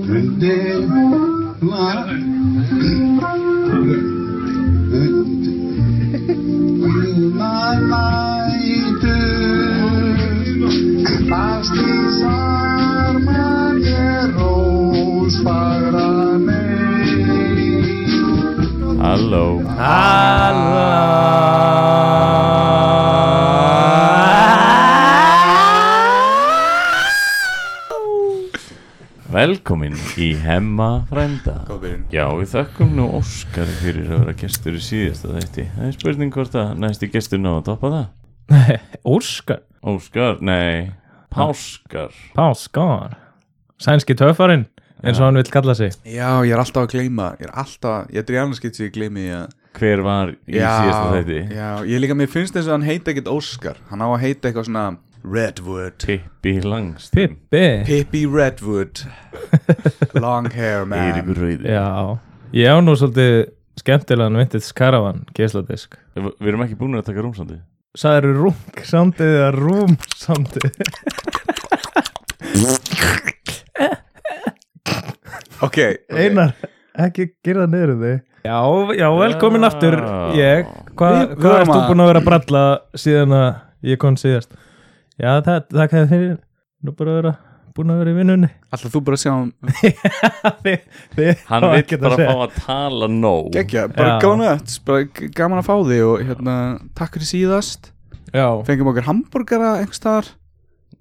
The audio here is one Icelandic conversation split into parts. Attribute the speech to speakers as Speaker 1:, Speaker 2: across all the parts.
Speaker 1: Önde var.
Speaker 2: Halló Velkomin í Hemma frænda
Speaker 3: Góð byrjun.
Speaker 2: Já, við þökkum nú Óskar fyrir að vera gestur í síðasta þætti Það er spurning hvort að næsti gestur ná að toppa það
Speaker 4: Óskar
Speaker 2: Óskar, nei, Páskar
Speaker 4: Páskar Sænski töffarinn eins og hann vill kalla sig
Speaker 3: Já, ég er alltaf að gleyma Ég er alltaf, ég er í annars skipt sem ég gleymi að
Speaker 2: Hver var í síðasta þætti?
Speaker 3: Já, ég líka, mér finnst þess að hann heita ekkert Óskar Hann á að heita eitthvað svona Redwood
Speaker 2: Pippi langst
Speaker 4: Pippi
Speaker 3: Pippi Redwood Long hair man
Speaker 2: Eiríkur Rauði
Speaker 4: Já, ég á nú svolítið skemmtilegan vintage caravan geisladisk
Speaker 2: Við erum ekki búin að taka rúmsandi
Speaker 4: Sæður rung samtið eða rúm samtið
Speaker 3: Ok, okay.
Speaker 4: Einar, ekki gera niður þig Já, já,
Speaker 2: Já.
Speaker 4: velkomin aftur ég Hva,
Speaker 3: Við- við
Speaker 4: Hvað
Speaker 3: vorum
Speaker 4: ert þú
Speaker 3: að-
Speaker 4: búin að vera að bralla síðan að ég kom síðast Já, það, það kæði fyrir nú bara að vera búin að vera í vinnunni
Speaker 3: Alltaf þú bara að sjá hann
Speaker 4: Þið- þið
Speaker 2: Hann
Speaker 4: hafa
Speaker 2: vill
Speaker 4: ekkert að
Speaker 2: bara
Speaker 4: segja.
Speaker 2: fá að tala nóg
Speaker 3: Gekja,
Speaker 4: Já.
Speaker 3: bara gána öll Bara g- gaman að fá þig og hérna Takk fyrir síðast
Speaker 4: Já,
Speaker 3: Fengum okkur hambúrgara einhvers staðar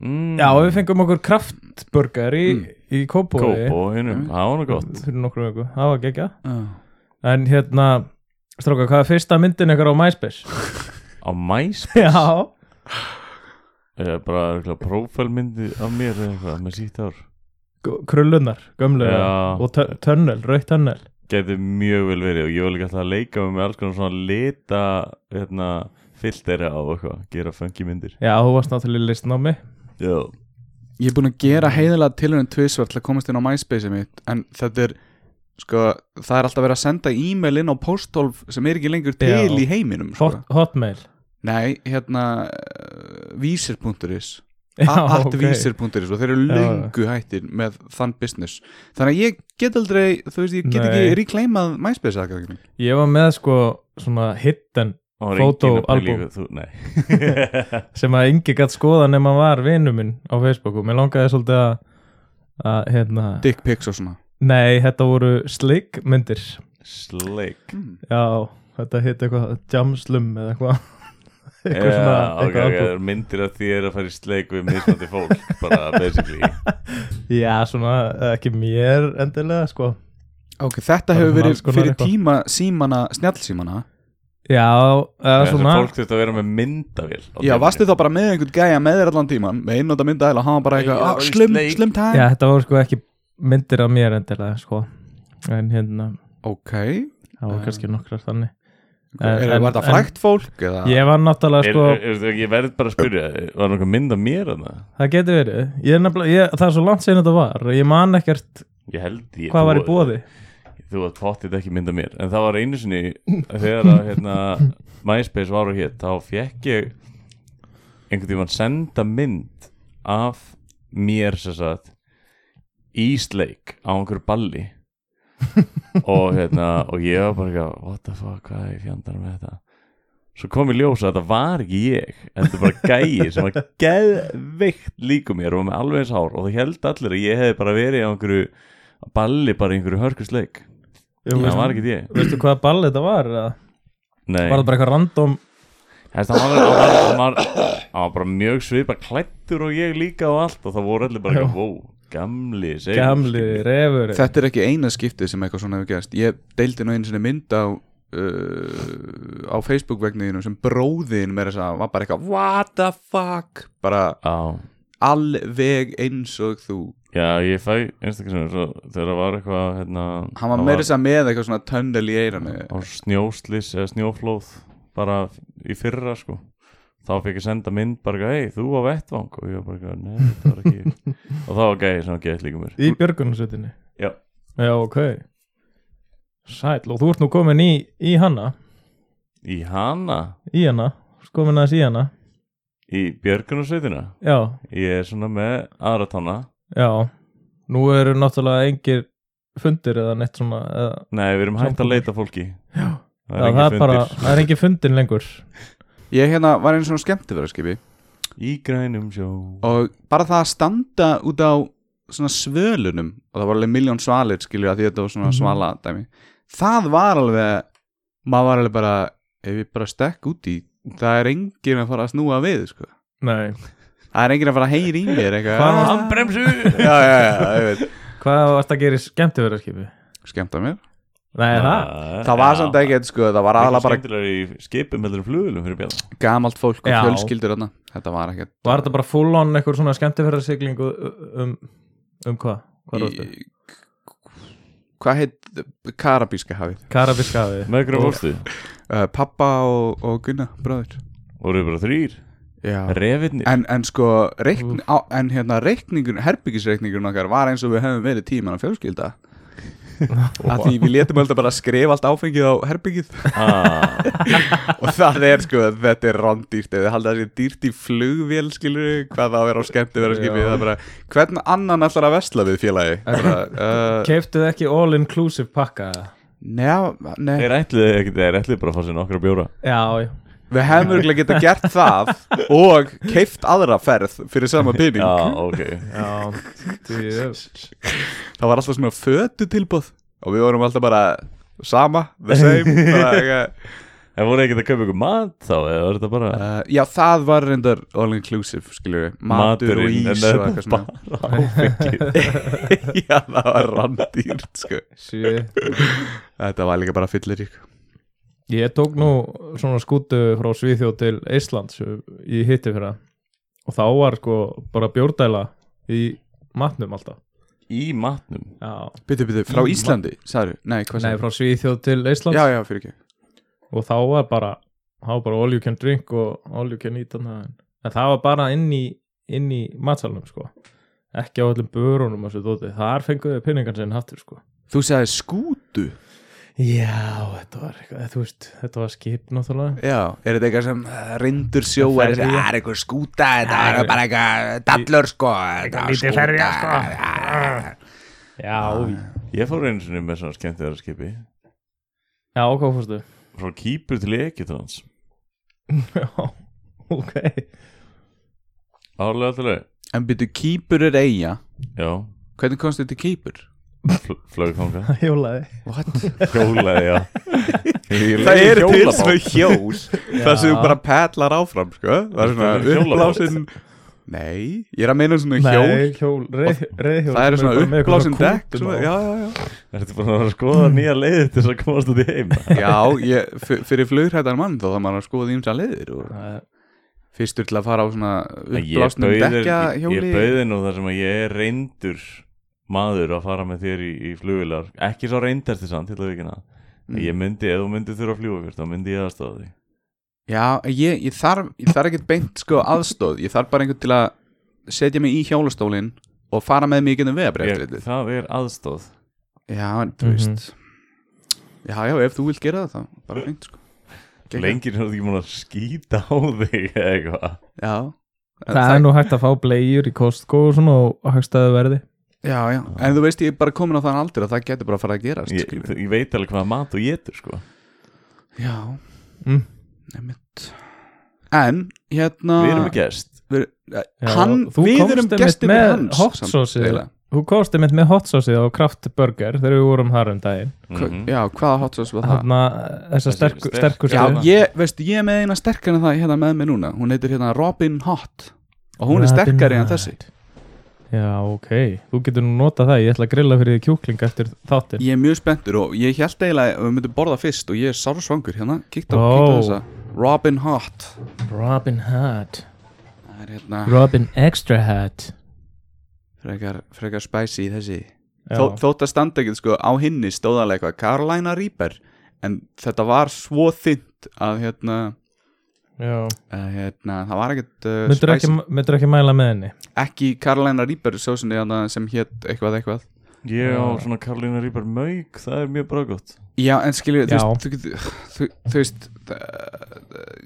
Speaker 2: mm.
Speaker 4: Já, við fengum okkur kraftburgar í, í Kópói
Speaker 3: Mm.
Speaker 2: Kópóinum, það var nú gott
Speaker 4: fyrir nokkru viku, það var gekkja
Speaker 2: Ah.
Speaker 3: Já.
Speaker 4: En hérna, stróka, hvað er fyrsta myndin ykkar á MySpace? Mm.
Speaker 2: Á mæs
Speaker 4: Já
Speaker 2: eða Eh, bara eitthvað prófælmyndi af mér eða eitthvað með sítt ár
Speaker 4: Krullunar, gömlu
Speaker 2: Já.
Speaker 4: og tö- tönnel, rautt tönnel
Speaker 2: Gæti mjög vel verið og ég var líka alltaf að leika með alls konar svona lita hérna, filtera á eitthvað gera fengi myndir
Speaker 4: Já, þú varst náttúrulega í listnámi
Speaker 2: Já,
Speaker 3: Ég er búin að gera
Speaker 4: Mm.
Speaker 3: heiðilega tilhörnum tvisvar til að komast inn á MySpace mitt en þetta er, sko, það er alltaf verið að senda e-mail inn á postolf sem er ekki lengur til
Speaker 4: Já.
Speaker 3: í heiminum, sko.
Speaker 4: Hot, Hotmail
Speaker 3: Nei, hérna, uh, vísir.is,
Speaker 4: Já,
Speaker 3: allt
Speaker 4: ok.
Speaker 3: vísir.is og sko. þeir eru
Speaker 4: Já.
Speaker 3: löngu hættir með þann business. Þannig að ég get aldrei, þú veist, ég get
Speaker 4: Nei.
Speaker 3: ekki reclaimað MySpace aðgangin.
Speaker 4: Ég var með sko svona hidden
Speaker 2: og reyngin að pæla í
Speaker 4: Fótóalbúm.
Speaker 2: hvað þú, nei
Speaker 4: sem að yngi gætt skoða nema var vinnu minn á Facebooku, mér langaði svolítið að, að hérna,
Speaker 3: Dick pics og svona.
Speaker 4: nei, þetta voru slik myndir
Speaker 2: Sleik
Speaker 4: Já, þetta hitt eitthvað Jamslum eða eitthvað Eitthvað svona
Speaker 2: Já, Eh, ok,
Speaker 4: eitthvað
Speaker 2: ok, það
Speaker 4: okay,
Speaker 2: eru myndir af því er að fara í sleik við mismandi fólk bara basically
Speaker 4: Já, svona eh, ekki mér endilega sko
Speaker 3: Ok, þetta
Speaker 4: Bara
Speaker 3: hefur
Speaker 4: svona
Speaker 3: verið
Speaker 4: alls konar
Speaker 3: fyrir
Speaker 4: eitthvað.
Speaker 3: tíma símana, snjallsímana.
Speaker 4: Já, eða
Speaker 2: Þessar
Speaker 4: svona
Speaker 2: fólk þurft að vera með myndavél á
Speaker 3: Já,
Speaker 2: teipinu.
Speaker 3: varstu þá bara með einhvern gæja með þér allan tíman með einnóta myndaðil og hann var bara eitthvað
Speaker 2: Já,
Speaker 3: "Ah,
Speaker 2: í
Speaker 3: slim,
Speaker 2: sleik."
Speaker 3: slim time
Speaker 4: Já, þetta voru sko ekki myndir af mér endilega sko En hérna,
Speaker 3: Ok,
Speaker 4: það voru
Speaker 3: Já.
Speaker 2: Eh.
Speaker 4: kannski nokkrar þannig
Speaker 3: er,
Speaker 4: En-
Speaker 3: var það
Speaker 4: en-
Speaker 3: frækt fólk eða?
Speaker 4: Ég var náttúrulega
Speaker 2: Er,
Speaker 4: sko,
Speaker 2: er, er, ég verð bara að spyrja, var nokkuð mynd af mér að það?
Speaker 4: það getur verið ég, er nefnilega- ég, Það er svo langt síðan þetta var Ég man ekkert
Speaker 2: Ég held ég
Speaker 4: hvað var í
Speaker 2: þú-
Speaker 4: bóði
Speaker 2: þú að pottit ekki mynda mér en það var einu sinni þegar að hérna, MySpace var og hér þá fekk ég einhvern tímann senda mynd af mér sem sagt í sleik á einhverju balli og hérna og ég var bara eitthvað, what the fuck, hvað er ég fjandar með þetta svo kom ég ljósa að þetta var ekki ég þetta var bara gæi sem var geðveikt líku mér og var með alveg eins hár og það held allir að ég hefði bara verið á einhverju balli bara í einhverju hörkusleik
Speaker 4: Jú,
Speaker 2: það
Speaker 4: veistu-
Speaker 2: var ekki ég
Speaker 4: Veistu hvaða ball þetta var? eða?
Speaker 2: Nei,
Speaker 4: Var það bara eitthvað random
Speaker 2: Þessi, hann, var, hann, var, hann, var, hann var bara mjög svipa klættur og ég líka og allt og það voru allir bara eitthvað, wow, gamli segur."
Speaker 4: gamli refur
Speaker 3: Þetta er ekki eina skiptið sem eitthvað svona hefur gerst Ég deildi nú einu sinni mynd á uh, á Facebook vegniðinu sem bróðin með þess að var bara eitthvað What the fuck bara
Speaker 2: Já,
Speaker 3: alveg eins og þú
Speaker 2: já, ég fæ einstaklega sem svo, þegar það var eitthvað hérna,
Speaker 3: Hann var með þess að með eitthvað svona tönnel í eiranu
Speaker 2: á snjóslis eða snjóflóð bara í fyrra sko þá fekk ég senda mynd bara, eitthvað, hei, þú á vettvang og ég var bara, eitthvað, nei, þetta var ekki ég." og það var gæði sem gæði líka mér
Speaker 4: Í björgunarsveitinni
Speaker 2: Já.
Speaker 4: Já, ok Sæll, og þú ert nú komin í, í hana
Speaker 2: í hana,
Speaker 4: Í hana, komin aðeins í hana
Speaker 2: í björgunarsveitina
Speaker 4: Já,
Speaker 2: ég er svona með aðra tanna
Speaker 4: já Nú eru náttúrulega engir fundir eða neitt svona eða,
Speaker 2: Nei, við erum hægt að leita að fólki
Speaker 4: Já.
Speaker 2: Það er
Speaker 4: það, er
Speaker 2: engin
Speaker 4: bara,
Speaker 2: fundir
Speaker 4: það er engin fundin lengur
Speaker 3: Ég hérna var einu svona skemmtifæraskipi
Speaker 2: Í grænum sjó
Speaker 3: og bara það að standa út á svona svölunum og það var alveg miljón svalir skilur að því þetta var svona
Speaker 4: Mhm.
Speaker 3: svala dæmi það var alveg maður var alveg bara ef ég bara stekk út í það er enginn að fara að snúa við sko.
Speaker 4: Nei,
Speaker 3: það er enginn að fara að heyri í mér
Speaker 4: Hvað var-
Speaker 3: eitthvað
Speaker 2: Handbremsu
Speaker 3: já, já, já, ég veit
Speaker 4: hvað varst að gera í skemmtiförarskipi?
Speaker 3: skemmt að mér
Speaker 4: Nei, það?
Speaker 3: það var samt ekkert sko það var aðla bara
Speaker 2: skemmtilega í skipum heldur en flugulum fyrir bjalla
Speaker 3: gamalt fólk og
Speaker 4: Já.
Speaker 3: fjölskyldur þarna þetta var ekkert
Speaker 4: Var þetta bara full on einhver svona skemmtiförarsiglingu um, um hvað? Hvað
Speaker 3: Í-
Speaker 4: ráttu?
Speaker 3: hvað heit karabíska hafið
Speaker 4: Karabiskaði
Speaker 2: Með hverju fórstu?
Speaker 3: uh, pappa og, og Gunna bróður
Speaker 2: Voruðu bara þrýr?
Speaker 3: já
Speaker 2: Refinni?
Speaker 3: En, en sko, reikn, á, en hérna reikningun, herbyggisreikningun okkar var eins og við hefum verið tíman á fjölskylda að því við letum alltaf bara skrifa allt áfengið á herbyggið
Speaker 2: Ah,
Speaker 3: og það er sko, þetta er rándýrt ef þið haldið að það sé dýrt í flugvél skilur hvað það á að vera á skemmti vera skipið það er bara, hvern annan ætlar að vesla við félagi bara, uh,
Speaker 4: Keiftuð ekki all-inclusive pakka?
Speaker 3: neða, neða
Speaker 2: þeir ætluðu ekkert, þeir ætluðu bara að fá sér nokkra bjóra
Speaker 4: Já, já
Speaker 3: við hefum örgulega geta gert það og keift aðra ferð fyrir sama pinning
Speaker 2: Já, ok
Speaker 4: Já, djöf.
Speaker 3: það var alltaf svona fötu tilbúð og við vorum alltaf bara sama, the same bara, eitthvað.
Speaker 2: En voru ekkert að kaupa ykkur mat þá eða var þetta bara
Speaker 3: uh, já það var reyndar all inclusive skilur við, matur og
Speaker 2: maturinn
Speaker 3: ís
Speaker 2: en
Speaker 3: og eitthvað
Speaker 2: þetta
Speaker 3: svona
Speaker 2: er bara áfengi
Speaker 3: já það var randýrt sko.
Speaker 4: Shit.
Speaker 3: þetta var líka bara fyllir ykkur
Speaker 4: Ég tók nú svona skútu frá Svíþjóð til Íslands í hitti fyrir og þá var sko bara bjórdæla í matnum alltaf
Speaker 2: Í matnum
Speaker 4: Já,
Speaker 3: byrju byrju, frá Íslandi, sagður, nei hvað
Speaker 4: nei
Speaker 3: sagður
Speaker 4: frá Svíþjóð til Íslands
Speaker 3: já já fyrir ekki
Speaker 4: og þá var bara þá var bara all you can drink og all you can eat annað. en það var bara inn í, inn í matsalunum sko ekki á öllum börunum og svo dóti þar fenguðu pinningan sinn hattur sko
Speaker 3: þú sagði skútu
Speaker 4: Já, þetta var eitthvað, þú veist, þetta var skip náttúrulega
Speaker 3: já, er þetta eitthvað sem uh, rindur sjó er
Speaker 4: Ferja.
Speaker 3: þetta er eitthvað skúta þetta er bara eitthvað dallur sko þetta var skúta
Speaker 4: sko.
Speaker 3: eh,
Speaker 4: Já,
Speaker 2: Ég fór einu sinni með svona skemmtilega skipi
Speaker 4: já, hvað fórstu?
Speaker 2: Frá Kýpur til Egyptalands
Speaker 4: Já, ok
Speaker 2: Árlega alltaf
Speaker 3: en byrju kýpur er eiga
Speaker 2: Já,
Speaker 3: hvernig komst þetta kýpur?
Speaker 2: fl- flaug þangað
Speaker 4: Hjólaði
Speaker 2: Hjólaði, já
Speaker 3: það er til svona hjól þar sem þú bara pedlar áfram sko. það er
Speaker 2: Þetta
Speaker 3: svona
Speaker 2: er hjólabát.
Speaker 3: uppblásin nei, ég er að meina svona
Speaker 4: Nei,
Speaker 3: hjól
Speaker 4: hjól, reið, reiðhjól
Speaker 3: það eru
Speaker 4: sem
Speaker 3: svona
Speaker 4: bara með
Speaker 3: uppblásin
Speaker 4: eitthvað
Speaker 3: dekk
Speaker 4: kútum
Speaker 3: svona,
Speaker 4: á.
Speaker 3: já, já, já.
Speaker 2: Ertu bara að skoða nýja leiðir til þess að komast út í heim
Speaker 3: já ég, f- fyrir flugrættan mann þá þarf maður að skoða ímsa leiðir og
Speaker 4: Það er-
Speaker 3: fyrstur til að fara á svona
Speaker 2: Ég
Speaker 3: uppblásnum
Speaker 2: bauð þér-
Speaker 3: dekka
Speaker 2: ég- ég
Speaker 3: hjóli
Speaker 2: bauði nú þar sem að ég er reyndur maður að fara með þér í, í flugilar ekki svo reyndasti samt til að vikina mm. ég myndi, ef þú myndi þurfa að fljúa fyrst þá myndi ég aðstofa því
Speaker 3: já, ég, ég þarf ég þarf ekkert beint sko aðstóð ég þarf bara einhvern til að setja mig í hjólastólin og fara með mig í gennum
Speaker 2: ég,
Speaker 3: vegabrið
Speaker 2: það er aðstoð
Speaker 3: já, en
Speaker 4: Mhm.
Speaker 3: þú veist já, já, ef þú vilt gera það þá bara fengt sko Geggjað.
Speaker 2: lengir er þetta ekki múin að skýta á þig eða eitthvað
Speaker 3: Já
Speaker 4: Það er nú hægt að fá blegjur í Costco og svona og hagstæðu verði
Speaker 3: Já, já, en þú veist ég er bara komin á þann aldur að það getur bara að fara að gerast
Speaker 2: ég,
Speaker 3: skilur.
Speaker 2: ég veit alveg hvað mat og getur sko
Speaker 3: Já,
Speaker 4: Mm.
Speaker 3: nefnt En, hérna
Speaker 2: við erum með gest
Speaker 3: við, eh,
Speaker 4: Já,
Speaker 3: hann,
Speaker 4: þú
Speaker 3: Við
Speaker 4: komst
Speaker 3: erum
Speaker 4: einmitt
Speaker 3: gestir
Speaker 4: með
Speaker 3: hans
Speaker 4: hot
Speaker 3: samt,
Speaker 4: sauce-ið.
Speaker 3: eiginlega.
Speaker 4: Þú kosti mitt með hot sauce á Kraft Burger þegar við vorum þar um daginn
Speaker 3: Hva,
Speaker 2: Mhm.
Speaker 3: Já, hvaða hot sauce var það?
Speaker 4: Þarna, þessa
Speaker 2: Þessi
Speaker 4: sterku,
Speaker 2: sterk-
Speaker 4: sterkustu
Speaker 3: Já,
Speaker 2: Hérna.
Speaker 3: ég, veistu, ég er með eina sterkar en það hérna með mig núna Hún heitir hérna Robin Hot Og hún er
Speaker 4: Robin
Speaker 3: sterkari en
Speaker 4: Hood.
Speaker 3: þessi
Speaker 4: Já, ok, þú getur nú notað það Ég ætla að grilla fyrir því kjúkling eftir þáttir
Speaker 3: Ég er mjög spenntur og ég held eiginlega að við myndum borða fyrst og ég er sársvangur hérna Kíkt á,
Speaker 4: Ó.
Speaker 3: kíkt á þessa Robin Hot
Speaker 4: Robin Hood
Speaker 3: Það er hérna
Speaker 4: Robin Extra Hood
Speaker 3: frekar, frekar spicy í þessi
Speaker 4: Já.
Speaker 3: Þó, þótt að standa ekkert sko á hinni stóðalega eitthvað Carolina Reaper en þetta var svo þynt að hérna,
Speaker 4: Já.
Speaker 3: að, hérna það var ekkert uh,
Speaker 4: Myndur ekki,
Speaker 3: spicy.
Speaker 4: myndirðu ekki mæla með henni?
Speaker 3: ekki Carolina Reaper sósinni hérna sem hétt eitthvað eitthvað
Speaker 2: ég á svona Karolina Rýpar Mögg það er mjög bráðgótt
Speaker 3: já en skilju þú,
Speaker 4: Já.
Speaker 3: veist, þú, getur- þú, þú veist uh,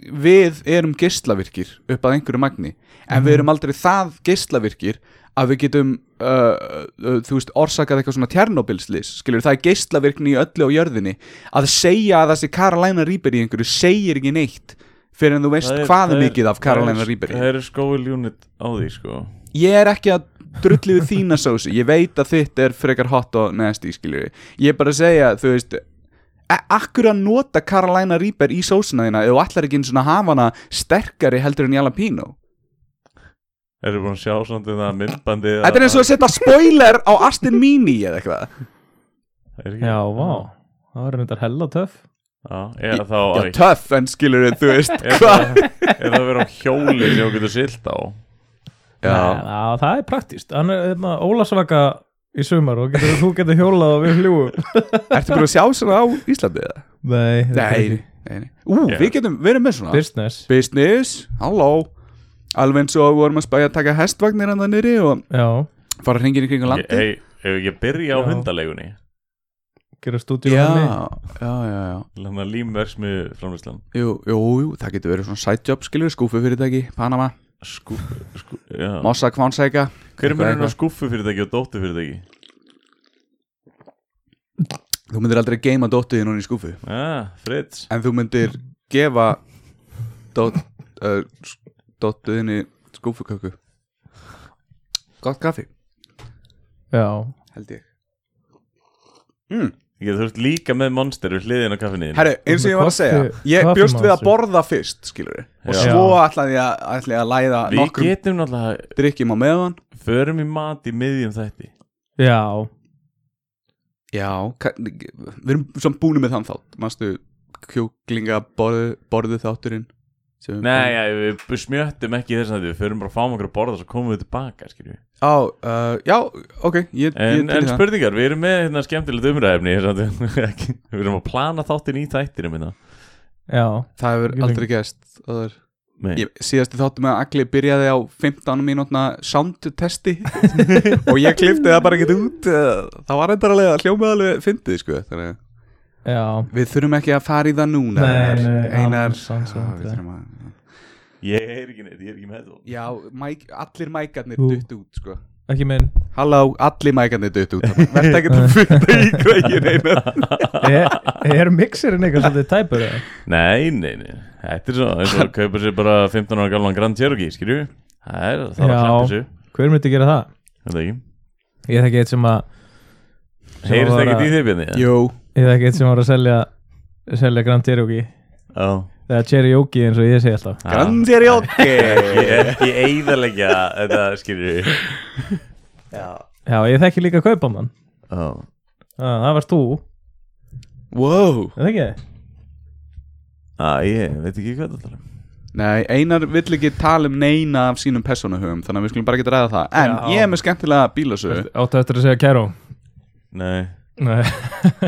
Speaker 2: Mhm.
Speaker 3: við erum geislavirkir upp að einhverju magni en við erum aldrei það geislavirkir að við getum uh, uh, þú veist, orsakað eitthvað svona tjarnobilslis skilur, það er geislavirkni í öllu á jörðinni að segja að þessi Carolina Reaper í einhverju segir ekki neitt fyrir en þú veist
Speaker 2: Það er-
Speaker 3: hvað
Speaker 2: það
Speaker 3: er,
Speaker 2: er-
Speaker 3: mikið af
Speaker 2: það
Speaker 3: Carolina
Speaker 2: er-
Speaker 3: Reaper í.
Speaker 2: Það eru skóil unit á því sko
Speaker 3: ég er ekki að drulli við þína sósi ég veit að þitt er frekar hot og nasty skilur ég er bara að segja þú veist a- akkur að nota Carolina Reaper í sósina þína ef þú ætlar ekki einu svona að hafa hana sterkari heldur en jalapeno
Speaker 2: Erum búin að sjá samt um það myndbandi
Speaker 3: þetta er eins og að setja spoiler á Aston Mini eða eitthvað
Speaker 4: Já, vá, það var reyndar hella töff
Speaker 2: Já, eða þá
Speaker 3: já töff en skilur þú veist hvað
Speaker 2: Eða það verið á hjóli sem þú getur silt á
Speaker 4: Nei,
Speaker 3: já
Speaker 4: Já, það er praktíst Hann er hérna, Ólasvaka í sumar og getur, þú getur hjólað og við fljúum
Speaker 3: ertu búin að sjá svona á Íslandi eða
Speaker 4: Nei, þetta er
Speaker 3: nei,
Speaker 4: ekki.
Speaker 3: nei, nei. ú
Speaker 2: Já.
Speaker 3: við getum við erum með svona
Speaker 4: Business
Speaker 3: business halló alveg eins og við vorum að spæja að taka hestvagnir hann það nýri og
Speaker 4: Já,
Speaker 3: fara hringin í
Speaker 2: Ég-
Speaker 3: kringum landi
Speaker 2: Hey, ef ég byrja á
Speaker 4: Já.
Speaker 2: hundaleigunni
Speaker 4: gera stúdíu
Speaker 3: já, já, já, já.
Speaker 2: Þannig að límverksmið framlýslan
Speaker 3: Jú, jú, jú, það getur verið svona side job skilur, skúfu fyrirtæki, Panama,
Speaker 2: Skú, skú, já.
Speaker 3: Mossa Kvansæka
Speaker 2: Hver er munurinn á
Speaker 3: Eitthvað.
Speaker 2: skúfu fyrirtæki og dóttu fyrirtæki?
Speaker 3: Þú myndir aldrei geima dóttuði núna í skúfu
Speaker 2: Ah, Fritz
Speaker 3: En þú myndir gefa dót, uh, dóttuðinni skúfuköku Gott kaffi,
Speaker 4: Já,
Speaker 3: held ég
Speaker 2: Ég þurft líka með monster við hliðin á kaffinni þínu.
Speaker 3: Herru, eins og ég var að segja
Speaker 4: Kaffi-
Speaker 3: Ég
Speaker 4: kaffi
Speaker 3: bjóst við að
Speaker 4: monster.
Speaker 3: borða fyrst, skilur Og
Speaker 2: Já.
Speaker 3: svo ætlaði ég að, ætlaði ég að læða
Speaker 2: Við
Speaker 3: nokkrum get...
Speaker 2: getum náttúrulega
Speaker 3: drikkjum á meðan
Speaker 2: Förum í mat í miðjum þætti
Speaker 4: já,
Speaker 3: Já, ka- við erum svona búinu með þann þátt Manstu kjúklinga borðu, borðu þátturinn sem við-
Speaker 2: Nei, já, við smjöttum ekki í þess að við förum bara að fáum okkur að borða svo komum við tilbaka skilju.
Speaker 3: Á, uh, já, ok ég, ég
Speaker 2: En,
Speaker 3: til í
Speaker 2: en
Speaker 3: það.
Speaker 2: spurningar, við erum með hérna skemmtilegt umræðefni þess að við- ekki- Við erum að plana þáttin í þættinum hérna.
Speaker 4: já
Speaker 3: Það hefur
Speaker 4: Ég lengi.
Speaker 3: aldrei gæst áður.
Speaker 2: Nei.
Speaker 3: Ég- Síðasti þáttum að Agli byrjaði á 15 mínútna soundtesti og ég klifti það bara ekki út eh, það var endarlega hljómaðalega fyndið sko þannig að
Speaker 4: Já,
Speaker 3: við þurfum ekki að fara í það núna
Speaker 4: Nei, nei,
Speaker 3: Einar
Speaker 4: alls- alls
Speaker 3: Já, við
Speaker 4: ekki.
Speaker 3: þurfum að-
Speaker 2: Ég er ekki neitt, ég er ekki með þú
Speaker 3: Já, mæk, allir mækarnir
Speaker 4: Ú.
Speaker 3: dutt út sko
Speaker 4: ekki minn
Speaker 3: Halló, allir mækarnir dutt út Verð ekki að funda í grægin einar
Speaker 4: Er, er mixerinn eitthvað svolítið tæpur eða?
Speaker 2: Nei, nei, nei, þetta er svo eins og kaupa sér bara 15 ára galvan Grand Cherokee, skilju Það er, það er að
Speaker 4: Já.
Speaker 2: klappa sér
Speaker 4: Hver myndi gera það?
Speaker 2: Þetta ekki
Speaker 4: Ég þekki eitt sem að sem
Speaker 2: Heyrist
Speaker 4: var að-
Speaker 2: ekki í þeim björni?
Speaker 3: Jú,
Speaker 4: Ég þekki eitt sem var að selja selja Grand Cherokee
Speaker 2: Já
Speaker 4: eða Cherokee eins og ég segi alltaf
Speaker 3: grandir
Speaker 2: Ég er ekki eigðalega þetta skilju
Speaker 4: Já, ég þekki líka kaupamann
Speaker 2: Já
Speaker 4: ah, Það varst þú,
Speaker 3: Wow
Speaker 4: er það ekki?
Speaker 2: Æ, ég veit ekki hvað þetta er um.
Speaker 3: Nei, Einar vill ekki tala um neina af sínum persónuhugum Þannig að við skulum bara ekki ræða það En
Speaker 4: Já.
Speaker 3: ég er með skemmtilega bílasögu
Speaker 4: Áttu eftir að segja Kero
Speaker 2: Nei,
Speaker 4: Nei,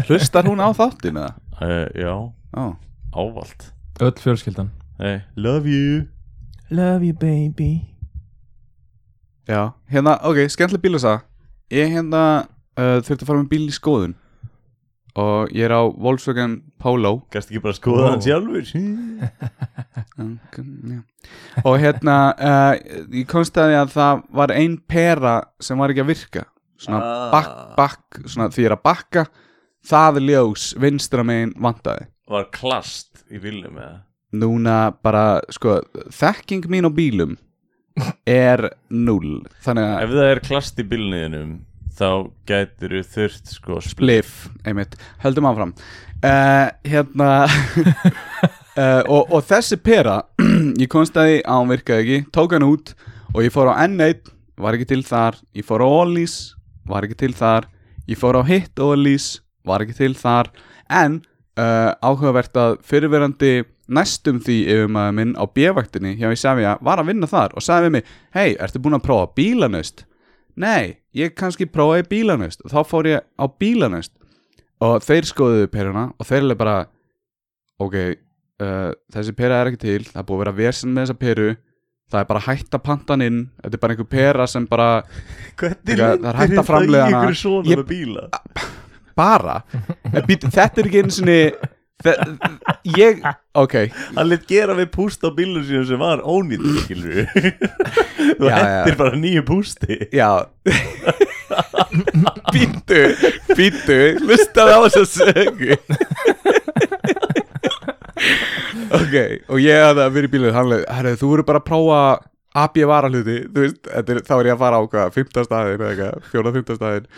Speaker 3: Hlustar hún á þáttin eða?
Speaker 2: uh, já,
Speaker 3: Ó,
Speaker 2: ávalt
Speaker 4: öll fjölskyldan
Speaker 2: Nei, love you
Speaker 4: Love you baby
Speaker 3: já Hérna, ok, skemmtilega bílasaga Ég hérna uh, þurfti að fara með bíl í skoðun Og ég er á Volkswagen Polo
Speaker 2: Gast ekki bara að skoða
Speaker 4: Wow.
Speaker 2: hann sjálfur
Speaker 3: Mm, já. Og hérna, uh, ég komst að því að það var ein pera sem var ekki að virka Svona
Speaker 2: Ah.
Speaker 3: bakk, bakk, svona því ég er að bakka Það ljós vinstra megin vantaði
Speaker 2: Var klast í bílnum eða
Speaker 3: núna bara sko, þekking mín á bílum er null þannig að
Speaker 2: Ef það er klast í bílniðinum þá gætir þú þurft sko
Speaker 3: blif, einmitt, höldum áfram uh, hérna uh, og, og þessi pera ég komst að því að hún virkaði ekki tók hann út og ég fór á N1 var ekki til þar, ég fór á Ollís var ekki til þar, ég fór á Hitt Ollís, var ekki til þar en uh, áhugavert að fyrirverandi næstum því yfirmaður minn á B-vaktinni hjá ég sagði að var að vinna þar og sagði við mig hei, ertu búin að prófa bílanust? Nei, ég kannski prófaði bílanust og þá fór ég á bílanust og þeir skoðuðu peruna og þeir eru bara ok, uh, þessi pera er ekki til það er búið að vera vesen með þessa peru það er bara hægt að panta hann inn þetta er bara einhver pera sem bara
Speaker 2: Hvernig
Speaker 3: Það- það er hægt að framleiða hana.
Speaker 2: ykkur svona
Speaker 3: Ég-
Speaker 2: með bíla
Speaker 3: bara, Eh, být, þetta er ekki einu sinni Þe- Ég, ok
Speaker 2: hann lit gera við púst á bílum sínum sem var ónýtt skilur þú
Speaker 3: Já, já.
Speaker 2: hendir bara nýju pústi
Speaker 3: Já Býttu, býttu Lustaði á þess að sögu Ok, og ég hafði að vera í bílið Hann leið, herrðu, þú verður bara að prófa AB varahluti, þú veist þetta er, Þá er ég að fara á hvað, fimmta staðin eða eitthvað, Fjóra fimmta staðin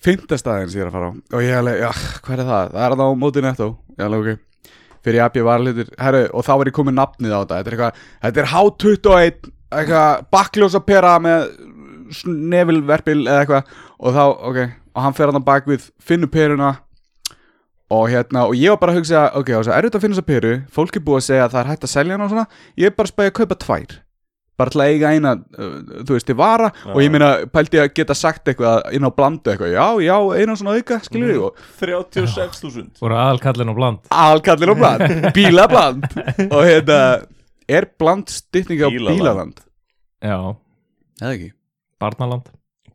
Speaker 3: Fimmta staðin sem ég er að fara á Og ég alveg, já, hvað er það? Það er það á móti netto Ég alveg, ok Fyrir AB varahlutir, herru, og þá er ég komið nafnið á þetta Þetta er eitthvað, þetta er H21 Eitthvað, bakkljósapera með snefilverpil eða eitthvað og þá, ok, og hann fer hann bak við finnur peruna og hérna, og ég var bara að hugsa, ok, og svo er þetta að finna þessa peru, fólk er búið að segja að það er hægt að selja hann og svona, ég er bara að spæja að kaupa tvær bara til að eiga eina uh, þú veist, til vara og ég meina pældi ég að geta sagt eitthvað inn á blandu eitthvað já, já, eina svona auka, skilur ég og
Speaker 2: 36.000
Speaker 4: voru aðalkallin á bland
Speaker 3: alkallir á bland, bílabland og hérna, er bland stytning á
Speaker 2: Bílaland.
Speaker 3: bílaland?
Speaker 4: já,
Speaker 3: Eða ekki?
Speaker 4: barnaland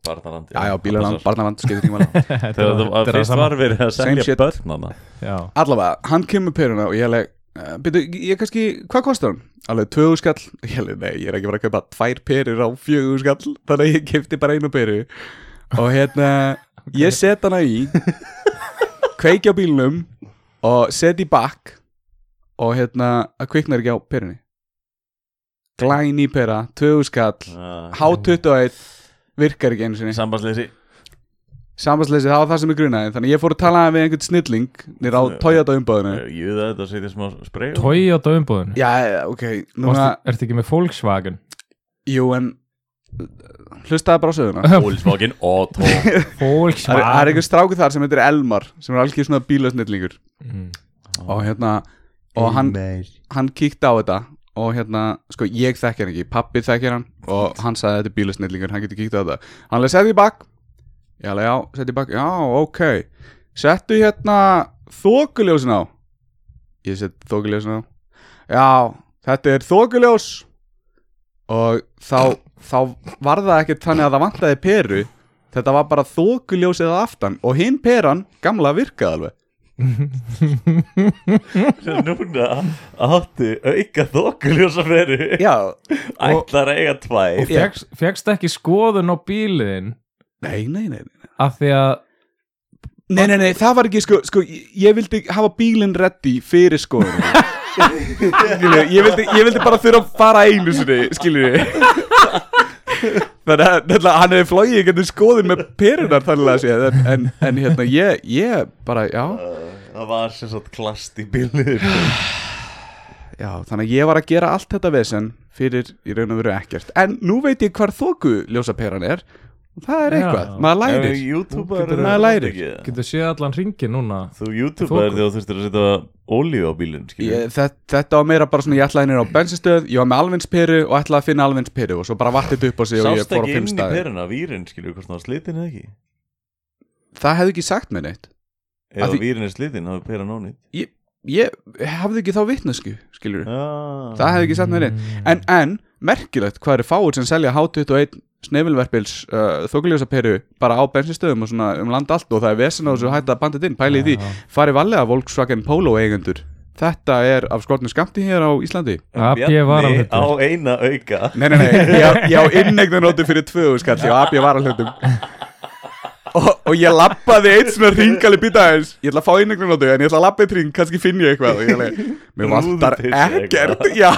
Speaker 2: barnaland
Speaker 3: Já, já, bílaland, barnaland, skiptir tíma
Speaker 2: þegar það var-
Speaker 4: Þetta er
Speaker 2: fyrst
Speaker 4: sama.
Speaker 2: var verið að
Speaker 3: Same
Speaker 2: selja
Speaker 3: shit.
Speaker 2: börnana
Speaker 4: já,
Speaker 3: allavega, hann kemur með peruna og ég alveg, uh, byrju, ég kannski, hvað kostar hann? Alveg tvögu skall, ég alveg, nei, ég er ekki bara að kaupa tvær perur á fjögu skall, þannig að ég kefti bara einu peru og hérna, ég set hana í, kveiki á bílnum og set í bakk og hérna, að kviknar ekki á perunni. Glæni pera, tvögu skall, H21, virkar ekki einu sinni
Speaker 2: sambandsleysi
Speaker 3: sambandsleysi, það var það sem ég grunaði þannig að ég fór að tala við einhvern snilling nýr á Toyota umböðinu
Speaker 2: ég veit að þetta setja smá spray á.
Speaker 4: tói á döfumbúðinu
Speaker 3: Já, ok, núna,
Speaker 4: ertu ekki með Volkswagen
Speaker 3: jú en hlustaði eh, bara á söguna
Speaker 2: Volkswagen Otto
Speaker 3: Það er, það er
Speaker 4: Volkswagen
Speaker 3: einhver stráku þar sem heitir Elmar sem er algjör svona bílasnillingur
Speaker 4: Mm.
Speaker 3: og hérna, og hann, hann kíkti á þetta og hérna, sko ég þekki hann ekki pappi þekki hann og hann sagði þetta er bílasnillingur, hann getur kíkt á þetta hann leði setja í bak ég alveg já, setja í bak, já, ok settu hérna þokuljósin á ég sett þokuljósin á já, þetta er þokuljós og þá, þá var það ekkert þannig að það vantaði peru þetta var bara þokuljósið að aftan og hinn peran gamla virkaði alveg
Speaker 2: núna átti auka þokuljósa fyrir
Speaker 3: já,
Speaker 2: ætlar að eiga tvær
Speaker 3: Já.
Speaker 4: Fékkst- fékkst ekki skoðun á bíliðin
Speaker 3: nei, nei, nei
Speaker 4: af því að
Speaker 3: Nei, nei, nei, það var ekki, sko, sko ég ég vildi hafa bílinn reddi fyrir skoðun Skilju, ég vildi, ég vildi bara þurfa að fara einu sinni, skilju Þannig að nefnilega, hann hefði flogið ekki skoðun með perunar þannig að segja en, en, en hérna, ég, ég bara, já,
Speaker 2: það var sem sagt klast í bílið
Speaker 3: já Þannig að ég var að gera allt þetta vesen fyrir í raun og veru ekkert En nú veit ég hvar þóku ljósaperan er og það er
Speaker 4: Já.
Speaker 3: eitthvað, maður lærir
Speaker 2: youtuber
Speaker 3: Þú getur- Maður lærir.
Speaker 4: getur séð allan ringin núna
Speaker 2: þú youtuber
Speaker 4: Þoku.
Speaker 2: þegar þú þurftir að setja ólíu á bílinn skilur
Speaker 3: Ég, þetta, þetta var meira bara svona ég ætlaði nýra á bensinstöð ég var með alvinsperu og ætlaði að finna alvinsperu og svo bara vatt þetta upp á sig og ég
Speaker 2: sást
Speaker 3: fór á
Speaker 2: ekki
Speaker 3: fimm
Speaker 2: inn í
Speaker 3: staði
Speaker 2: peruna výrin skilur hvort það var slitin eða ekki
Speaker 3: það hefði ekki sagt mér neitt
Speaker 2: ef
Speaker 3: Að
Speaker 2: því...
Speaker 3: því-
Speaker 2: výrin er slitin þá er peran ónýtt
Speaker 3: ég hafði ekki þá vitnesku skilur
Speaker 2: ah.
Speaker 3: það hefði ekki sagt mér neitt
Speaker 4: Mm.
Speaker 3: en, en merkilegt hvað eru fáir sem selja H21 snefilverpils uh, þokuljósaperu bara á bensinstöðum og svona um land allt og það er vesen á þessu hægt að banda þetta inn pælið í því farið valega Volkswagen Polo eigendur þetta er af skortnu skamti hér á Íslandi
Speaker 4: AB var alveg
Speaker 2: á eina auka
Speaker 3: Nei, nei, nei, ég á- ég á innegðanóti fyrir tvöðu skall, ég á AB varalhundum og, og ég labbaði eitt svona ringali býta aðeins ég ætla að fá innegðanóti, en ég ætla að labba eitt ring kannski finn ég eitthvað og ég alveg, mér vantar
Speaker 2: Rúðupiss
Speaker 3: ekkert já,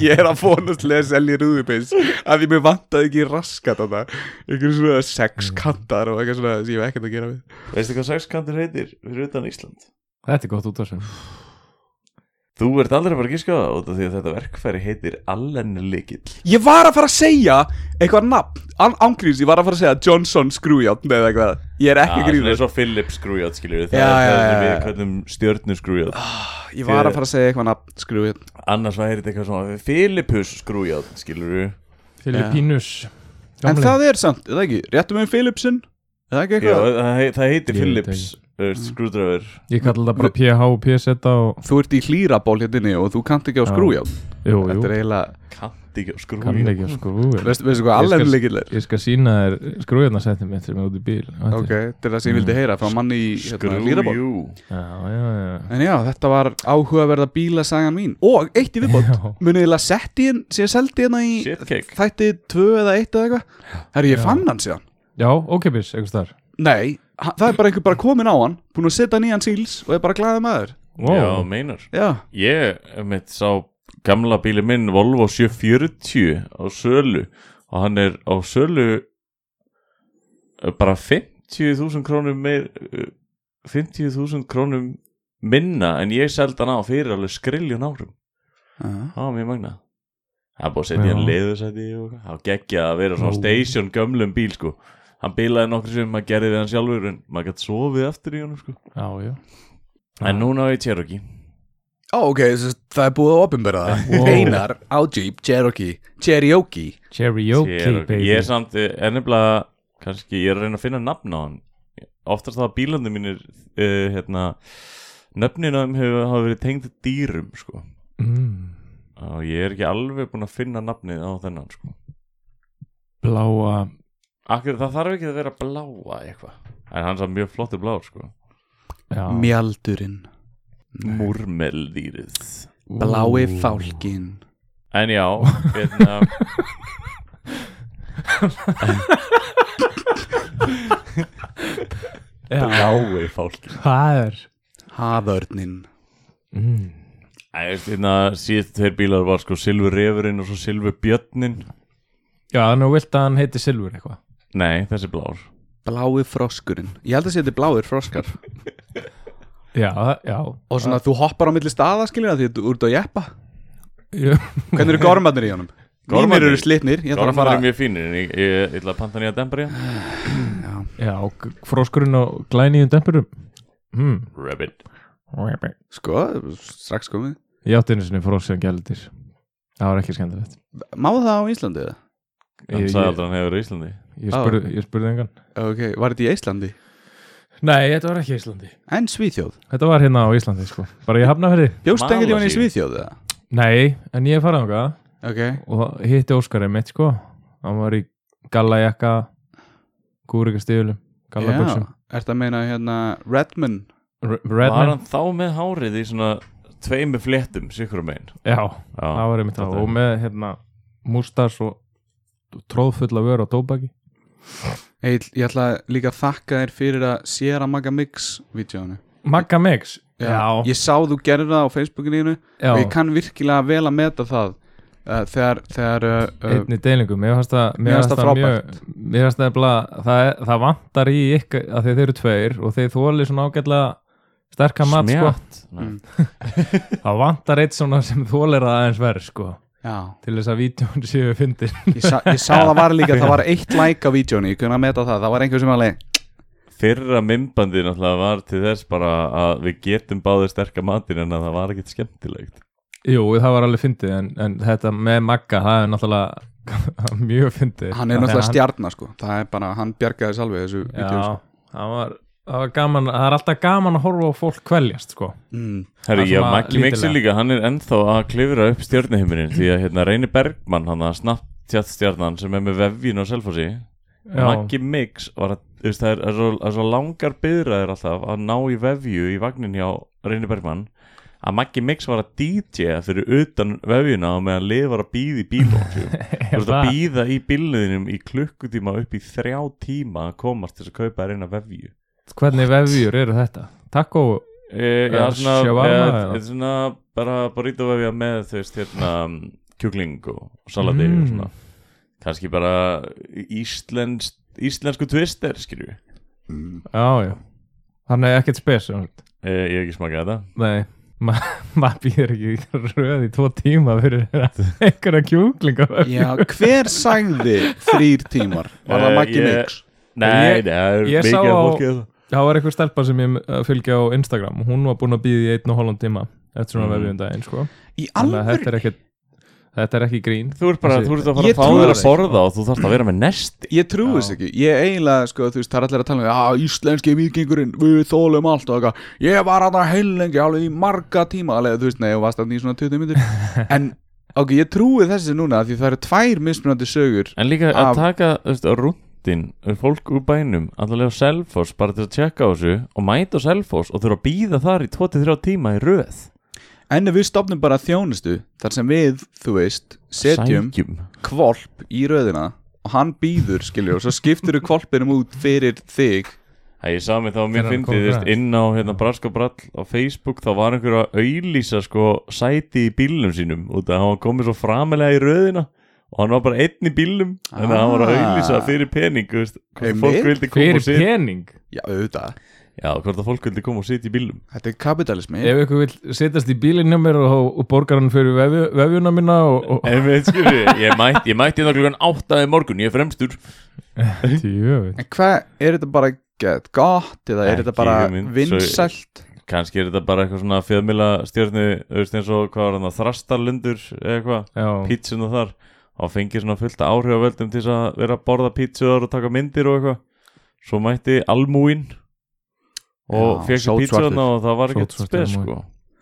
Speaker 3: ég er að fónast leða að selja rúðupiss af því mér vantaði ekki raskat á það einhver svona sex kantar og eitthvað svona sem ég hef ekkert að gera við
Speaker 2: veistu hvað sexkantur heitir fyrir utan Ísland
Speaker 4: þetta er gott út af þessum
Speaker 2: Þú ert aldrei bara að gíska á það út af því að þetta verkfæri heitir allenlikill
Speaker 3: ég var að fara að segja eitthvað nafn ángrís, ég var að fara að segja Johnson Screwjátt eða eitthvað, ég er ekki að
Speaker 2: Það
Speaker 3: grínast.
Speaker 2: er svo Philips skrújátt skiljur Það er
Speaker 3: Já,
Speaker 2: það
Speaker 3: já,
Speaker 2: sem
Speaker 3: já,
Speaker 2: við
Speaker 3: já.
Speaker 2: kallum stjörnu skrújátt
Speaker 3: Ég var að fara að segja eitthvað nafn skrúið
Speaker 2: Annars væri þetta eitthvað svona Philipus skrújátt skiljur
Speaker 4: Filipínus
Speaker 3: En það er samt, er það ekki, réttum við Philipsin? Er það ekki
Speaker 2: Já,
Speaker 3: eitthvað? Mm.
Speaker 2: það, hei- það heitir
Speaker 4: Ég veit
Speaker 2: Philips uh, skrúdröfur
Speaker 4: ég kalla það bara PH og PZ og
Speaker 3: Þú ert í hlýraból hérna inni og þú kannt ekki á
Speaker 4: Já.
Speaker 3: skrújátt
Speaker 4: jú,
Speaker 3: Þetta
Speaker 4: jú.
Speaker 3: er eiginlega,
Speaker 2: ekki að skrúi
Speaker 4: kann ekki að skrúi
Speaker 3: Veistu veistu hvað
Speaker 4: Ég skal-
Speaker 3: alveg líkilega er?
Speaker 4: ég skal sína þér skrújarnasettum mitt sem er út í bíl
Speaker 3: Ok, til þess að ég vildi heyra frá manni í hérna, Lýraborg
Speaker 2: Skrújú
Speaker 4: já, já, já
Speaker 3: En já, þetta var áhugaverða bílasagan mín Og eitt í viðbót
Speaker 4: Já.
Speaker 3: Munið ég að setti hann, sé að seldi hérna í
Speaker 2: Shitcake.
Speaker 3: Þætti tvö eða eitt eða eitthvað Herri, ég
Speaker 4: Já.
Speaker 3: fann hann síðan
Speaker 4: já, ókipis, einhvers þar
Speaker 3: Nei, ha- það er bara einhver bara komin á hann Búin að setja hann í hann síls og er bara glaðið maður
Speaker 2: Já,
Speaker 4: wow.
Speaker 2: meinar
Speaker 3: Já,
Speaker 2: Ég mitt sá gamla bíli minn Volvo 740 á sölu og hann er á sölu eh, bara 50.000 krónum meir eh, 50.000 krónum minna en ég seldi hann á fyrir alveg skriljun árum
Speaker 3: Já.
Speaker 2: það var mjög magna það er búið að setja í hann
Speaker 4: Já.
Speaker 2: leiðursæti og það geggja að vera svona
Speaker 4: Nú.
Speaker 2: station gömlum bíl sko hann bílaði nokkru sem maður gerði við hann sjálfur en maður gætt sofið eftir í hann sko
Speaker 4: já, já
Speaker 2: en núna á ég Cherokee
Speaker 3: Ó, ok, þess að það er búið að opinbera það
Speaker 4: Wow.
Speaker 3: Einar á Jeep Cherokee Cherokee
Speaker 4: Cherry
Speaker 2: Cherokee.
Speaker 4: Oaky, baby
Speaker 2: Ég er samt, eh, er nefnilega kannski, ég er að reyna að finna nafn á hann oftast það að bílandi mínir uh, hérna, nöfnin á þeim hefur hafa verið tengd dýrum sko.
Speaker 4: mm,
Speaker 2: og ég er ekki alveg búin að finna nafnið á þennan sko.
Speaker 4: bláa
Speaker 2: Akkur, það þarf ekki að vera bláa eitthvað en hann er mjög flottur blár sko.
Speaker 4: já.
Speaker 3: Mjaldurinn
Speaker 2: múrmeldýrið
Speaker 3: Blái
Speaker 4: Ú.
Speaker 3: fálkin
Speaker 2: en já, hérna
Speaker 4: já,
Speaker 2: blái fálki
Speaker 4: það er
Speaker 3: Haförnin
Speaker 4: mm.
Speaker 2: hérna, síðast þeir bílar var sko Silfur Refurinn og svo Silfur Björnin
Speaker 4: já, nú vilt að hann heiti Silfur eitthvað
Speaker 2: nei, þessi er blár
Speaker 3: Blái froskurinn Ég held að sé þetta er bláir froskar
Speaker 4: já, það- já,
Speaker 3: Og svona þú hoppar á milli staða skilja því að þú ert að jeppa
Speaker 4: já.
Speaker 3: Hvernig eru gormarnir í honum? Gormarnir
Speaker 2: Gormarnir?
Speaker 3: eru slitnir, ég þarf að
Speaker 2: Gormar
Speaker 3: fara
Speaker 2: er mjög fínir en ég, ég, ég ætla að panta nýja dempari
Speaker 4: já g- froskurinn og glænýjum dempurum mm.
Speaker 2: Rabbit
Speaker 3: Sko, strax komið
Speaker 4: ég átti einu sinni frosk sem gældir það var ekki skemmtilegt
Speaker 3: Má það á Íslandi eða?
Speaker 2: Hann
Speaker 4: Ég-
Speaker 2: sagði
Speaker 4: ég-
Speaker 2: aldrei að hann hefur í Íslandi
Speaker 4: ég
Speaker 3: Á.
Speaker 4: spurði, ég spurði engan
Speaker 3: Ok, var þetta í Íslandi?
Speaker 4: nei, þetta var ekki Íslandi
Speaker 3: En Svíþjóð
Speaker 4: þetta var hérna á Íslandi sko bara ég hafna fyrir
Speaker 3: Bjóst engil í hann í
Speaker 2: Malasíu.
Speaker 3: Svíþjóð eða?
Speaker 4: nei, en ég er farað okkar
Speaker 3: Ok
Speaker 4: og hitti Óskar einmitt sko hann var í gallajakka kúrikastíðulum
Speaker 3: Já,
Speaker 4: gallaböksum
Speaker 3: ertu að meina hérna Redman
Speaker 2: Var
Speaker 4: Redman,
Speaker 2: hann þá með hárið í svona tveimu fléttum, sikur um einn
Speaker 4: já, það
Speaker 2: Já,
Speaker 4: var einmitt það
Speaker 2: þetta er-
Speaker 4: og með hérna mústas og tróðfulla vör á tóbaki
Speaker 3: Eil, ég ætla líka að þakka þér fyrir að séra Maga Mix vídjónu
Speaker 4: Magga Mix, já, já,
Speaker 3: Ég sá þú gerði það á Facebookinu þínu og ég kann virkilega vel að meta það uh, þegar, þegar uh, uh,
Speaker 4: einni deilingum mér fannst það,
Speaker 3: Mér
Speaker 4: mér
Speaker 3: fannst
Speaker 4: fannst
Speaker 3: það
Speaker 4: það mjög mér fannst það, það, er- það vantar í ykkur að þeir eru tveir og þeir þóli svona ágætlega sterkan mat sko,
Speaker 2: Smjatt Nei.
Speaker 3: Mm.
Speaker 4: það vantar eitt svona sem þólir það aðeins verð sko,
Speaker 3: já,
Speaker 4: til þess að vítjón séu fyndin
Speaker 3: ég, sa, ég sá það var líka það var eitt like á vídjónu, ég kunna að meta það það var einhver sem alveg,
Speaker 2: Fyrra mymbandið náttúrulega var til þess bara að við getum báðið sterka matinn en að það var ekkert skemmtilegt
Speaker 4: Jú, það var alveg fyndið en, en þetta með Magga, það er náttúrulega mjög fyndið
Speaker 3: hann er náttúrulega stjarnar sko, það er bara, hann bjargaði salvið þessu vídjónu sko.
Speaker 4: Já, það var, það var gaman það er alltaf gaman að horfa á fólk kveljast sko.
Speaker 3: mm,
Speaker 2: Herru,
Speaker 4: Það er
Speaker 2: já,
Speaker 4: svona
Speaker 2: Maggi Mixi
Speaker 4: lítilega.
Speaker 2: líka, hann er ennþá að klifra upp stjörnuhiminin því að hérna Reyni Bergmann, hann að snapptjattstjarnan sem er með vefjun og selfósi
Speaker 4: Já,
Speaker 2: Maggi Mix var að, þú veist, það er, er, svo, er svo langar byðraðir alltaf að ná í vefju í vagnin hjá Reyni Bergmann að Maggi Mix var að DJ -a fyrir utan vefjuna og meðan lið var að býða í bílum þú
Speaker 4: er
Speaker 2: veist að
Speaker 4: það,
Speaker 2: býða í bílunum í klukkutíma upp í þrjá tíma að komast til þess að kaupa að reyna vefju
Speaker 4: hvernig vefjur eru þetta? Takk
Speaker 2: e,
Speaker 4: og Eh,
Speaker 2: Já, svona,
Speaker 4: shawarma
Speaker 2: eh,
Speaker 4: eða?
Speaker 2: þetta er svona bara burrito vefja með þú veist, hérna, kjúkling og salati
Speaker 4: Mm.
Speaker 2: og svona kannski bara íslensk, íslensku twister, skilju
Speaker 4: Já, já Þannig er ekkert spes sem sagt.
Speaker 2: e, Ég hef ekki smakað þetta
Speaker 4: Nei, ma- maður býður ekki í röð í tvo tíma fyrir einhverja kjúklinga
Speaker 3: já, hver sagði þrýr tímar, var það
Speaker 2: Eh,
Speaker 3: Maggi
Speaker 2: ég-
Speaker 3: Mix
Speaker 2: Nei,
Speaker 4: Ég-
Speaker 2: nei, það er
Speaker 4: ég
Speaker 2: mikið
Speaker 4: sá
Speaker 2: af
Speaker 4: á-
Speaker 2: fólki hérna. að-
Speaker 4: Það var einhver stelpa sem ég eh, fylgja á Instagram hún var búin að býða í einn og hálfum tíma eftir svona
Speaker 2: Mm.
Speaker 4: mm. vefjum daginn sko.
Speaker 3: í
Speaker 4: Þannig að þetta
Speaker 3: alvöru,
Speaker 4: er ekki þetta er ekki grín
Speaker 2: Þú ert bara,
Speaker 4: Þessi-
Speaker 2: þú ert að
Speaker 3: Ég
Speaker 2: fara að fá
Speaker 3: trúi
Speaker 2: þér að
Speaker 3: þessu. sko.
Speaker 2: borða og þú þarfst að vera með nesti
Speaker 3: ég trúiðs
Speaker 4: Já.
Speaker 3: ekki, ég eiginlega sko, þú veist, það er allir að tala um, já, íslenski vikingurinn við þólum allt og eitthvað, ég var að það heilengi alveg í marga tíma, alveg, þú veist, nei, og varst að nýja svona 20 myndir en ok, ég trúi þessi núna af því það eru tvær mismunandi sögur
Speaker 2: En líka að
Speaker 3: Af-
Speaker 2: taka, þú veist, rúndin fólk úr bænum, allavega á Selfoss bara til að tjekka á þessu og mæta á Selfoss og þurfa að býða þar í 23 tíma í röð
Speaker 3: en ef við stopnum bara þjónustu þar sem við, þú veist, setjum
Speaker 2: Sækjum
Speaker 3: kvolp í röðina og hann býður, skilur, og svo skiptir þú kvolpinum út fyrir þig
Speaker 2: Æ, ég sá mig þá að mér
Speaker 4: Þegar hann
Speaker 2: fyndi,
Speaker 4: kom
Speaker 2: þú veist,
Speaker 4: grænt.
Speaker 2: inn á hérna Brask og Brall á Facebook þá var einhver að auðlýsa sko sæti í bílnum sínum út að hann var komið svo framilega í röðina og hann var bara einn í bílnum en
Speaker 3: Ah.
Speaker 2: hann var að auðlýsa fyrir pening, þú veist, hvort að
Speaker 3: Einmitt.
Speaker 2: fólk vildi koma
Speaker 4: fyrir
Speaker 2: og sitja
Speaker 4: pening
Speaker 3: já, auðvitað,
Speaker 2: Já, hvort að fólk vildi koma og sitja í bílnum
Speaker 3: þetta er kapitalismi
Speaker 4: ef ykkur vil setjast í bílinn hjá mér og, og borgar hann fyrir vefi, vefjuna mína og, og
Speaker 2: En við skilur, ég mætti, ég mætti hérna klukkan áttaði morgun, ég er fremstur
Speaker 4: Djöfull.
Speaker 3: en hvað, er þetta bara get gott eða er
Speaker 2: Ekki
Speaker 3: þetta bara
Speaker 2: hugmynd, svo-
Speaker 3: vinsælt
Speaker 2: Kannski er þetta bara eitthvað svona fjöðmila stjórnu, þú veist, eins og hvað var hann að þrastarlundur eða eitthvað
Speaker 4: já,
Speaker 2: pítsuna þar og fengið svona fullt af áhrifavöldum til þess að vera að borða pítsuðar og taka myndir og eitthvað svo mætti almúin og
Speaker 3: Já,
Speaker 2: fekk
Speaker 3: sótsvartur.
Speaker 2: pítsuðarna og það var ekkert
Speaker 4: Sótsvartur
Speaker 2: spes
Speaker 4: almúginn.
Speaker 2: sko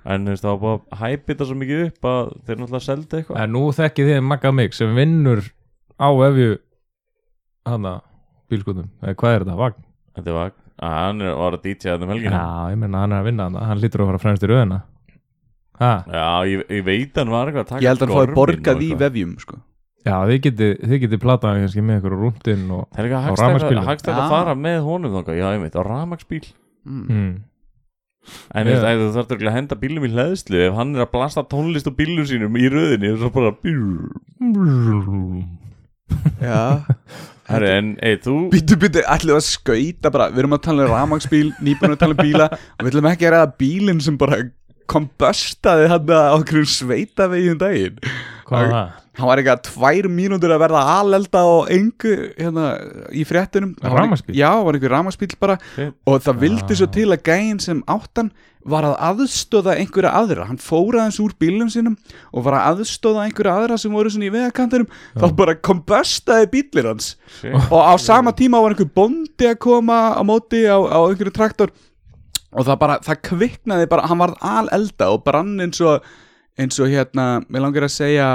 Speaker 2: en þú veist, það var bara að hæpi þetta svo mikið upp að þeir náttúrulega seldi eitthvað
Speaker 4: en nú þekki þið Magga mig sem vinnur á vefju hana bílskutum, eða hvað er þetta, vagn?
Speaker 2: þetta var, að hann er- var að dítja þetta um helgina já,
Speaker 4: Já, ég menna hann er að vinna hana, hann lítur að fara fremst í röðina ha,
Speaker 2: ég, ég veit hann var eitthvað að taka
Speaker 3: ég held að hann fái
Speaker 2: gorminn og
Speaker 3: borgað í
Speaker 2: eitthvað.
Speaker 3: vefjum sko.
Speaker 4: já, þið getið þið getið platað kannski með ykkur á rúndin og
Speaker 2: það er
Speaker 4: Á
Speaker 2: eitthvað hagstætt
Speaker 4: rafmagnsbílum.
Speaker 2: að hagstætt að
Speaker 3: Já.
Speaker 2: fara með honum þangað, já, ég veit, á rafmagsbíl
Speaker 3: mm.
Speaker 4: mm.
Speaker 2: En
Speaker 4: Já.
Speaker 2: yeah. þú þarf örugglega að henda bílum í hlæðslu ef hann er að blasta tónlist og bílum sínum í röðinni og svo bara
Speaker 3: já
Speaker 2: Herri, en ey, þú
Speaker 3: Býtu, býtu, ætlum við að skauta bara Við erum að tala um ramagsbíl, nýbúin að tala um bíla Og við ætlum ekki að ræða bílinn sem bara kombustaði hann á okkur sveitavegi um daginn
Speaker 4: hvað er það?
Speaker 3: Hann var eitthvað tvær mínútur að verða alelda á engu hérna, í fréttunum Hann var-
Speaker 4: Rafmagnsbíl?
Speaker 3: Já, var einhver ramagsbíl bara
Speaker 2: Fett.
Speaker 3: Og það vildi svo til að gæinn sem áttan var að aðstóða einhverja aðra Hann fór aðeins úr bílum sínum og var að aðstóða einhverja aðra sem voru svona í vegakantinum Þá bara kombustaði bílir hans
Speaker 2: Shit.
Speaker 3: og á sama tíma var einhver bóndi að koma á móti á, á einhverju traktor og það bara, það kviknaði bara, hann varð alelda og brann eins og eins og hérna, mér langar að segja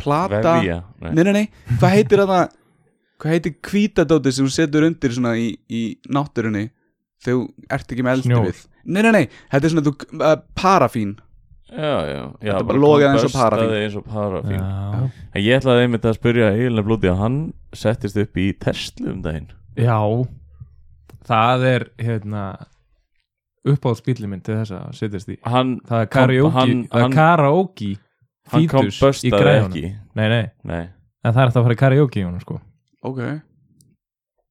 Speaker 3: plata,
Speaker 2: Vefja
Speaker 3: nei nei nei hvað heitir þetta, hvað heitir kvítadóti sem þú setur undir svona í, í náttúrunni þegar þú ert ekki með eldi
Speaker 4: Snjór.
Speaker 3: við, nei nei nei þetta er svona þú, uh, parafín
Speaker 2: Já, já, já
Speaker 3: Þetta bara logaði eins og
Speaker 2: kombastaði
Speaker 3: parafín.
Speaker 2: eins og parafín
Speaker 4: Já,
Speaker 2: En ég ætlaði einmitt að spyrja Eilina Blóti að hann settist upp í Tesla um daginn
Speaker 4: já það er hérna uppáhaldsbíli minn til þess að setjast í
Speaker 2: Hann,
Speaker 4: það er karaoke,
Speaker 2: hann-
Speaker 4: það
Speaker 2: hann-
Speaker 4: er karaoke
Speaker 2: hann
Speaker 4: fítus í
Speaker 2: kombastaði
Speaker 4: græjunum
Speaker 2: ekki
Speaker 4: nei, nei,
Speaker 2: Nei,
Speaker 4: en það er þetta að fara í karaoke í honum sko
Speaker 3: ok,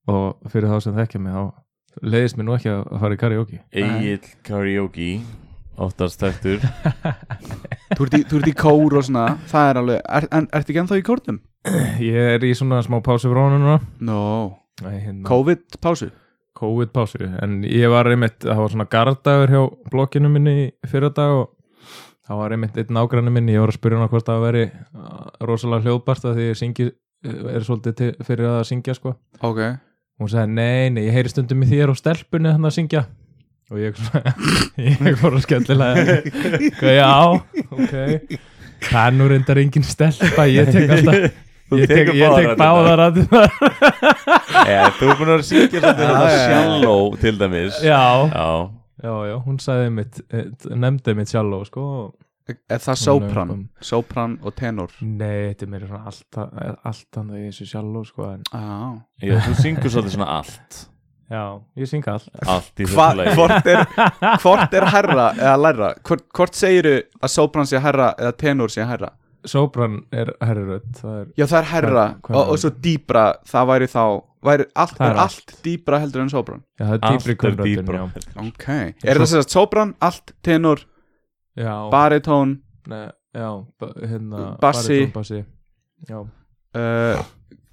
Speaker 4: og fyrir þá sem þekkja mig þá leiðist mér nú ekki að að fara í karaoke
Speaker 2: Egil karaoke Óttast þektur
Speaker 3: þú ert, í, þú ert í kór og svona það er alveg, er, en ertu ekki ennþá í kórnum?
Speaker 4: ég er í svona smá pásu frá honum núna
Speaker 3: no,
Speaker 4: Nei, hérna,
Speaker 3: COVID pásu
Speaker 4: COVID pásu en ég var einmitt, það var svona gardagur hjá blokkinu minni fyrir dag og það var einmitt einn ágræni minni ég var að spyrja hann hvort það veri rosalega hljóðbart að því ég syngi uh, er svolítið til, fyrir að syngja sko
Speaker 3: ok,
Speaker 4: og hún sagði nei, nei, ég heyri stundum í þér og stelpunni hann að syngja og ég, svona- ég fór að skemmtilega hvað já, ok það er nú reyndar engin stelpa ég tek alltaf
Speaker 2: Þú
Speaker 4: ég tek,
Speaker 2: tekur
Speaker 4: ég tek báðar að
Speaker 2: Já, Þú er búin að vera síkja svolítið
Speaker 3: Já,
Speaker 2: þetta
Speaker 3: já, já.
Speaker 2: shallow til dæmis
Speaker 4: já,
Speaker 2: Já,
Speaker 4: já, já, hún sagði mitt eh, nefndi mitt sjálf sko. og-
Speaker 3: Er
Speaker 4: Hún
Speaker 3: það
Speaker 4: er
Speaker 3: sopran?
Speaker 4: kom-
Speaker 3: Sopran og tenor
Speaker 4: nei, þetta er mér svona alltaf alltaf það í þessu sjálf sko, en,
Speaker 3: ah.
Speaker 2: Já, þú syngur svolítið svona allt
Speaker 4: já, ég syng allt
Speaker 2: Allt í þessu
Speaker 3: Hva,
Speaker 2: lagi
Speaker 3: hvort, er, hvort er herra eða læra? Hvort, hvort segiru að sopran sé herra eða tenor sé herra?
Speaker 4: sopran er herrurödd það er
Speaker 3: Já það er herra
Speaker 4: Hvað- hvað
Speaker 3: og,
Speaker 4: er-
Speaker 3: og svo dýbra það væri þá væri allt,
Speaker 4: Það er
Speaker 3: er allt dýbra heldur en sopran
Speaker 4: Já, það er
Speaker 2: Allt
Speaker 4: dýpri
Speaker 2: er
Speaker 4: kvöldröddin,
Speaker 2: dýbra
Speaker 4: já.
Speaker 3: Ok Er það sem sagt sopran, allt, tenor,
Speaker 4: Já,
Speaker 3: baritón
Speaker 4: Nei, já, ba- hérna
Speaker 3: Bassi.
Speaker 4: baritón bassi. Já,
Speaker 3: uh,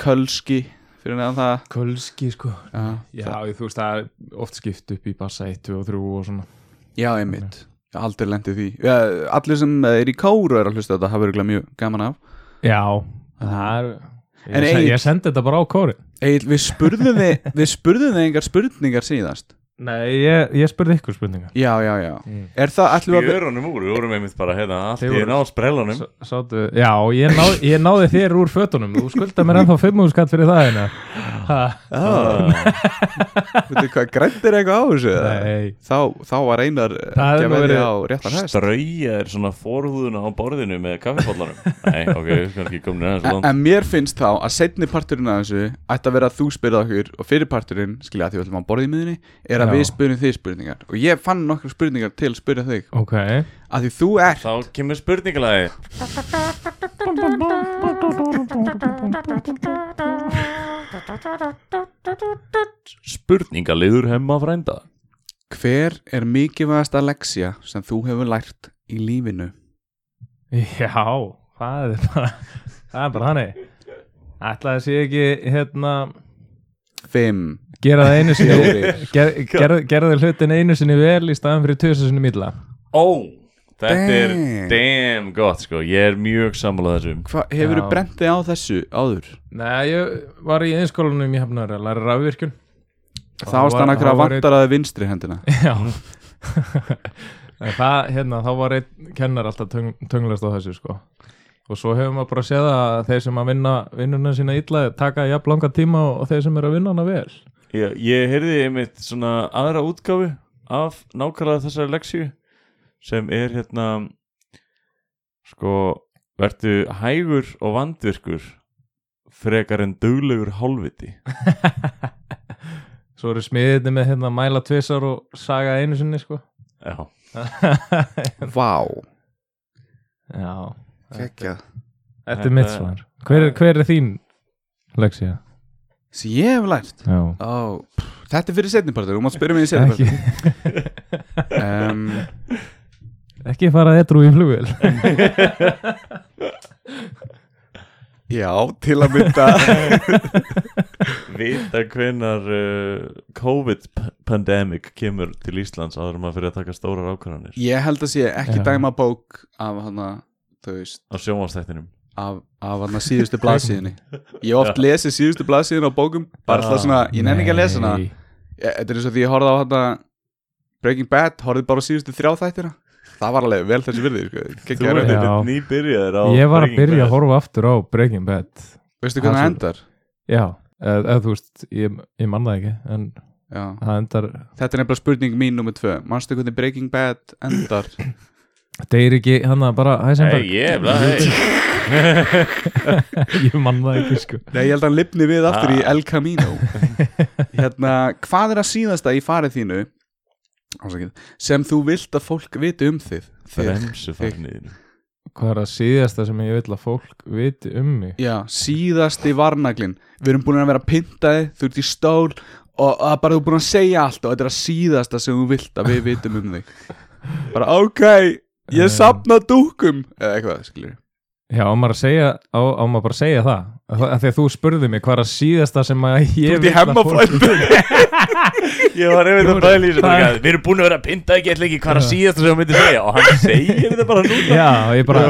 Speaker 3: kölski fyrir neðan það
Speaker 4: kölski sko
Speaker 3: Já,
Speaker 4: Já,
Speaker 3: það-
Speaker 4: þú veist, það er oft skipt upp í bassa 1, 2 og 3 og svona
Speaker 3: já einmitt Já, Aldrei lendi því Já, Allir sem er í káru er að hlusta á þetta hafa örugglega mjög gaman af
Speaker 4: Já, það er
Speaker 3: En
Speaker 4: Ég, sen,
Speaker 3: Egill-
Speaker 4: ég sendi þetta bara á kóri
Speaker 3: Egil, við spurðum þið við spurðum þið engar spurningar síðast
Speaker 4: Nei, ég, ég spurði ykkur spurningar
Speaker 3: já, já, já
Speaker 4: Mm.
Speaker 3: Er það allir að
Speaker 2: Fjörunum úr, við vorum einmitt bara hérna allt
Speaker 4: Þið
Speaker 2: í
Speaker 4: voru-
Speaker 2: ná sprellunum
Speaker 4: S- Sátu, já, ég, ná, ég náði þér úr fötunum Þú skulda mér ennþá 500 skatt fyrir það hérna Ha,
Speaker 2: ah,
Speaker 3: Veitu hvað, grændir eitthvað á þessu? eða?
Speaker 4: Nei,
Speaker 3: Þá, þá var einar
Speaker 4: Það er
Speaker 3: ekki að
Speaker 4: nú
Speaker 3: verði á
Speaker 4: verið-
Speaker 3: réttan hest
Speaker 2: Strauja er svona forhúðuna á borðinu með kaffipollanum Nei, ok, við skulum ekki komin aðeins
Speaker 3: En,
Speaker 2: langt
Speaker 3: en mér finnst þá að setni parturinn að þessu ætti að vera að þú spyrða okkur og fyrir parturinn, skilja að því við ætlum að borða í miðinni er að
Speaker 4: Já.
Speaker 3: við spyrjum þig spurningar og ég fann nokkru spurningar til að spyrja þig
Speaker 4: ok
Speaker 3: að því þú ert
Speaker 2: Þá kemur spurningalagi Spurningaliður hemma frænda
Speaker 3: hver er mikilvægasta leksja sem þú hefur lært í lífinu
Speaker 4: Já, það er bara Það er bara hannig Ætlaði sé ekki hérna
Speaker 3: 5,
Speaker 4: Gera það einu sinni
Speaker 3: Fjórir.
Speaker 4: ger, ger, Gerðu hlutin einu sinni vel Í staðan fyrir tjósa sinni milla
Speaker 2: Ó, þetta
Speaker 3: Damn.
Speaker 2: er damn gott sko Ég er mjög sammálað þessum
Speaker 3: hvað hefur
Speaker 4: Já.
Speaker 3: þú brendið á þessu áður?
Speaker 4: Nei, ég var í einskólanum í hafnar að læra rafvirkjun
Speaker 3: Þá stann okkur að vantar að þið vinstri hendina
Speaker 4: Já En það, hérna, þá var einn kennar alltaf töng, tunglast á þessu, sko Og svo hefur maður bara séð að þeir sem að vinna vinnuna sína illa taka jafn langa tíma og þeir sem eru að vinna hana vel
Speaker 2: Ég, ég heyrði einmitt svona aðra útgáfu af nákvæmlega þessari leksíu sem er hérna sko verðu hægur og vandvirkur frekar en duglegur hálfviti
Speaker 4: Svo eru smiðinni með hérna mæla tvisar og saga einu sinni, sko
Speaker 2: Já,
Speaker 3: Vá,
Speaker 4: Já,
Speaker 3: kekkja
Speaker 4: þetta er mitt svar Hver, er- hver er þín leksía?
Speaker 3: sem ég hef lært
Speaker 4: Já
Speaker 3: Ó, pff, þetta er fyrir setni partur, þú mátt spyrja mig í setni
Speaker 4: Ekki,
Speaker 3: partur um,
Speaker 4: ekki fara edru í flugvél
Speaker 3: Já, til að mynda
Speaker 2: vita hvenar uh, COVID-pandemic kemur til Íslands áður en maður fyrir að taka stórar ákvarðanir
Speaker 3: Ég held að sé ekki
Speaker 4: Já.
Speaker 3: dæma bók af hana, þú veist,
Speaker 2: á sjónvastættinum
Speaker 3: af, af hana síðustu blaðsíðinni. Ég hef oft lesið síðustu blaðsíðin á bókum, bara
Speaker 2: Já.
Speaker 3: alltaf svona, ég nenni ekki að lesa hana.
Speaker 4: Nei.
Speaker 3: Ég- Þetta er eins og því ég horfði á hana Breaking Bad, horfði bara á síðustu þrjá þættina. Það var alveg vel þessi virði,
Speaker 2: Þú
Speaker 3: sko.
Speaker 2: er
Speaker 4: ert-
Speaker 3: Kekja
Speaker 4: Já.
Speaker 3: raunin.
Speaker 2: þetta nýbyrjaður á
Speaker 4: Ég var að
Speaker 2: Breaking
Speaker 4: byrja
Speaker 2: Bad.
Speaker 4: að horfa aftur á Breaking Bad
Speaker 3: Veistu hvernig það
Speaker 4: Það
Speaker 3: endar?
Speaker 4: Já, eða eð, þú veist, ég, ég manna það ekki en
Speaker 3: Já.
Speaker 4: það endar,
Speaker 3: Þetta er nefnilega spurning mín nummer tvö. Manstu hvernig Breaking Bad endar?
Speaker 4: deyr ekki hann að bara
Speaker 2: Hey,
Speaker 4: Heisenberg,
Speaker 2: ég, bla, hey.
Speaker 4: ég manna það ekki sko
Speaker 3: Nei, ég held að hann lifni við aftur í
Speaker 2: Ah.
Speaker 3: El Camino Hérna, hvað er að síðasta í farið þínu ásakið, sem þú vilt að fólk viti um þið? þið.
Speaker 2: Bremsu farniðinu
Speaker 4: Hvað er að síðasta sem ég vil að fólk viti um mig?
Speaker 3: Já, síðasti varnaglinn Við erum búin að vera pintaði, þú ert í stól og og bara þú er búin að segja allt og þetta er að síðasta sem þú vilt að við vitum um þig Bara, ok,
Speaker 4: Um.
Speaker 3: ég sapna dúkum eða eitthvað, skilur
Speaker 4: Já, á maður að segja, á, á maður bara að segja það Af því að þegar þú spurði mig hvað er að síðasta sem að um
Speaker 3: Þú
Speaker 4: ég
Speaker 3: ert í hemmafrændu
Speaker 2: Ég var einmitt að
Speaker 4: Jú,
Speaker 2: bæla í þessu
Speaker 4: það-
Speaker 2: bara, Við erum búin að vera að pinta ekki ætla ekki hvað er að síðast sem hún myndi segja og hann segir þetta bara núna
Speaker 4: Já, ég bara,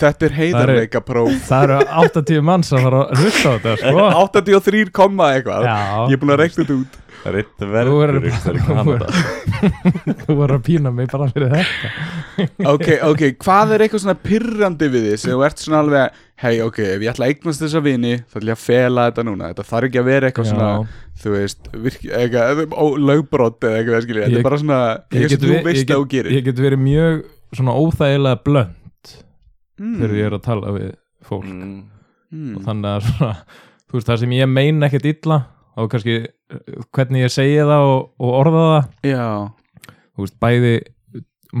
Speaker 3: Þetta er heiðarleika próf
Speaker 4: það eru 80 manns að fara að hlusta á þetta sko
Speaker 3: 83 komma eitthvað Ég
Speaker 4: Já,
Speaker 3: er búin að reikna þetta út
Speaker 2: Það er eitt
Speaker 4: Þú
Speaker 2: verður
Speaker 4: verður-
Speaker 2: ykkur í
Speaker 4: þú verður-
Speaker 2: Kanada
Speaker 4: þú voru að pína mig bara fyrir þetta
Speaker 3: ok, ok, hvað er eitthvað svona pyrrandi við því sem þú ert svona alveg hei, ok, ef ég ætla að eignast þessa vini þá ætla ég að fela þetta núna, þetta þarf ekki að vera eitthvað
Speaker 4: Já.
Speaker 3: svona, þú veist virki, eitthvað, ó, lögbrot eða eitthvað skilja, þetta
Speaker 4: Ég-
Speaker 3: er bara svona eitthvað sem þú
Speaker 4: ve-
Speaker 3: veist
Speaker 4: ég,
Speaker 3: að þú
Speaker 4: get,
Speaker 3: gerir
Speaker 4: ég get verið mjög svona óþægilega blönd þegar
Speaker 3: mm,
Speaker 4: ég er að tala við fólk
Speaker 2: Mm.
Speaker 4: og
Speaker 3: mm,
Speaker 4: þannig að svona, þú veist það sem ég meina ekkert illa og kannski eh, hvernig ég segi það og, og orða það
Speaker 3: já,
Speaker 4: þú veist bæði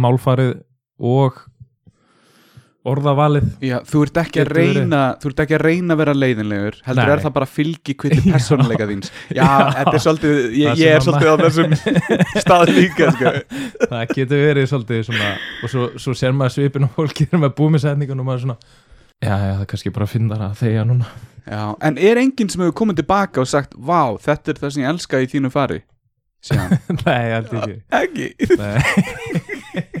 Speaker 4: málfarið og orðavalið
Speaker 3: já, þú ert ekki að
Speaker 4: Getur verið.
Speaker 3: reyna þú ert ekki að reyna að vera leiðinlegur heldur
Speaker 4: Nei.
Speaker 3: er það bara fylgi kviti persónuleika þíns já, þetta er svolítið,
Speaker 4: Það
Speaker 3: ég,
Speaker 4: sem
Speaker 3: ég
Speaker 4: að
Speaker 3: er svolítið á þessum stað líka sko.
Speaker 4: það getur verið svolítið svona og svo, svo sér maður svipin og fólki þegar maður er búið með setningun og maður er svona já já það er kannski bara að finna það að þegja núna
Speaker 3: já, en er enginn sem hefur komið tilbaka og sagt, vá, þetta er það sem ég elska í þínu fari síðan
Speaker 4: nei allt ekki
Speaker 3: ekki
Speaker 4: nei,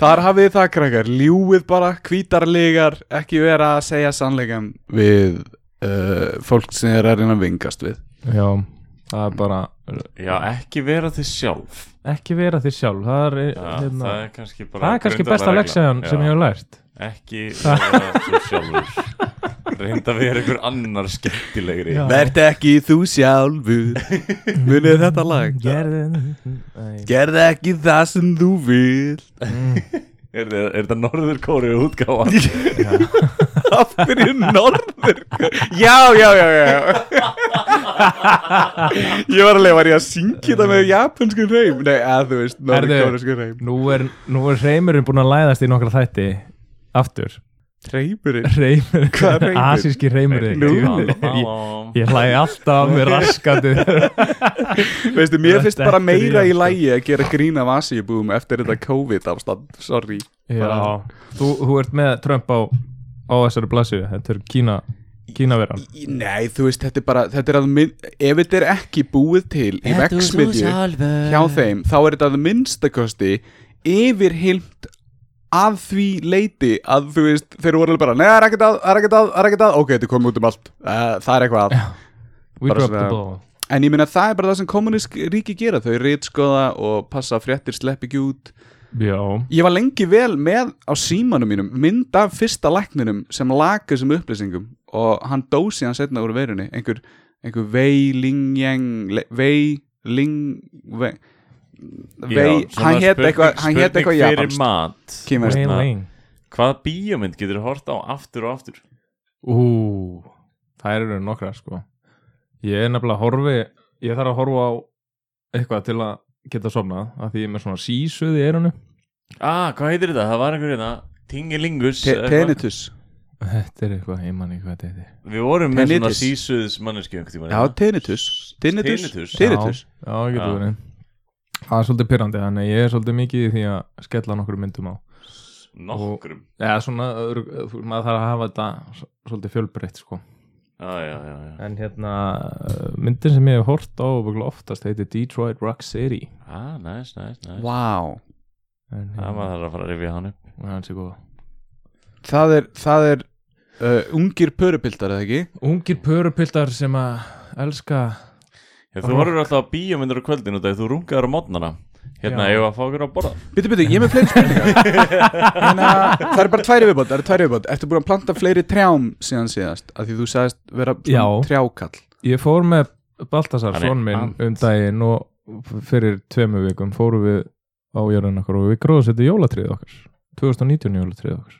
Speaker 3: Þar hafið þið það krakkar, ljúið bara, hvítarlegar, ekki vera að segja sannleikan við uh, fólk sem er að reyna að vingast við
Speaker 4: já það er bara
Speaker 2: Já, ekki vera þið sjálf
Speaker 4: ekki vera þér sjálf það er,
Speaker 2: Já,
Speaker 4: hérna,
Speaker 2: það
Speaker 4: það
Speaker 2: er kannski
Speaker 4: er,
Speaker 2: bara
Speaker 4: kannski
Speaker 2: grundvallar
Speaker 4: besta
Speaker 2: regla.
Speaker 4: leksiðan sem
Speaker 2: Já,
Speaker 4: ég hef lært
Speaker 2: Ekki vera þú sjálfur Reynda að vera einhver annar skemmtilegri
Speaker 4: Já.
Speaker 3: Vert ekki þú sjálfur Munið þetta lag
Speaker 4: gerði
Speaker 3: Gerð ekki það sem þú vil
Speaker 2: Er, er, er þetta norður kóri útgáfa?
Speaker 3: Af hverju norður Já, já, já, já já. Ég var alveg, var ég að syngja það með japansku reym Nei, að þú veist, norður-kóresku reym
Speaker 4: nú er, nú er reymurinn búin að læðast í nokkra þætti aftur
Speaker 3: Reymurinn
Speaker 4: reymurinn,
Speaker 3: Hvað er reymur?
Speaker 4: asíski reymurinn ég,
Speaker 2: Nú
Speaker 4: ég hlæði alltaf með raskandi
Speaker 3: Veistu, mér
Speaker 4: Þetta
Speaker 3: finnst bara
Speaker 4: er
Speaker 3: meira í
Speaker 4: japansku.
Speaker 3: lægi að gera grína vasibúum eftir þetta COVID-afstand Sorry
Speaker 4: Já, þú, þú ert með Trump á, á þessari blassið þetta er Kína, Kínaveran
Speaker 3: Í- Nei, þú veist, þetta er bara þetta er að, minn- ef þetta er ekki búið til í veksmiðju hjá þeim þá er þetta að minnstakosti yfirhylmt að því leiti að þú veist þeir voru alveg bara, neða, er ekkert að, er ekkert að, er ekkert að ok, þetta komið út um allt, uh, það er eitthvað að
Speaker 4: We
Speaker 3: Bara
Speaker 4: dropped
Speaker 3: svona-
Speaker 4: the ball
Speaker 3: en ég meina það er bara það sem kommunísk ríki gera, þau rítskoða og passa að fréttir slepp ekki út
Speaker 4: Já,
Speaker 3: ég var lengi vel með á símanum mínum mynd af fyrsta lækninum sem laka þessum upplýsingum og hann dósi hann setna úr verunni einhver, einhver vei lingjeng vei ling vei, vei hann hétt eitthvað hann hétt eitthvað
Speaker 2: Spurning fyrir
Speaker 3: japanst
Speaker 2: mat
Speaker 3: Kínverskt.
Speaker 4: Wayne
Speaker 2: Hérna,
Speaker 4: Lane
Speaker 2: Hvaða bíómynd getur þú hort á aftur og aftur?
Speaker 4: Ú, það eru nokkra sko Ég er nefnilega að horfi Ég þarf að horfa á eitthvað til að geta sofnað af því ég er með svona sísuð í eirunu
Speaker 2: Ah, hvað heitir þetta? Það var einhver hérna Tingilingus
Speaker 3: Te- Tinnitus
Speaker 4: Þetta er eitthvað, ég man ekki hvað þetta heitir
Speaker 2: Við vorum með svona
Speaker 3: Tinnitus.
Speaker 2: sísuðs manneski einhvern tímann hérna.
Speaker 3: já tinnitus tinnitus
Speaker 2: Tinnitus.
Speaker 3: tinnitus
Speaker 4: Já, já, getur
Speaker 2: Já.
Speaker 4: verið Það er svolítið pyrrandi, þannig að ég er svolítið mikið í því að skella nokkru myndum á
Speaker 2: Nokkrum
Speaker 4: Já, svona, örugg- þú- maður þarf að hafa þetta s- svolítið fjölbreytt sko
Speaker 2: Já, já, já, já
Speaker 4: En hérna, uh, myndin sem ég hef hort á örugglega oftast heitir Detroit Rock City
Speaker 2: Ah, næs, næs, næs
Speaker 3: wow
Speaker 4: en,
Speaker 2: Það
Speaker 4: hérna,
Speaker 2: maður þarf að fara að rifja hann upp
Speaker 4: Það er hans í góða
Speaker 3: það er það er uh, ungir pörupildar eða ekki
Speaker 4: Ungir pörupildar sem að elska
Speaker 2: Ef þú horfur alltaf á bíómyndir á kvöldin og þegar þú rungaður á modnana Hérna,
Speaker 4: Já.
Speaker 2: ég var að fá okkur að borða
Speaker 3: Bitti, bitti, ég er með fleiri spurningar Þannig að það er bara tværi viðbót Það er tværi viðbót Ertu búin að planta fleiri trjám síðan síðast Af því þú sagðist vera svona
Speaker 4: Já.
Speaker 3: trjákall
Speaker 4: Ég fór með Baltasar,
Speaker 2: Hann er
Speaker 4: son minn,
Speaker 2: ant.
Speaker 4: um daginn og fyrir tveimu vikum fórum við á jörðin okkar og við gróðsettum jólatriðið okkar 2019 jólatriðið okkar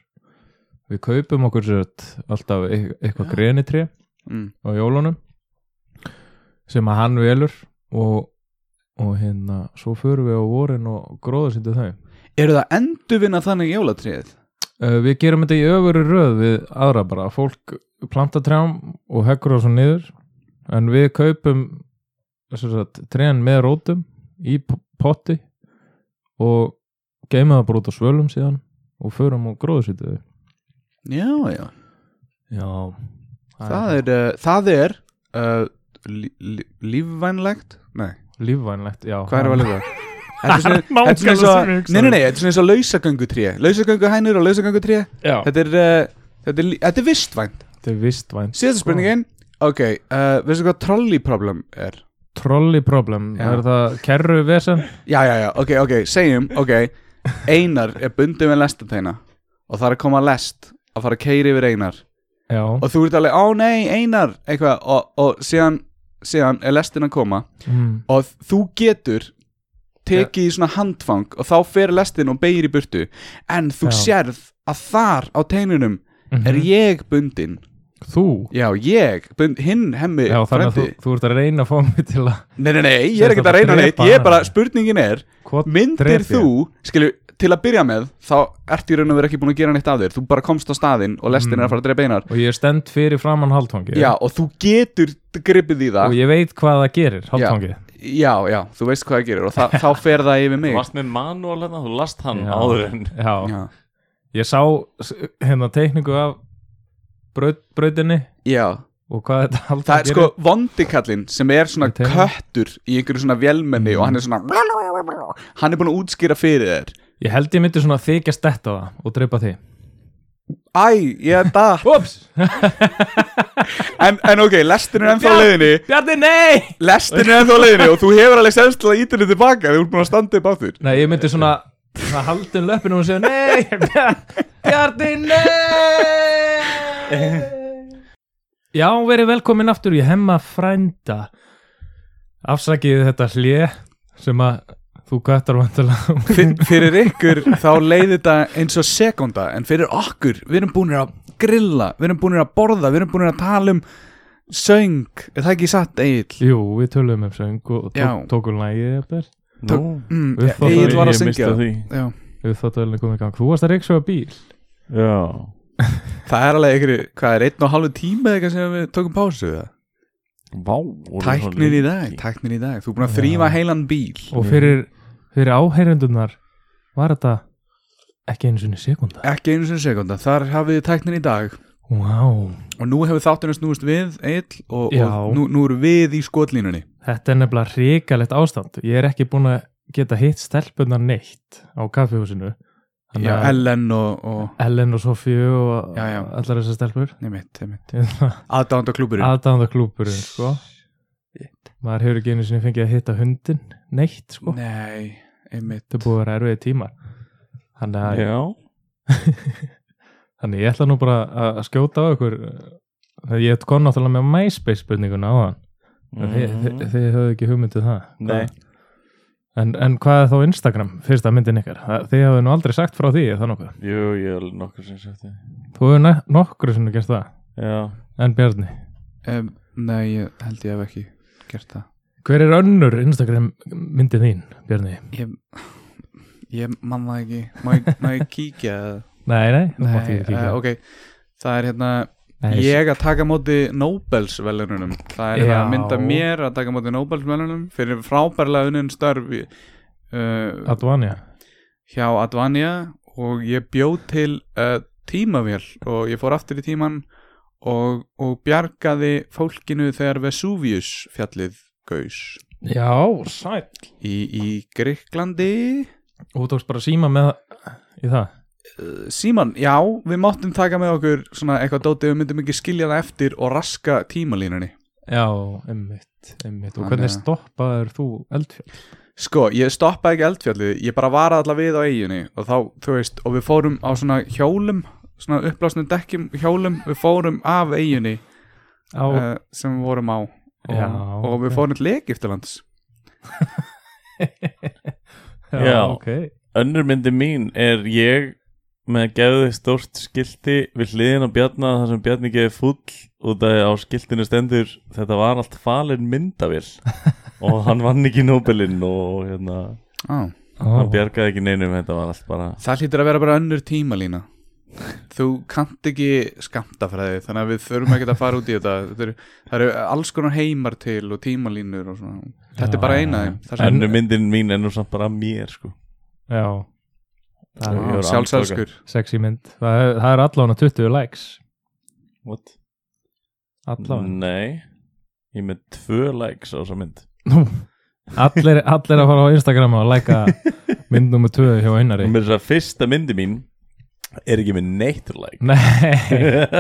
Speaker 4: Við kaupum okkur sér alltaf eit- eitthvað grenitrið
Speaker 3: mm.
Speaker 4: á jólunum sem að hann velur og, og hérna svo förum við á vorin og gróðarsyndu þau
Speaker 3: Eru það endurvinna þannig jólatríð?
Speaker 4: uh, við gerum þetta í öfuru röð við aðra bara, fólk planta trjám og hekkur það svo niður en við kaupum sem sagt, trén með rótum í p- potti og geymum það bara út á svölum síðan og förum og gróðarsyndu þau
Speaker 3: Já, já
Speaker 4: já
Speaker 3: Það er, uh, það er uh, lí- lí- Lífvænlegt Nei,
Speaker 4: lífvænlegt, já
Speaker 3: hvað er að lifa?
Speaker 4: Það er nákvæmlega sem ég hugsaði.
Speaker 3: Nei, nei, nei, þetta er svona eins og lausagöngutré Lausagönguhænur og lausagöngutré
Speaker 4: Já.
Speaker 3: Þetta er, uh, þetta er, lí- þetta er vistvænt
Speaker 4: þetta er vistvænt
Speaker 3: Síðasta spurningin Ok, uh, veistu hvað trolleyproblem er?
Speaker 4: Trolley problem,
Speaker 3: Já.
Speaker 4: er það kerru vesen?
Speaker 3: Já, já, já, ok, ok, segjum, ok Einar er bundið með lestateina og það er að koma lest að fara að keiri yfir Einar
Speaker 4: Já,
Speaker 3: og þú ert alveg, ó nei, Einar eitthvað, og, og síðan, síðan er lestin að koma
Speaker 4: mm.
Speaker 3: og þú getur tekið í svona handfang og þá fer lestin og beir í burtu en þú
Speaker 4: Já.
Speaker 3: sérð að þar á teinunum er
Speaker 4: Mhm.
Speaker 3: ég bundin
Speaker 4: þú
Speaker 3: Já, ég, bund, hinn hemmi
Speaker 4: Já, þannig að þú,
Speaker 3: Eh, frændi
Speaker 4: þú ert að reyna að fá mig til að
Speaker 3: Nei, nei, nei, ég er
Speaker 4: Sérst
Speaker 3: ekkert
Speaker 4: að
Speaker 3: að reyna
Speaker 4: drepa
Speaker 3: neitt Ég er
Speaker 4: hana.
Speaker 3: bara, spurningin er
Speaker 4: Hvort
Speaker 3: myndir
Speaker 4: drep ég?
Speaker 3: þú, skilju, til að byrja með þá ert í raun og verið ekki búin að gera neitt af þér þú bara komst á staðinn og lestin
Speaker 4: Mm.
Speaker 3: er að fara að drepa einar
Speaker 4: Og ég er stend fyrir framann haldfangi
Speaker 3: já, og þú getur gripið í
Speaker 4: Og
Speaker 3: það
Speaker 4: ég veit hvað það gerir, haldfangi
Speaker 3: já, já, þú veist hvað það gerir og þa þá fer það yfir
Speaker 2: Þú
Speaker 3: mig
Speaker 2: varst með manuál hérna, þú last hann
Speaker 4: Já.
Speaker 2: áður en
Speaker 4: Já,
Speaker 3: já,
Speaker 4: ég sá s- hérna teikningu af braut, brautinni
Speaker 3: já,
Speaker 4: og hvað þetta haldfangi
Speaker 3: það er sko vondikallinn sem er svona
Speaker 4: Ég tel það.
Speaker 3: köttur í einhverju svona vélmenni og hann er svona
Speaker 4: Mm.
Speaker 3: hann er búin að útskýra fyrir þér
Speaker 4: Ég held ég myndi svona þykjast þetta á það og dreipa því
Speaker 3: Æ, ég datt
Speaker 4: Ups,
Speaker 3: en, en ok, lestin er ennþá á leiðinni
Speaker 4: Bjarni, nei
Speaker 3: Lestin er ennþá á leiðinni og þú hefur alveg semst til að íta henni tilbaka Þú ert búin að standa upp á því
Speaker 4: Nei, ég myndi svona svona halda um löppinu og segja Nei, Bjar- Bjarni, nei Já, verið velkomin aftur Ég hemma frænda Afsakið þetta hlje sem að þú gættar vantilega
Speaker 3: Fyrir ykkur þá leiði þetta eins og sekunda En fyrir okkur, við erum búin að grilla Við erum búin að borða, við erum búin að tala um Söng, er það ekki satt, Egil?
Speaker 4: Jú, við töluðum um söng og
Speaker 3: Já.
Speaker 4: tók, um tókum lægið eftir
Speaker 2: Nú,
Speaker 3: Mm,
Speaker 4: Upp á
Speaker 3: Egil
Speaker 4: það,
Speaker 2: ég
Speaker 3: var að
Speaker 2: misti
Speaker 3: syngja
Speaker 2: af því
Speaker 3: Já.
Speaker 4: Við þáttu komið í gang Þú varst að reyksuga bíl
Speaker 2: Já,
Speaker 3: Það er alveg ykkur, hvað er, einn og halvu tíma eða eitthvað sem við tókum pásu það?
Speaker 2: vá voru svo
Speaker 3: Tæknir í dag,
Speaker 2: lengi.
Speaker 3: tæknir í dag Þú er búin að þrýfa heilan bíl
Speaker 4: og fyrir, fyrir áheyrendunar var þetta ekki einu sinni sekunda
Speaker 3: Ekki einu sinni sekunda, þar hafið þið tæknir í dag
Speaker 4: wow.
Speaker 3: Og nú hefur þáttunum snúist við, Egil Og,
Speaker 4: Já.
Speaker 3: og nú, nú eru við í skotlínunni
Speaker 4: þetta er nefnilega hrikalegt ástand ég er ekki búin að geta hitt stelpunar neitt á kaffihúsinu þannig að
Speaker 3: Ellen og, og
Speaker 4: Ellen og Sofíu og
Speaker 3: Já, já.
Speaker 4: allar þessar stelpur
Speaker 3: neymitt, neymitt Aðdánda klúburinn
Speaker 4: aðdánda klúpurinn sko maður hefur ekki einu sinni fengið að hitta hundin neitt sko,
Speaker 3: Nei, einmitt
Speaker 4: þetta er búið að vera erfiði tímar þannig að
Speaker 2: Já,
Speaker 4: Þannig ég ætla nú bara að- að skjóta á ykkur eh, þegar ég kom náttúrulega með MySpace spurninguna á hann mm -hmm.
Speaker 3: Mhm.
Speaker 4: þið höfðu ekki hugmyndið það
Speaker 2: Nei.
Speaker 4: en, en hvað er þá Instagram, fyrsta myndin ykkar Það- þið hafðu nú aldrei sagt frá því er það nokkuð
Speaker 2: jú, ég er nokkur sem sagt því
Speaker 4: þú hefur ne- nokkru sinni gert það
Speaker 2: Já,
Speaker 4: en Bjarni,
Speaker 3: um, Nei, ég held ég hef ekki gert það
Speaker 4: hver er önnur Instagram myndið þín, Bjarni
Speaker 3: Ég, ég man það ekki Má ég, má ég kíkja eða?
Speaker 4: nei, nei, þú mátt
Speaker 3: Nei,
Speaker 4: ekki kíkja
Speaker 3: eh, ok Það er hérna
Speaker 4: Nei,
Speaker 3: Ég að taka á móti Nobelsvelununum Það er
Speaker 4: Já.
Speaker 3: hérna að mynda mér að taka á móti Nobelsvelununum fyrir frábærlega unin störf í- uh,
Speaker 4: Advania
Speaker 3: hjá Advania og ég bjó til uh, tímavél og ég fór aftur í tíman og, og bjargaði fólkinu þegar Vesuvius fjallið gaus
Speaker 4: já, sæl
Speaker 3: í, í Greiklandi
Speaker 4: og þú tókst bara síma með í það
Speaker 3: Síman, já, við máttum taka með okkur svona eitthvað dótið, við myndum ekki skilja það eftir og raska tímalínunni
Speaker 4: já, einmitt, einmitt. og
Speaker 3: Þannig
Speaker 4: hvernig
Speaker 3: að-
Speaker 4: stoppaður þú eldfjall
Speaker 3: Sko, ég stoppaði ekki eldfjallið, ég bara varaði alla við á eiginni og þá, þú veist, og við fórum á svona hjólum, svona uppblásnum dekkjum hjólum, við fórum af eiginni
Speaker 4: á
Speaker 3: uh, sem við vorum á og,
Speaker 4: Já,
Speaker 3: og við
Speaker 4: ok.
Speaker 3: fórum til Egiptalands.
Speaker 2: Já.
Speaker 4: ok
Speaker 2: önnur myndi mín er ég með geðið stórt skilti við hliðin á Bjarna þar sem Bjarni geði fúll út af á skiltinu stendur þetta var allt falin myndavill og hann vann ekki Nobelinn og hérna,
Speaker 3: Á,
Speaker 2: hann bjargaði ekki neinum þetta var allt bara
Speaker 3: það hlýtur að vera bara önnur tímalína. Þú kannt ekki skamtafræði, þannig að við þurfum ekkert að fara út í þetta. þetta eru, það eru alls konar heimar til og tímalínur og svona. Þetta er bara eina af þeim. Það sem-
Speaker 2: önnur myndin mín er nú samt bara mér sko
Speaker 4: Já
Speaker 2: Já.
Speaker 4: Það er
Speaker 3: Á, Sjálfselskur.
Speaker 4: sexy mynd Það er, það er allan 20 likes
Speaker 2: What? Mm.
Speaker 4: Allan
Speaker 2: Nei, ég er með tvö likes á þessa mynd
Speaker 4: Nú Allir, allir að fara á Instagram og læka mynd nummer 2 hjá Einari
Speaker 2: Mér þess að fyrsta myndi mín er ekki með neitt like
Speaker 4: Nei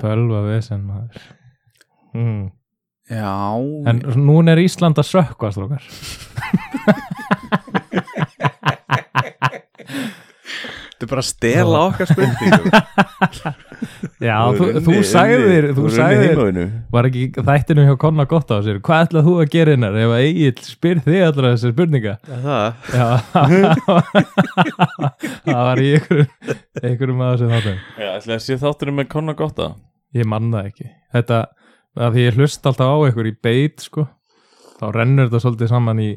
Speaker 4: Bölva vesen maður mm.
Speaker 3: Já.
Speaker 4: En núna er Ísland að sökva strókar
Speaker 3: Þetta er bara að stela okkar spurningum.
Speaker 4: Já, þú, þú sagðir, þú sagðir Var ekki þættinu hjá Konna gott á sér Hvað ætlað þú að gera hennar ef að Egil spyr þig allra þessar spurninga
Speaker 3: það.
Speaker 4: Já Það var í einhverjum einhverjum að þessu þáttum
Speaker 2: Já, ætlaði að sé þátturinn með Konna Gotta
Speaker 4: Ég man það ekki Þetta, að því ég hlust alltaf á einhver í beit sko þá rennur þetta svolítið saman í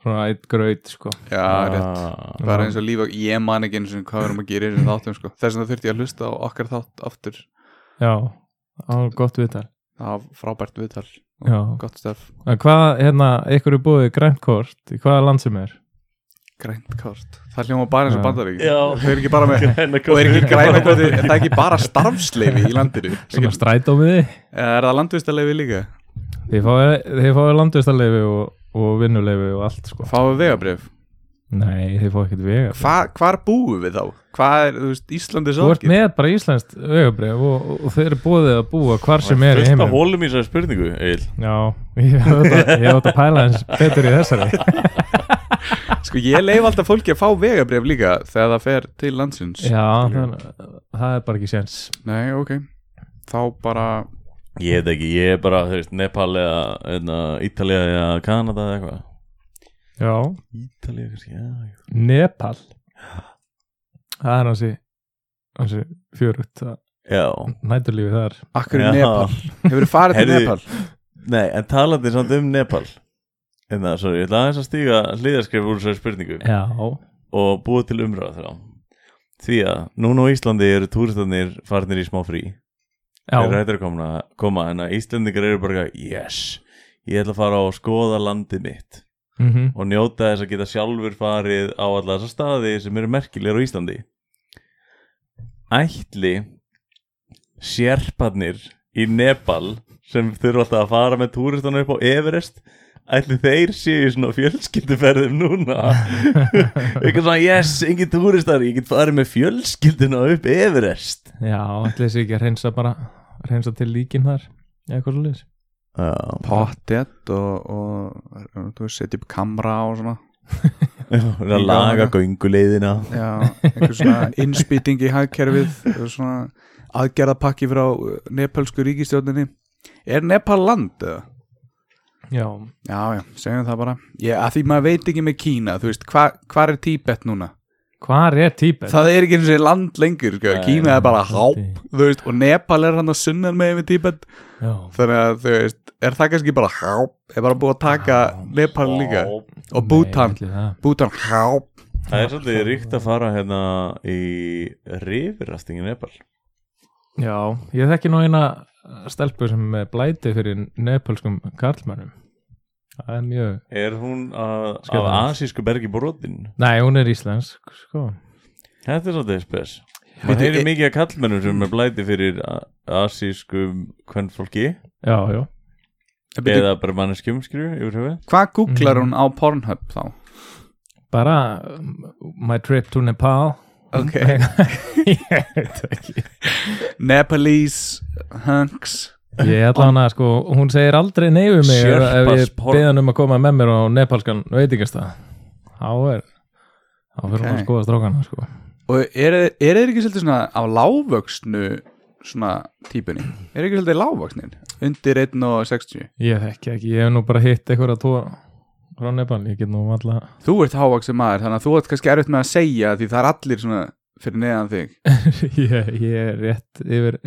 Speaker 4: svona eitt graut sko
Speaker 3: Já, rétt.
Speaker 2: rétt
Speaker 3: Bara eins og lífa, ég man ekki eins og hvað við erum að gera í þessum þáttum sko. Þess vegna þurfti ég að hlusta á okkar þátt aftur.
Speaker 4: Já, á gott viðtal
Speaker 3: Það var frábært viðtal.
Speaker 4: Já,
Speaker 3: Gott stöf.
Speaker 4: en hvað, hérna, einhverju búið grænt kort í hvaða land sem er
Speaker 3: Grænt kort. Það hljóma bara eins og
Speaker 4: Já.
Speaker 3: bandarík.
Speaker 2: Já.
Speaker 3: Þau eru ekki bara með,
Speaker 2: Græna
Speaker 3: og er ekki græna kort, er það ekki bara starfsleifi í landinu?
Speaker 4: Svona
Speaker 3: Ekki-
Speaker 4: strætómiði
Speaker 3: Eða Eh, Er það landvistarleifi líka?
Speaker 4: Þið fáið, þið fáið landvistarleifi og, og vinnuleifi og allt sko
Speaker 3: Fáðu vegabrif?
Speaker 4: Nei, þeir fá ekkert vega
Speaker 3: Hva, hvar búum við þá? Hvað er, þú veist, Íslandi
Speaker 4: Þú ert
Speaker 3: sorgið?
Speaker 4: með bara íslenskt vegabrif og, og, og þeir eru búið að búa hvar sem er í
Speaker 2: fullt af
Speaker 4: heiminum
Speaker 2: hólum í þessari spurningu Egil.
Speaker 4: Já, ég átt að pæla eins betur í þessari
Speaker 3: Sko, ég leif alltaf fólki að fá vegabrif líka þegar það fer til landsins
Speaker 4: Já, þannig, það er bara ekki séns
Speaker 3: Nei, ok Þá bara,
Speaker 2: ég veit ekki, ég er bara þú veist, Nepal eða hérna, Ítalía eða Kanada eða eitthvað
Speaker 4: Já,
Speaker 2: Ítalía kannski, já, já
Speaker 4: Nepal Það er hansi hansi fjörugt
Speaker 2: Já,
Speaker 4: næturlífi þar
Speaker 3: akkur
Speaker 2: Já.
Speaker 3: í Nepal Hefur þið farið til
Speaker 2: Heyrðu,
Speaker 3: Nepal?
Speaker 2: nei, en talandi samt um Nepal en það, sorry, ég ætla aðeins að stíga hliðarskrif úr þessari spurningu
Speaker 4: Já,
Speaker 2: og búa til umræða þrjá því að núna á Íslandi eru túristanir farnir í smá frí
Speaker 4: já,
Speaker 2: þeir eru hættir að koma, koma en að Íslandingar eru bara eitthvað, yes, ég ætla að fara og skoða landið mitt
Speaker 4: mm
Speaker 2: og njóta þess að geta sjálfur farið á alla þessa staði sem eru merkilegur á Íslandi ætli sérparnir í Nepal sem þurfa alltaf að fara með túristana upp á Everest ætli þeir séu í svona fjölskylduferðum núna eitthvað svona yes, engin túristar ég get farið með fjölskylduna upp Everest
Speaker 4: já ætli þessi ekki að reynsa bara reynsa til líkin þar eitthvað svo leys
Speaker 2: Já,
Speaker 3: Pottet og, og, og þú veist, setja upp kamra og svona
Speaker 2: það er að laga gönguleiðina
Speaker 3: Já, einhver svona innspýting í hagkerfið og svona aðgerðapakki frá uh, nepalsku ríkistjórninni Er Nepal land? eða?
Speaker 4: Já,
Speaker 3: Já, já, segjum það bara Ég, að því maður veit ekki með Kína, þú veist, hva, hvar er Tíbet núna?
Speaker 4: hvar er Tíbet?
Speaker 3: Það er ekki eins og land lengur, sko,
Speaker 2: Nei.
Speaker 3: Kína er bara háp,
Speaker 4: Þetta-
Speaker 3: þú veist, og Nepal er hann að sunnan með yfir Tíbet,
Speaker 4: Já,
Speaker 3: þannig að, þú veist, er það kannski bara háp, er bara búið að taka Nepal líka, og Bhutan,
Speaker 4: Nei, ætli það.
Speaker 3: Bhutan háp,
Speaker 2: Það er svolítið ríkt að fara hérna í rifirastingin Nepal
Speaker 4: Já, ég þekki nú eina stelpu sem er með blæti fyrir nepalskum karlmönnum Það er mjög
Speaker 2: Er hún að, af
Speaker 4: Skella.
Speaker 2: asísku bergi brotin?
Speaker 4: Nei, hún er íslensk sko.
Speaker 2: Þetta er svolítið spes Man heyrir mikið að kallmennum sem er blæti fyrir a- asískum kvennfólki
Speaker 4: Já, já
Speaker 2: eða bara manneskjum skrifu yfir höfu
Speaker 3: hvað googlar hún á Pornhub þá?
Speaker 4: Bara um, my trip to Nepal
Speaker 3: Ok.
Speaker 4: Ég veit ekki
Speaker 3: Nepalese hunks
Speaker 4: Ég ætla hana, sko, hún segir aldrei nei við mig ef, ef ég
Speaker 2: Sherpas porn.
Speaker 4: beða hann um að koma með mér á nepalskan veitingastað Há er Há fyrir hún
Speaker 3: Ok.
Speaker 4: að skoða strókana, sko
Speaker 3: og eru er þeir ekki svolítið svona af lávöksnu svona típunni eru ekki svolítið lávöksnin undir 1 og 60
Speaker 4: Ég þekki ekki, ég hef nú bara hitt eitthvað að tóa frá Nepal, ég get nú um alltaf
Speaker 3: þú ert hávaksin maður þannig að þú ert kannski erfitt með að segja því það er allir svona fyrir neðan þig
Speaker 4: ég, ég er rétt yfir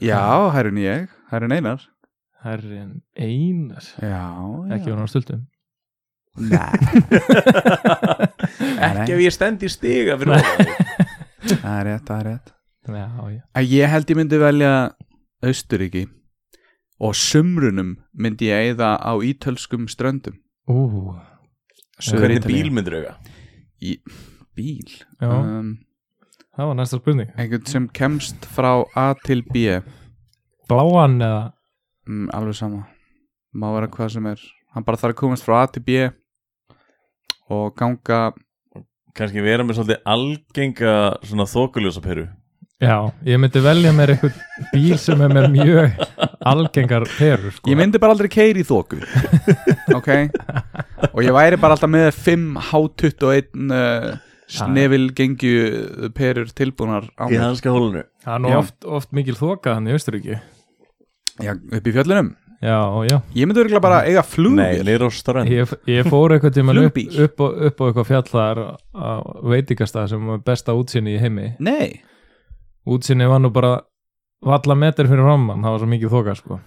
Speaker 4: 1.80
Speaker 3: já, hærun ég, hærun einar
Speaker 4: Herrin einar
Speaker 3: já,
Speaker 4: Ekki
Speaker 3: já.
Speaker 4: hún á stultum
Speaker 3: Nei,
Speaker 2: Ekki ef ég stend í stiga fyrir það
Speaker 3: það er rétt, það er rétt
Speaker 4: Já, já
Speaker 3: að ég held ég myndi velja Austuríki og sumrunum myndi ég eða á ítölskum ströndum
Speaker 4: Ú,
Speaker 2: Hvernig
Speaker 3: Suður-Ítalíu.
Speaker 2: bíl myndir auka?
Speaker 3: bíl
Speaker 4: já,
Speaker 3: um,
Speaker 4: það var næsta spurning
Speaker 3: einhvern sem kemst frá A til B
Speaker 4: Bláan eða
Speaker 3: mm, alveg sama má vera hvað sem er hann bara þarf að komast frá A til B og ganga
Speaker 2: Kannski vera með svolítið algenga svona þokuljósa peru
Speaker 4: Já, ég myndi velja mér eitthvað bíl sem er mér mjög algengar perur sko.
Speaker 3: ég myndi bara aldrei keiri í þóku ok og ég væri bara alltaf með 5 H21 uh, snevil gengju perur tilbúnar á
Speaker 2: Í
Speaker 3: mér
Speaker 2: hanska hólunu
Speaker 4: Það er nú
Speaker 3: Já.
Speaker 4: oft, oft mikil þoka hann í Austuríki
Speaker 3: Já, upp í fjöllunum
Speaker 4: Já, já
Speaker 3: ég myndi örgulega bara eiga
Speaker 2: Nei,
Speaker 3: flugvél
Speaker 2: nýr á strönd
Speaker 4: Ég, ég fór eitthvað tíma upp,
Speaker 3: Flugbíl.
Speaker 4: upp, á- upp á eitthvað fjall þar á veitingastað sem var besta útsinni í heimi
Speaker 3: nei,
Speaker 4: útsinni var nú bara valla metr fyrir ramman, það var svo mikið þoka sko.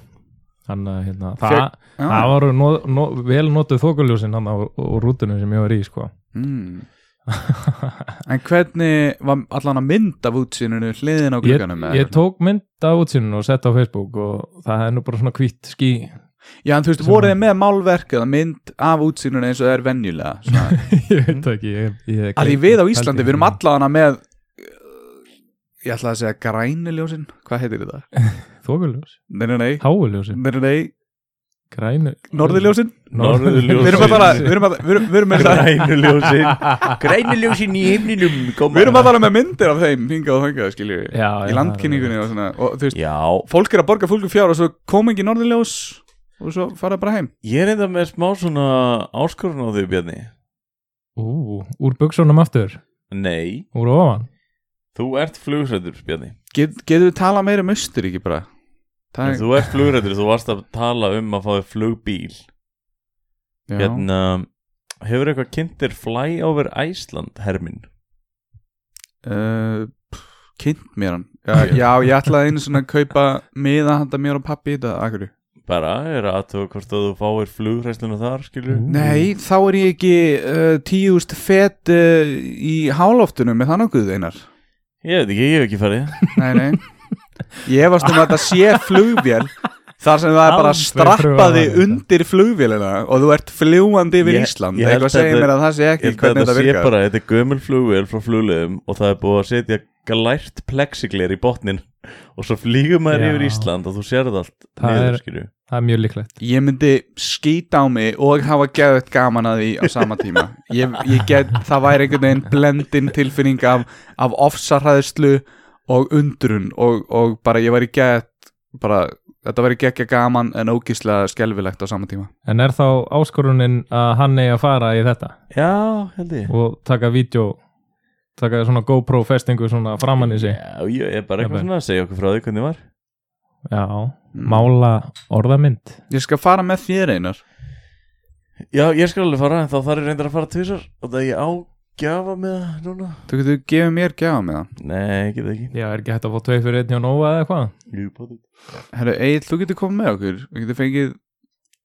Speaker 4: þannig að hérna, það,
Speaker 3: Fjö- já.
Speaker 4: það var no, no, vel notuð þokuljósin hann á rútunum sem ég var í sko.
Speaker 3: Mm. en hvernig var allan að mynd af útsýninu hliðin á
Speaker 4: ég,
Speaker 3: glugganum eða
Speaker 4: ég
Speaker 3: eitthvað?
Speaker 4: tók mynd af útsinni og sett á Facebook og það er nú bara svona hvitt ský
Speaker 3: Já, en þú veist,
Speaker 4: Sem
Speaker 3: voruð
Speaker 4: að-
Speaker 3: þið með málverk eða mynd af útsýnunum eins og það er venjulega svona.
Speaker 4: ég veit það ekki ég, ég,
Speaker 3: að því við á Íslandi, við erum allavega með uh, ég ætla að segja grænuljósin, hvað heitir þetta?
Speaker 4: þokuljós,
Speaker 3: Nei, nei, nei,
Speaker 4: háuljósin
Speaker 3: nei, nei, nei.
Speaker 4: grænu
Speaker 3: Norðurljósin
Speaker 2: Norðurljósin.
Speaker 3: Við erum að fara Við erum að Við erum, við erum, við erum,
Speaker 2: Grænuljósin Grænuljósin í himninum
Speaker 3: við erum að fara með myndir af þeim hingað og hingað skiljum við
Speaker 4: Já, já,
Speaker 3: Í landkynningunni og svona Og þú veist
Speaker 2: Já,
Speaker 3: Fólk er að borga fólku fjár og svo kom ekki norðurljós Og svo fara bara heim
Speaker 2: ég er enda með smá svona áskorun á því Bjarni
Speaker 4: Ú, úr buksunum aftur
Speaker 2: Nei,
Speaker 4: Úr ofan
Speaker 2: þú ert flugrættur Bjarni
Speaker 3: Get, Getur við tala meira um austur ekki bara
Speaker 2: En
Speaker 3: Það
Speaker 2: Þú ert flugrættur, þú varst að tala um að fá þér flugbíl
Speaker 3: Já.
Speaker 2: Hérna, hefur eitthvað kynntir fly over Iceland hermin?
Speaker 3: uh, pff, kynnt mér hann já, já, ég ætlaði einu svona að kaupa miða handa mér og pappi í þetta akkur
Speaker 2: Bara, er aðtöðu hvort að þú fáir flugrættluna þar, skilur
Speaker 4: Mm.
Speaker 3: Nei, þá er ég ekki uh, tíust fett uh, í hálóftunum með þann okkur einar
Speaker 2: Ég veit ekki, ég hef ekki farið
Speaker 3: Nei, nei Ég varst um að þetta sé flugvél Þar sem það er bara
Speaker 4: Aldrei
Speaker 3: strappaði
Speaker 4: pröfaði þetta.
Speaker 3: undir flugvélina og þú ert fljúandi yfir
Speaker 2: Ég-
Speaker 3: Ísland
Speaker 2: ég held
Speaker 3: Eitthvað segir
Speaker 2: þetta-
Speaker 3: mér að það sé
Speaker 2: Ég
Speaker 3: ekki
Speaker 2: held að
Speaker 3: hvernig
Speaker 2: þetta
Speaker 3: þetta
Speaker 2: sé
Speaker 3: virkar
Speaker 2: bara, þetta er gömul flugvél frá flugleðum og það er búið að setja glært plexiglir í botnin og svo flýgur maður
Speaker 4: Já.
Speaker 2: yfir Ísland og þú sér það allt
Speaker 4: Það
Speaker 2: niður,
Speaker 4: er-
Speaker 2: skilju
Speaker 4: Það er mjög líklegt
Speaker 3: Ég myndi skýta á mig og hafa geðið gaman að því á sama tíma ég, ég get, það væri einhvern veginn blendin tilfinning af, af ofsarhæðslu og undrun og, og bara ég væri geðið bara, þetta væri geggja gaman en ógíslega skelfilegt á sama tíma
Speaker 4: En er þá áskorunin að hann eigi að fara í þetta
Speaker 2: Já, held ég
Speaker 4: og taka vídeo taka svona GoPro festingu svona framann í sig
Speaker 2: Já, ég er bara
Speaker 4: Já,
Speaker 2: eitthvað
Speaker 4: bara-
Speaker 2: svona að segja okkur frá því hvernig var
Speaker 4: Já,
Speaker 3: Mm.
Speaker 4: mála orðamynd
Speaker 3: Ég skal fara með þér einar
Speaker 2: Já, ég skal alveg fara en þá þarf ég reyndar að fara tvisar og það ég ágjafa með það núna
Speaker 3: Þú getur gefið mér gefa með það
Speaker 2: Nei, get ekki
Speaker 4: Já, er ekki hægt að fá tveið fyrir einn hjá Nóa eða hvað?
Speaker 2: Jú, bóðið.
Speaker 3: Herru, Egil, þú getur komið með okkur Þú getur fengið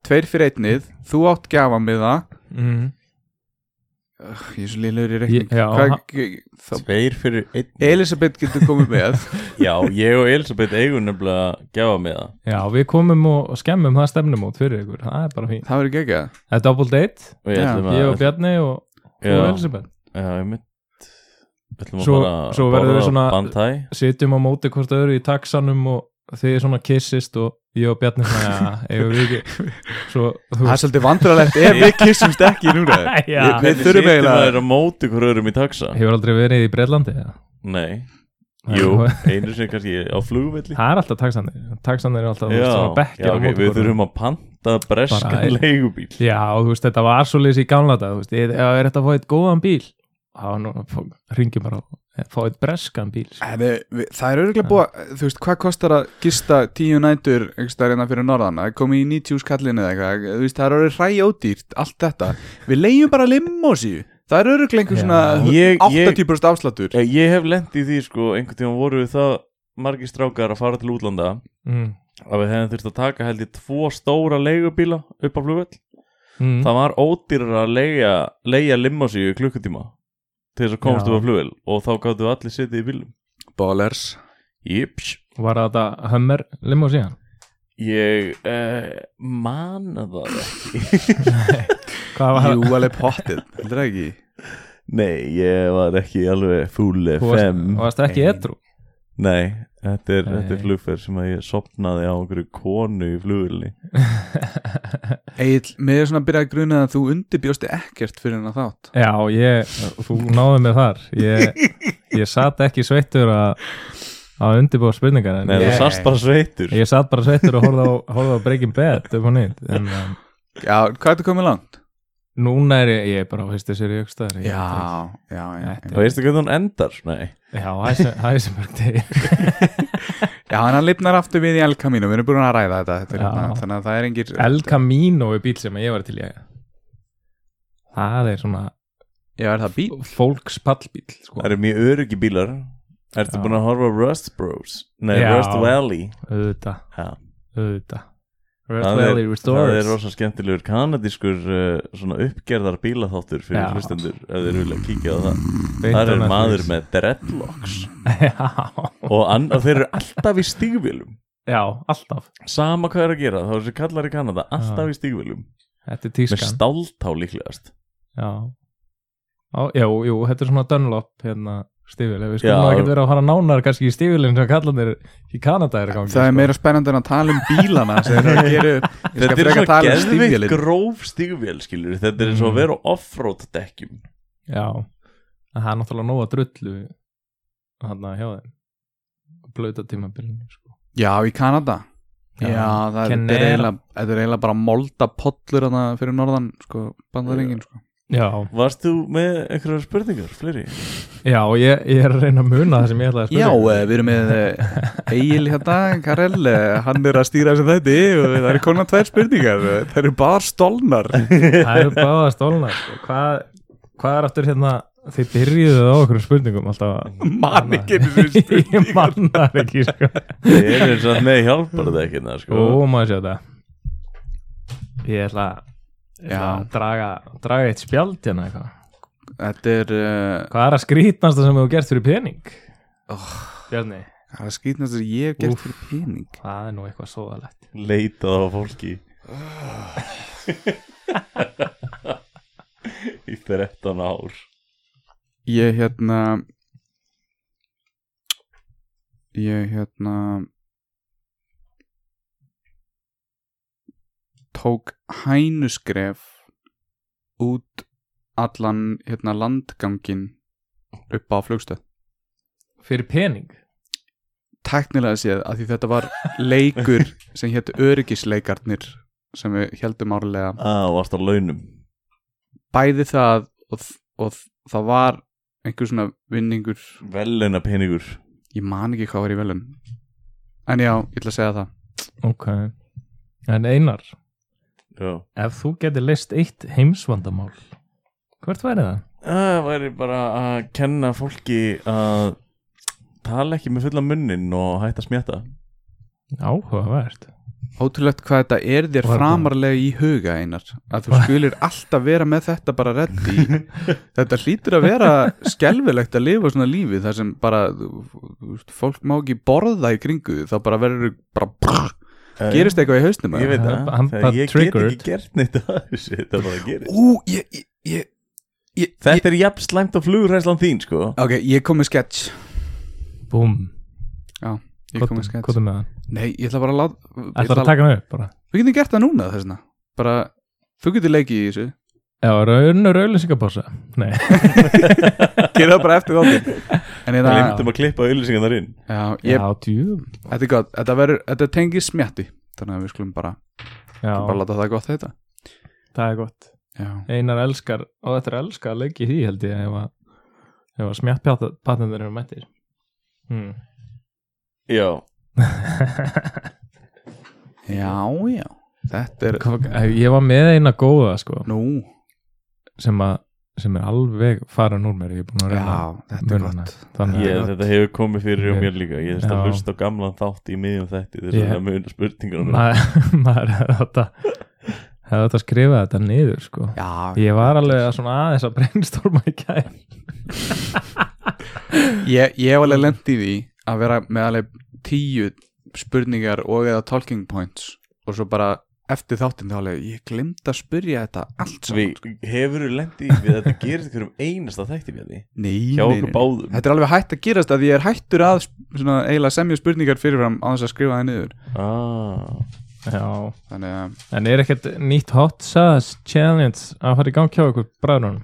Speaker 3: tveir fyrir einnið þú átt gefa með það
Speaker 4: Mm.
Speaker 3: Ég er svo liðlegur í reikning
Speaker 4: Ég- já,
Speaker 3: Hvað-
Speaker 4: ha-
Speaker 3: þá-
Speaker 2: Tveir fyrir einn
Speaker 3: Elisabeth getur komið með
Speaker 2: Já, ég og Elisabeth eigum nefnilega að gefa með það
Speaker 4: Já, við komum og skemmum það stefnumót fyrir ykkur, það er bara fín
Speaker 3: Það verður geggjað
Speaker 4: Það er double date,
Speaker 2: og ég
Speaker 3: Já,
Speaker 2: ætlum að
Speaker 4: ég og Bjarni og, og
Speaker 2: Já,
Speaker 4: Elisabeth
Speaker 2: já, ég mynd ætlum að
Speaker 4: Svo-
Speaker 2: fara að
Speaker 4: svo verðum við
Speaker 2: borða
Speaker 4: svona-
Speaker 2: bantæ.
Speaker 4: sitjum á móti hvort öðru í taxanum og þið er svona kissist og ég og Bjarni svona, já, eigum við ekki svo, þú
Speaker 3: Það er svolítið vandræðilegt ef við kyssumst ekki núna
Speaker 4: Já.
Speaker 3: Við- Við
Speaker 2: Hvernig
Speaker 3: þurfum
Speaker 2: situr maður
Speaker 3: eiginlega
Speaker 2: að móti hver öðrum í taxa?
Speaker 4: hefur aldrei verið í Breitlandi eða?
Speaker 2: Nei,
Speaker 4: Nei.
Speaker 2: jú, einu sem kannski á flugvelli
Speaker 4: það er alltaf taxanir, taxanir er alltaf þú veist, svona bekkir
Speaker 2: já
Speaker 4: á
Speaker 2: ok,
Speaker 4: móti
Speaker 2: við
Speaker 4: hvort öðru.
Speaker 2: þurfum að panta breskan
Speaker 4: Bara-
Speaker 2: leigubíl
Speaker 4: já, og þú veist, þetta var svoleiðis í gamla dag þú veist, ég, ef er þetta að fá eitt góðan bíl þá nú, fá- ringjum bara og fá eitt breskan bíl sko.
Speaker 3: En við- við- Það er örgulega búið, þú veist, hvað kostar að gista tíu nætur einhverstaðarina fyrir norðan að koma í 90 skallinu eða eitthvað þú veist, það er orðið hræ ódýrt, allt þetta Við leiðum bara limmósi Það er örgulega einhver
Speaker 4: Já.
Speaker 3: svona
Speaker 2: Ég- ég-
Speaker 3: 80% afslattur
Speaker 2: ég, ég hef lent í því sko, einhvern tíma voru við það margir strákar að fara til útlanda
Speaker 4: mm.
Speaker 2: að við hefðum þurft að taka held ég tvo stóra leigubíla upp á flugvell
Speaker 4: Mm.
Speaker 2: það var ódýrar að leiga, leiga limmasi í klukkutíma til þess að komast
Speaker 4: Já.
Speaker 2: upp á flugvell og þá gáttu allir setið í bílum
Speaker 3: Ballers
Speaker 2: Jips
Speaker 4: var þetta hömmer limó síðan
Speaker 2: Ég uh, man það ekki
Speaker 4: hvað var
Speaker 3: Jú, alveg pottið, heldur það ekki
Speaker 2: Nei, ég var ekki alveg fúli
Speaker 4: Þú
Speaker 2: fem
Speaker 4: varst, varst ekki
Speaker 2: Ein.
Speaker 4: edru
Speaker 2: Nei, þetta er,
Speaker 4: Nei.
Speaker 2: þetta er flugferð sem að ég sopnaði á einhverju konu í flugvölinni
Speaker 3: Egil, mér er svona að byrja að gruna að þú undirbjósti ekkert fyrir hennar þátt
Speaker 4: Já, ég, þú náðu mér þar Ég, ég satt ekki sveittur að, að undirbúa spurningar en
Speaker 2: Nei, þú
Speaker 4: ég,
Speaker 2: sast bara sveitur
Speaker 4: ég satt bara sveittur og horfði á, horfði á Breaking Bad upp á nýtt en um,
Speaker 3: Já, hvað ertu komið langt?
Speaker 4: núna er ég, ég er bara á fyrstu sér í aukstaðar
Speaker 3: Já, já, já
Speaker 4: Þetta
Speaker 2: Og veistu hvernig hún endar? Nei
Speaker 4: Já, Hæs- Heisenberg degi
Speaker 3: Já, en hann lifnar aftur við í El Camino, við erum búin að ræða þetta, þetta er
Speaker 4: Já.
Speaker 3: hérna, þannig að það er engir
Speaker 4: El Camino er bíl sem ég var til ég Það er svona
Speaker 3: Já, er það bíl?
Speaker 4: fólkspallbíl sko.
Speaker 2: Það eru mjög öryggi bílar Ertu
Speaker 4: Já.
Speaker 2: búin að horfa á Rust Bros? Nei,
Speaker 4: Já.
Speaker 2: Rust Valley
Speaker 4: auðvita,
Speaker 2: Já,
Speaker 4: auðvita
Speaker 2: Það er-
Speaker 4: Valley
Speaker 2: það er
Speaker 4: Restores
Speaker 2: rosa skemmtilegur kanadískur uh, svona uppgerðar bílaþáttur fyrir
Speaker 4: Já.
Speaker 2: hlustendur ef þeir vilja kíkja á það Það
Speaker 4: Beint á
Speaker 2: er
Speaker 4: Netflix.
Speaker 2: maður með dreadlocks
Speaker 4: Já,
Speaker 2: og, annar, þeir eru alltaf í stígvélum
Speaker 4: já, alltaf
Speaker 2: Sama hvað er að gera, þá er þessi kallar í Kanada alltaf í stígvélum
Speaker 4: Þetta er
Speaker 2: Með
Speaker 4: tískan
Speaker 2: stáltá líklegast
Speaker 4: Já. Á, jú, jú, þetta er svona Dunlop hérna, stífil Ef við
Speaker 2: Já.
Speaker 4: skulum ekki vera að fara nánar kannski í stífilin sem kallandir í Kanada sko. er gangi
Speaker 3: Það er meira spennandi en að tala um bílana sem þeir eru að gera upp. Ég skal
Speaker 2: Þetta er
Speaker 3: frekar
Speaker 2: svo
Speaker 3: tala um
Speaker 2: geðvikt
Speaker 3: stígvélin. Mm.
Speaker 2: gróf stígvél skilur Þetta er eins og að vera á offroad dekkjum
Speaker 4: Já, en það er náttúrulega nóga drullu hann að hjá þeim blöta tímabilinu sko.
Speaker 3: Já, í Kanada
Speaker 4: Já.
Speaker 3: Já, það er, þetta
Speaker 4: Kenner.
Speaker 3: er eiginlega þetta er eiginlega bara molda pollur hana fyrir norðan, sko, bandaringin sko.
Speaker 4: Já,
Speaker 2: Varst þú með einhverjar spurningar, fleiri?
Speaker 4: já og ég, ég er að reyna að muna það sem ég ætlaði að
Speaker 3: Já,
Speaker 4: spila
Speaker 3: eh, við erum með eh, Egil hérna, Karel eh, hann er að stýra þessu þetta og það eru konar tvær spurningar, eh, það eru bara stolnar
Speaker 4: Það eru báða stólna sko. hvað, hvað er aftur hérna þið byrjuðu á okkur spurningum alltaf
Speaker 3: mann ekki einu sinni spurning.
Speaker 4: Ég mannar ekki sko.
Speaker 2: Ég er eins og með hjálpar dekkjuna sko.
Speaker 4: Ó, maður sjá þetta Ég ætla að, ég ætla
Speaker 3: Já.
Speaker 4: að draga, draga eitt spjald hérna eitthvað
Speaker 3: Þetta er eh,
Speaker 4: Hvað er að skrýtnasta sem þú hefur gert fyrir pening?
Speaker 3: Oh.
Speaker 4: Bjarni,
Speaker 3: það er skýtnast að ég hef gert fyrir pening
Speaker 4: það er nú eitthvað svoðalegt
Speaker 2: Leitað á fólki Í 13 ár
Speaker 3: ég hérna ég hérna tók hænuskref út allan hérna landgangin upp á flugstöð
Speaker 4: Fyrir pening?
Speaker 3: teknilega séð að því þetta var leikur sem hétt öryggisleikarnir sem við heldum árlega
Speaker 2: ah, Varst á launum
Speaker 3: bæði það og, þ- og þ- það var einhver svona vinningur
Speaker 2: Velina peningur
Speaker 3: ég man ekki hvað var í velun en já, ég ætla að segja það
Speaker 4: Ok En Einar,
Speaker 2: Já
Speaker 4: ef þú getur leist eitt heimsvandamál Hvert væri það?
Speaker 2: Það væri bara að kenna fólki að tala ekki með fulla munnin og hætta að smjata
Speaker 4: Áhugavert
Speaker 3: ótrúlegt hvað þetta er þér
Speaker 4: Var það?
Speaker 3: framarlega í huga einar að þú skulir alltaf vera með þetta bara reddi þetta hlýtur að vera skelfilegt að lifa svona lífi þar sem bara þú- þú veist, fólk má ekki borða í kringu þig, þá bara verður bara brr, gerist eitthvað í hausnum
Speaker 2: Ég veit
Speaker 4: Hann- hann
Speaker 2: það,
Speaker 4: bara
Speaker 2: þegar ég get
Speaker 4: triggered.
Speaker 2: ekki gert neitt að þessu, þetta bara gerist
Speaker 3: ú, ég, ég, ég, ég
Speaker 2: Þetta er jafn slæmt á flugræslan þín, sko
Speaker 3: ég- ok, ég kom með sketch
Speaker 4: Búm,
Speaker 3: ég kom með sketch
Speaker 4: hvað er með það?
Speaker 3: nei, ég ætla bara að láta ég
Speaker 4: Ætlar
Speaker 3: ætla
Speaker 4: að taka hann upp bara?
Speaker 3: Við getum gert það núna þess vegna Bara, þú getur leikið í þessu
Speaker 4: Já, raunur auðlýsingabása Nei,
Speaker 3: Gerðu það bara eftir þáttin En
Speaker 2: Það
Speaker 3: þetta,
Speaker 2: lemdum að klippa auðlýsingarnar inn
Speaker 3: já, ég,
Speaker 4: já, djú
Speaker 3: þetta er gott Þetta, verður, þetta tengir smjatti Þannig að við skulum bara,
Speaker 4: Já,
Speaker 3: bara láta það gott þetta
Speaker 4: það er gott
Speaker 3: Já,
Speaker 4: Einar elskar, og þetta er elskar að leggja í því held ég ef að, ef að smjáttpatnendur eru mættir hmm.
Speaker 2: Já,
Speaker 3: já, já Þetta er,
Speaker 4: Hvað- Ég var með eina góða sko,
Speaker 3: nú
Speaker 4: sem, að, sem er alveg farin úr mér ég er búin að
Speaker 3: Já,
Speaker 4: reyna
Speaker 3: þetta er
Speaker 4: muna hana.
Speaker 3: gott
Speaker 4: þannig
Speaker 2: ég,
Speaker 4: að
Speaker 2: þetta hefur komið fyrir hjá
Speaker 4: Ég-
Speaker 2: mér líka Ég þurfti að
Speaker 4: Já.
Speaker 2: hlusta á gamlan þátt í miðjum þætti þess
Speaker 4: Ég-
Speaker 2: að það muna spurningunum mínar.
Speaker 4: maður, maður hefði þetta hefði þetta skrifað þetta niður sko.
Speaker 3: Já,
Speaker 4: ég var alveg að svona aðeins að brainstorma í gæð
Speaker 3: ég, ég hef alveg lent í því að vera með alveg tíu spurningar og eða talking points og svo bara eftir þáttin þá alveg ég glemt að spyrja þetta allt saman
Speaker 2: Við hefur lendi við að þetta gerist hverjum einasta þætti við því
Speaker 3: Nei,
Speaker 2: Hjá
Speaker 3: nei,
Speaker 2: okkur
Speaker 3: nei.
Speaker 2: báðum
Speaker 3: Þetta er alveg hægt að gerast að ég er hættur að sp- svona, eiginlega semja spurningar fyrirfram á þess að skrifa það niður
Speaker 2: Ah,
Speaker 4: Já,
Speaker 3: Þannig að
Speaker 4: en er ekkert nýtt hot sauce challenge að fara í gang hjá ykkur bræðrunum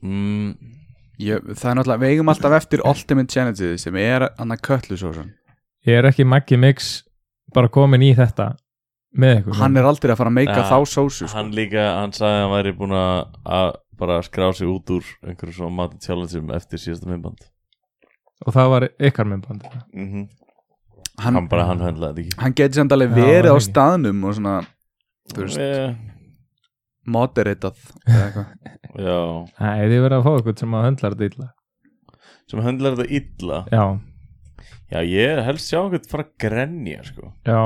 Speaker 2: mm,
Speaker 3: ég, það er náttúrulega, við eigum alltaf eftir Ultimate Challenge sem er annað köllu svo
Speaker 4: er ekki Maggi Mix bara komin í þetta með ykkur
Speaker 3: Hann er aldrei að fara að meika
Speaker 2: Ja,
Speaker 3: þá sósu sko.
Speaker 2: Hann líka, hann sagði að hann væri búin að að bara skrá sig út úr einhverjum svona mati challengeum eftir síðasta minnband
Speaker 4: og það var ykkar myndband
Speaker 2: mm
Speaker 3: Hann,
Speaker 2: Hann bara, hann höndlaði þetta
Speaker 3: hann getur samt alveg
Speaker 4: Já,
Speaker 3: verið á
Speaker 4: hann ekki.
Speaker 3: staðnum og svona, þú
Speaker 2: ekki
Speaker 3: veist,
Speaker 2: Eh,
Speaker 3: moderatað eða eitthvað.
Speaker 2: Já,
Speaker 4: Nei, þið verða að fá ykkur sem að höndlar þetta illa
Speaker 2: sem höndlaði þetta illa
Speaker 4: Já,
Speaker 2: Já, ég er helst sjá einhvern fara að grenja sko.
Speaker 4: já,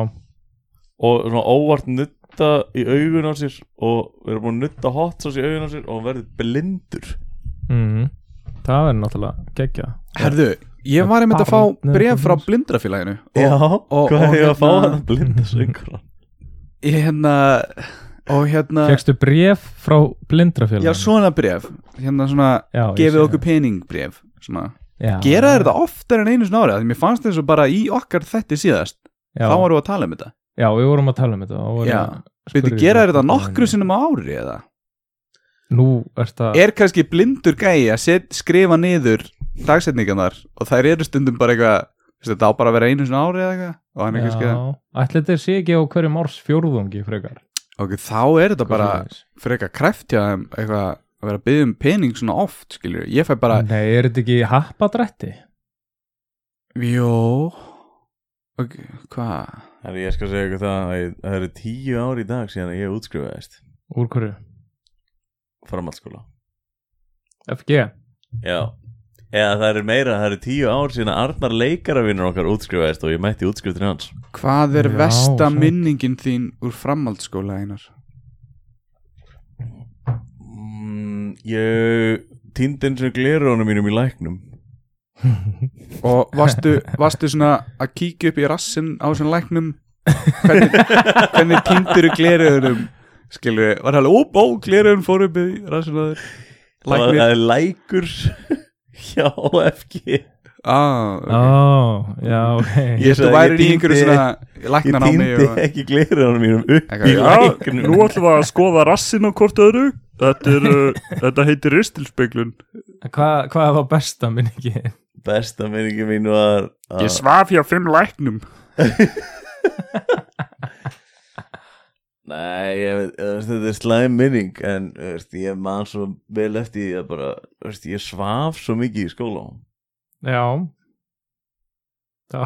Speaker 2: og svona óvart nutta í augun á sér og við erum búin að nutta hot sauce í augun á sér og hann verður blindur
Speaker 4: mm það verður náttúrulega geggja
Speaker 3: Herðu, ég var einmitt að fá
Speaker 4: Barn-
Speaker 3: bref frá blindrafélaginu
Speaker 2: Já,
Speaker 3: og, og-
Speaker 2: hvað
Speaker 3: og
Speaker 2: er ég að fá
Speaker 3: hérna-
Speaker 2: hann að blinda söngur
Speaker 3: ég hérna og hérna,
Speaker 4: Fjöxtu bréf frá blindrafélaginu
Speaker 3: já svona bref hérna svona,
Speaker 4: já, ég sé
Speaker 3: gefið
Speaker 4: það. Ah.
Speaker 3: okkur pening bref svona
Speaker 4: já,
Speaker 3: gera þeir þetta oftar en einu snári því mér fannst þessu bara í okkar þetti síðast
Speaker 4: já,
Speaker 3: þá varum við að tala um þetta
Speaker 4: já, við vorum að tala um þetta og vorum
Speaker 3: Já.
Speaker 4: að
Speaker 3: Við
Speaker 4: spurja
Speaker 3: gera þeir þetta
Speaker 4: spurninga
Speaker 3: nokkru
Speaker 4: henni.
Speaker 3: sinnum á ári eða
Speaker 4: nú er það
Speaker 3: er kannski blindur gæi að set, skrifa niður dagsetningarnar og þær eru stundum bara eitthvað þú veist, þetta á bara að vera einu svona ári eða eitthvað og hann ekki skrifa
Speaker 4: ætli þetta sé ekki á hverjum árs fjórðungi frekar
Speaker 3: ok, þá er þetta bara
Speaker 4: Eitthvað svoleiðis.
Speaker 3: frekar kreft hjá þeim eitthvað að vera að byggja um pening svona oft skilur, ég fæ bara
Speaker 4: nei, er þetta ekki happadrætti
Speaker 3: jó ok, hvað
Speaker 2: Herri, ég skal segja ykkur það að ég- það eru tíu ár í dag síðan að ég útskrifaðist
Speaker 4: úr hverju?
Speaker 2: framhaldsskóla
Speaker 4: FG
Speaker 2: Já Eða það eru meira, það eru tíu ár síðan að Arnar leikaravinnur okkar útskrifaðist og ég mætti útskriftin hans
Speaker 3: hvað er
Speaker 4: Já,
Speaker 3: versta
Speaker 4: sæt.
Speaker 3: minningin þín úr framhaldsskóla einar
Speaker 2: mm, Ég týndi eins og gleruðunum mínum í læknum
Speaker 3: og varstu, varstu svona að kíkja upp í rassin á svona læknum hvernig, hvernig týnduru gleruðunum skilur við, var alveg óbó gleruðun fór upp í rassin á þér
Speaker 2: Það var-
Speaker 3: læknir,
Speaker 2: það er lækur hjá FG
Speaker 3: ah,
Speaker 4: Ó, já, ok
Speaker 3: ég þú
Speaker 2: sagði, ég
Speaker 3: væri í
Speaker 2: týndi-
Speaker 3: einhverju svona
Speaker 2: Ég
Speaker 3: læknan á mig
Speaker 2: týndi
Speaker 3: og
Speaker 2: ekki gleruðunum mínum upp
Speaker 3: Eitthvað,
Speaker 2: í
Speaker 3: já,
Speaker 2: læknum
Speaker 5: Nú ætlum við að skoða rassin á hvort öðru Þetta, er, uh, þetta heitir ristilspeglun
Speaker 4: Hva, Hvað var besta minningi?
Speaker 2: Besta minningi mín var að
Speaker 5: Ég svaf hjá fimm læknum
Speaker 2: Nei, ég veit, þú veist, þetta er slæm minning en þú veist, ég man svo vel eftir því að bara, þú veist, ég svaf svo mikið í skóla
Speaker 4: Já Þá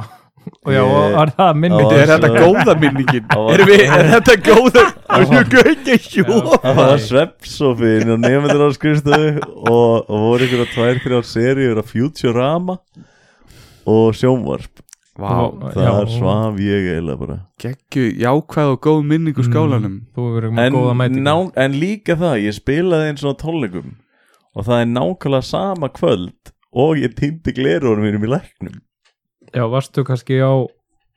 Speaker 4: Og já, og var það minning
Speaker 2: Ó,
Speaker 3: er þetta
Speaker 2: svo-
Speaker 3: góða minningin
Speaker 2: Á-
Speaker 3: Erum við, er þetta góða Erum við ekki
Speaker 4: Já,
Speaker 3: hjú
Speaker 2: Það var sveppsofin og nefndir á skrifstöðu og, og voru ykkur að tvær, þrjár seríur af Futurama og sjónvarp
Speaker 4: Vá,
Speaker 2: Þar svaf ég eiginlega bara
Speaker 3: geggju jákvæð og góð minning úr
Speaker 2: Mm.
Speaker 3: skálanum
Speaker 4: Þú verður með góða
Speaker 2: en,
Speaker 4: mætingu
Speaker 2: ná, en líka það, ég spilaði eins og á tónleikum og það er nákvæmlega sama kvöld og ég týndi glerunum mínum í læknum
Speaker 4: Já, varstu kannski á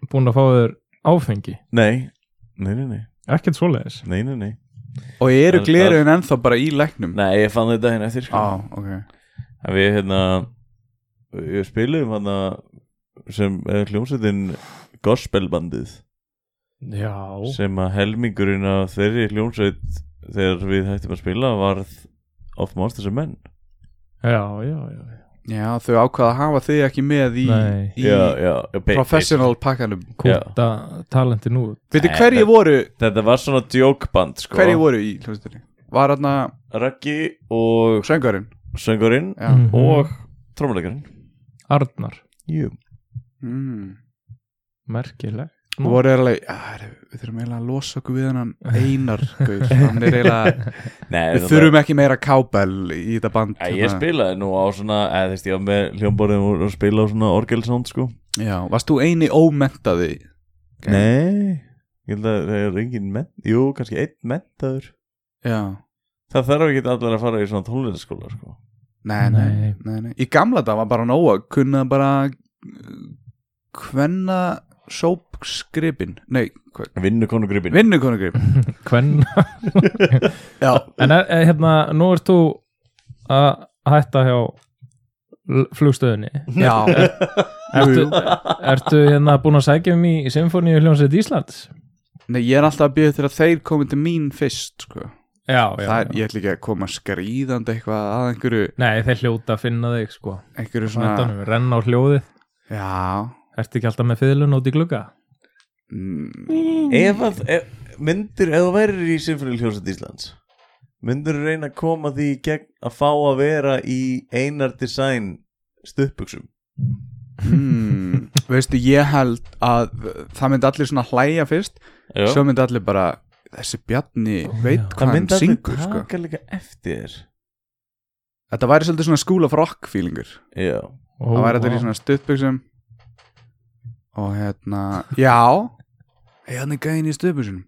Speaker 4: búin að fá þér áfengi
Speaker 2: Nei, nei, nei, nei,
Speaker 4: Ekkert svoleiðis
Speaker 2: nei, nei, nei.
Speaker 3: Og eru
Speaker 2: Það-
Speaker 3: gleruðun ennþá bara í læknum
Speaker 2: Nei, ég fann þetta hérna eftir sko.
Speaker 3: Á, ok
Speaker 2: En við hérna Við spilum hérna sem eh, hljómsveitin gospelbandið
Speaker 4: Já
Speaker 2: sem að helmingurinn af þeirri hljómsveit þegar við hættum að spila varð of monsters and men
Speaker 4: Já, já, já
Speaker 3: Já, þau ákvaða að hafa þig ekki með í,
Speaker 4: Nei.
Speaker 3: í
Speaker 2: já, já, já, be-
Speaker 3: professional pakkanum
Speaker 4: Kúta talenti nú
Speaker 3: Veitu
Speaker 2: Nei, Sko.
Speaker 3: hverju
Speaker 2: þetta-
Speaker 3: voru,
Speaker 2: be- Þetta var svona djókband sko
Speaker 3: hverju voru í hljómsveitinni? Var hann
Speaker 2: Raggi og
Speaker 3: söngurinn?
Speaker 2: söngurinn
Speaker 3: Já
Speaker 4: Mhm.
Speaker 2: og trómuleikarinn
Speaker 4: Arnar
Speaker 2: Jú
Speaker 3: mm.
Speaker 4: Merkileg
Speaker 3: Og voru þeir alveg, "Já, herru, við þurfum eiginlega að losa okkur við hann Einar gaur. Hann er eiginlega,
Speaker 2: Nei,
Speaker 3: við
Speaker 2: þetta-
Speaker 3: þurfum ekki meira kábel í þetta band
Speaker 2: Æ, Ég
Speaker 3: hérna.
Speaker 2: spilaði nú á svona eða þú veist, ég var með hljómborðum og- og spila á svona orgelsónd sko
Speaker 3: Já, varst þú eini ómentaði?
Speaker 2: Nei, ég held að það er engin menn, jú, kannski einn mentaður
Speaker 3: Já
Speaker 2: Það þarf ekki allar að fara í svona tónlistaskóla sko.
Speaker 3: Nei, nei,
Speaker 4: Nei.
Speaker 3: nei, nei. Í gamla dag var bara nóga kunna bara eh, hvenna sópsgripin Nei,
Speaker 2: Vinnu konu gripin
Speaker 3: vinnukonugripin
Speaker 4: Hvern
Speaker 3: Já,
Speaker 4: En er, er, hérna, nú ert þú að hætta hjá l- flugstöðinni
Speaker 3: já
Speaker 4: Ertu, ertu hérna búin að sækja um í Symfóníu hljómsveit Íslands?
Speaker 3: Nei, ég er alltaf að byrja til að þeir komi til mín fyrst sko.
Speaker 4: Já, já,
Speaker 3: Það er, ég ætla ekki að koma skrýðandi eitthvað að einhverju,
Speaker 4: Nei, þeir hljóta að finna þig sko
Speaker 3: einhverju svona
Speaker 4: Þannig, renna á hljóðið
Speaker 3: Já
Speaker 4: Ertu ekki alltaf með fiðlun út í glugga?
Speaker 3: mm,
Speaker 2: Ef að, ef, myndir, ef þú værir í Sinfoni hljóset Íslands Myndir þú reyna að koma því í gegn að fá að vera í einar design stuðbuksum
Speaker 3: mm, Veistu, ég held að það myndi allir svona hlæja fyrst Svo myndi allir bara Þessi Bjarni veit
Speaker 4: já.
Speaker 3: hvað hann syngur
Speaker 2: Það myndi
Speaker 3: sko.
Speaker 2: allir taka líka eftir þér
Speaker 3: Þetta væri svolítið svona school of rock feelingur
Speaker 2: Já,
Speaker 4: Ó,
Speaker 3: Það væri þetta
Speaker 4: vá.
Speaker 3: í svona stuttbuxum Og hérna Já Hey, hann er gæðin í stuttbuxum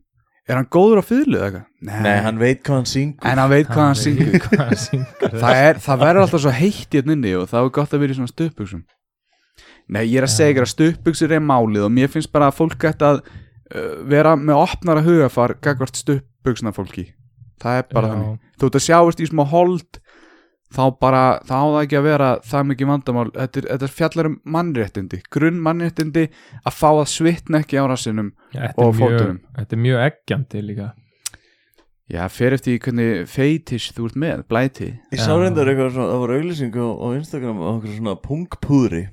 Speaker 3: Er hann góður á fyrlu eða eitthvað?
Speaker 4: Eh.
Speaker 2: nei, hann veit hvað hann syngur
Speaker 3: En hann veit hvað
Speaker 4: veit
Speaker 3: hann syngur
Speaker 4: hvað hann syngur.
Speaker 3: Það, er, það verður alltaf svo heitt hérna inni Og það er gott að vera í svona stuttbuxum Nei, ég er að segja ykkur að stuttbuxur er málið Og mér finnst bara að fólk gætt að uh, Vera með opnara hugafar Gagvart stuttbuxna fólki Það er bara
Speaker 4: Já.
Speaker 3: þannig Þú ert að sjáast í smá hold þá bara, þá á það ekki að vera það mikið vandamál, þetta er, þetta er fjallar um mannréttindi, grunn mannréttindi að fá að svitna ekki á rassinum
Speaker 4: Já, þetta,
Speaker 3: Og
Speaker 4: er mjög,
Speaker 3: fótunum.
Speaker 4: þetta er mjög eggjandi líka
Speaker 3: Já, fer eftir því hvernig feitish þú ert með, blæti
Speaker 2: Ég sá reyndar eitthvað svona, það var auglýsing á, á Instagram á okkur svona pungpúðri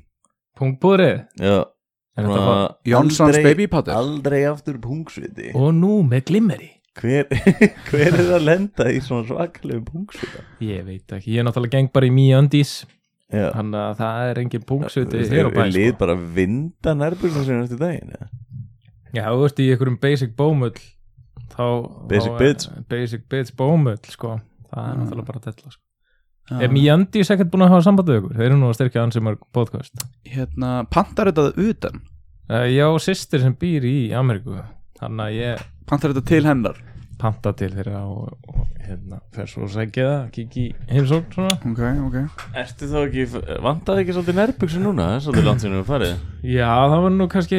Speaker 4: Pungbúrið
Speaker 2: Já,
Speaker 4: En þetta var
Speaker 3: Jónsons
Speaker 2: aldrei-
Speaker 3: baby powder
Speaker 2: Aldrei aftur pungsviti
Speaker 4: Og nú með glimmeri
Speaker 2: hver, hver er að lenda í svona svakalegu pungsvita?
Speaker 4: Ég veit ekki, ég er náttúrulega geng bara í mjög öndís
Speaker 2: Já
Speaker 4: Þannig að það er engin
Speaker 2: Þú
Speaker 4: punksviti
Speaker 2: veist,
Speaker 4: hér á
Speaker 2: er-
Speaker 4: bæ
Speaker 2: er
Speaker 4: sko.
Speaker 2: lið bara að vinda nærbjörnum sinni eftir daginn eða?
Speaker 4: Já, þú veist, í einhverjum basic bómull þá,
Speaker 2: Basic
Speaker 4: þá,
Speaker 2: bitch.
Speaker 4: Basic bitch bómull, sko Það er náttúrulega bara tella, sko
Speaker 3: Já.
Speaker 4: Er Mjöndís ekkert búin að hafa sambandið ykkur? Þeir eru nú að styrkja ansi mörg podcast
Speaker 3: Hérna, pantar þetta að utan
Speaker 4: uh, Já, systir sem býr í Ameríku Þannig að ég
Speaker 3: Pantar þetta til hennar
Speaker 4: panta til þeirra og, og hérna, fer svo að segja það, kikki í heimsókn svona
Speaker 3: Ok, ok
Speaker 2: Ertu þá ekki, vantaði ekki svolítið nærbjörnum núna? Það er svolítið langt sinni við farið
Speaker 4: Já, það var nú kannski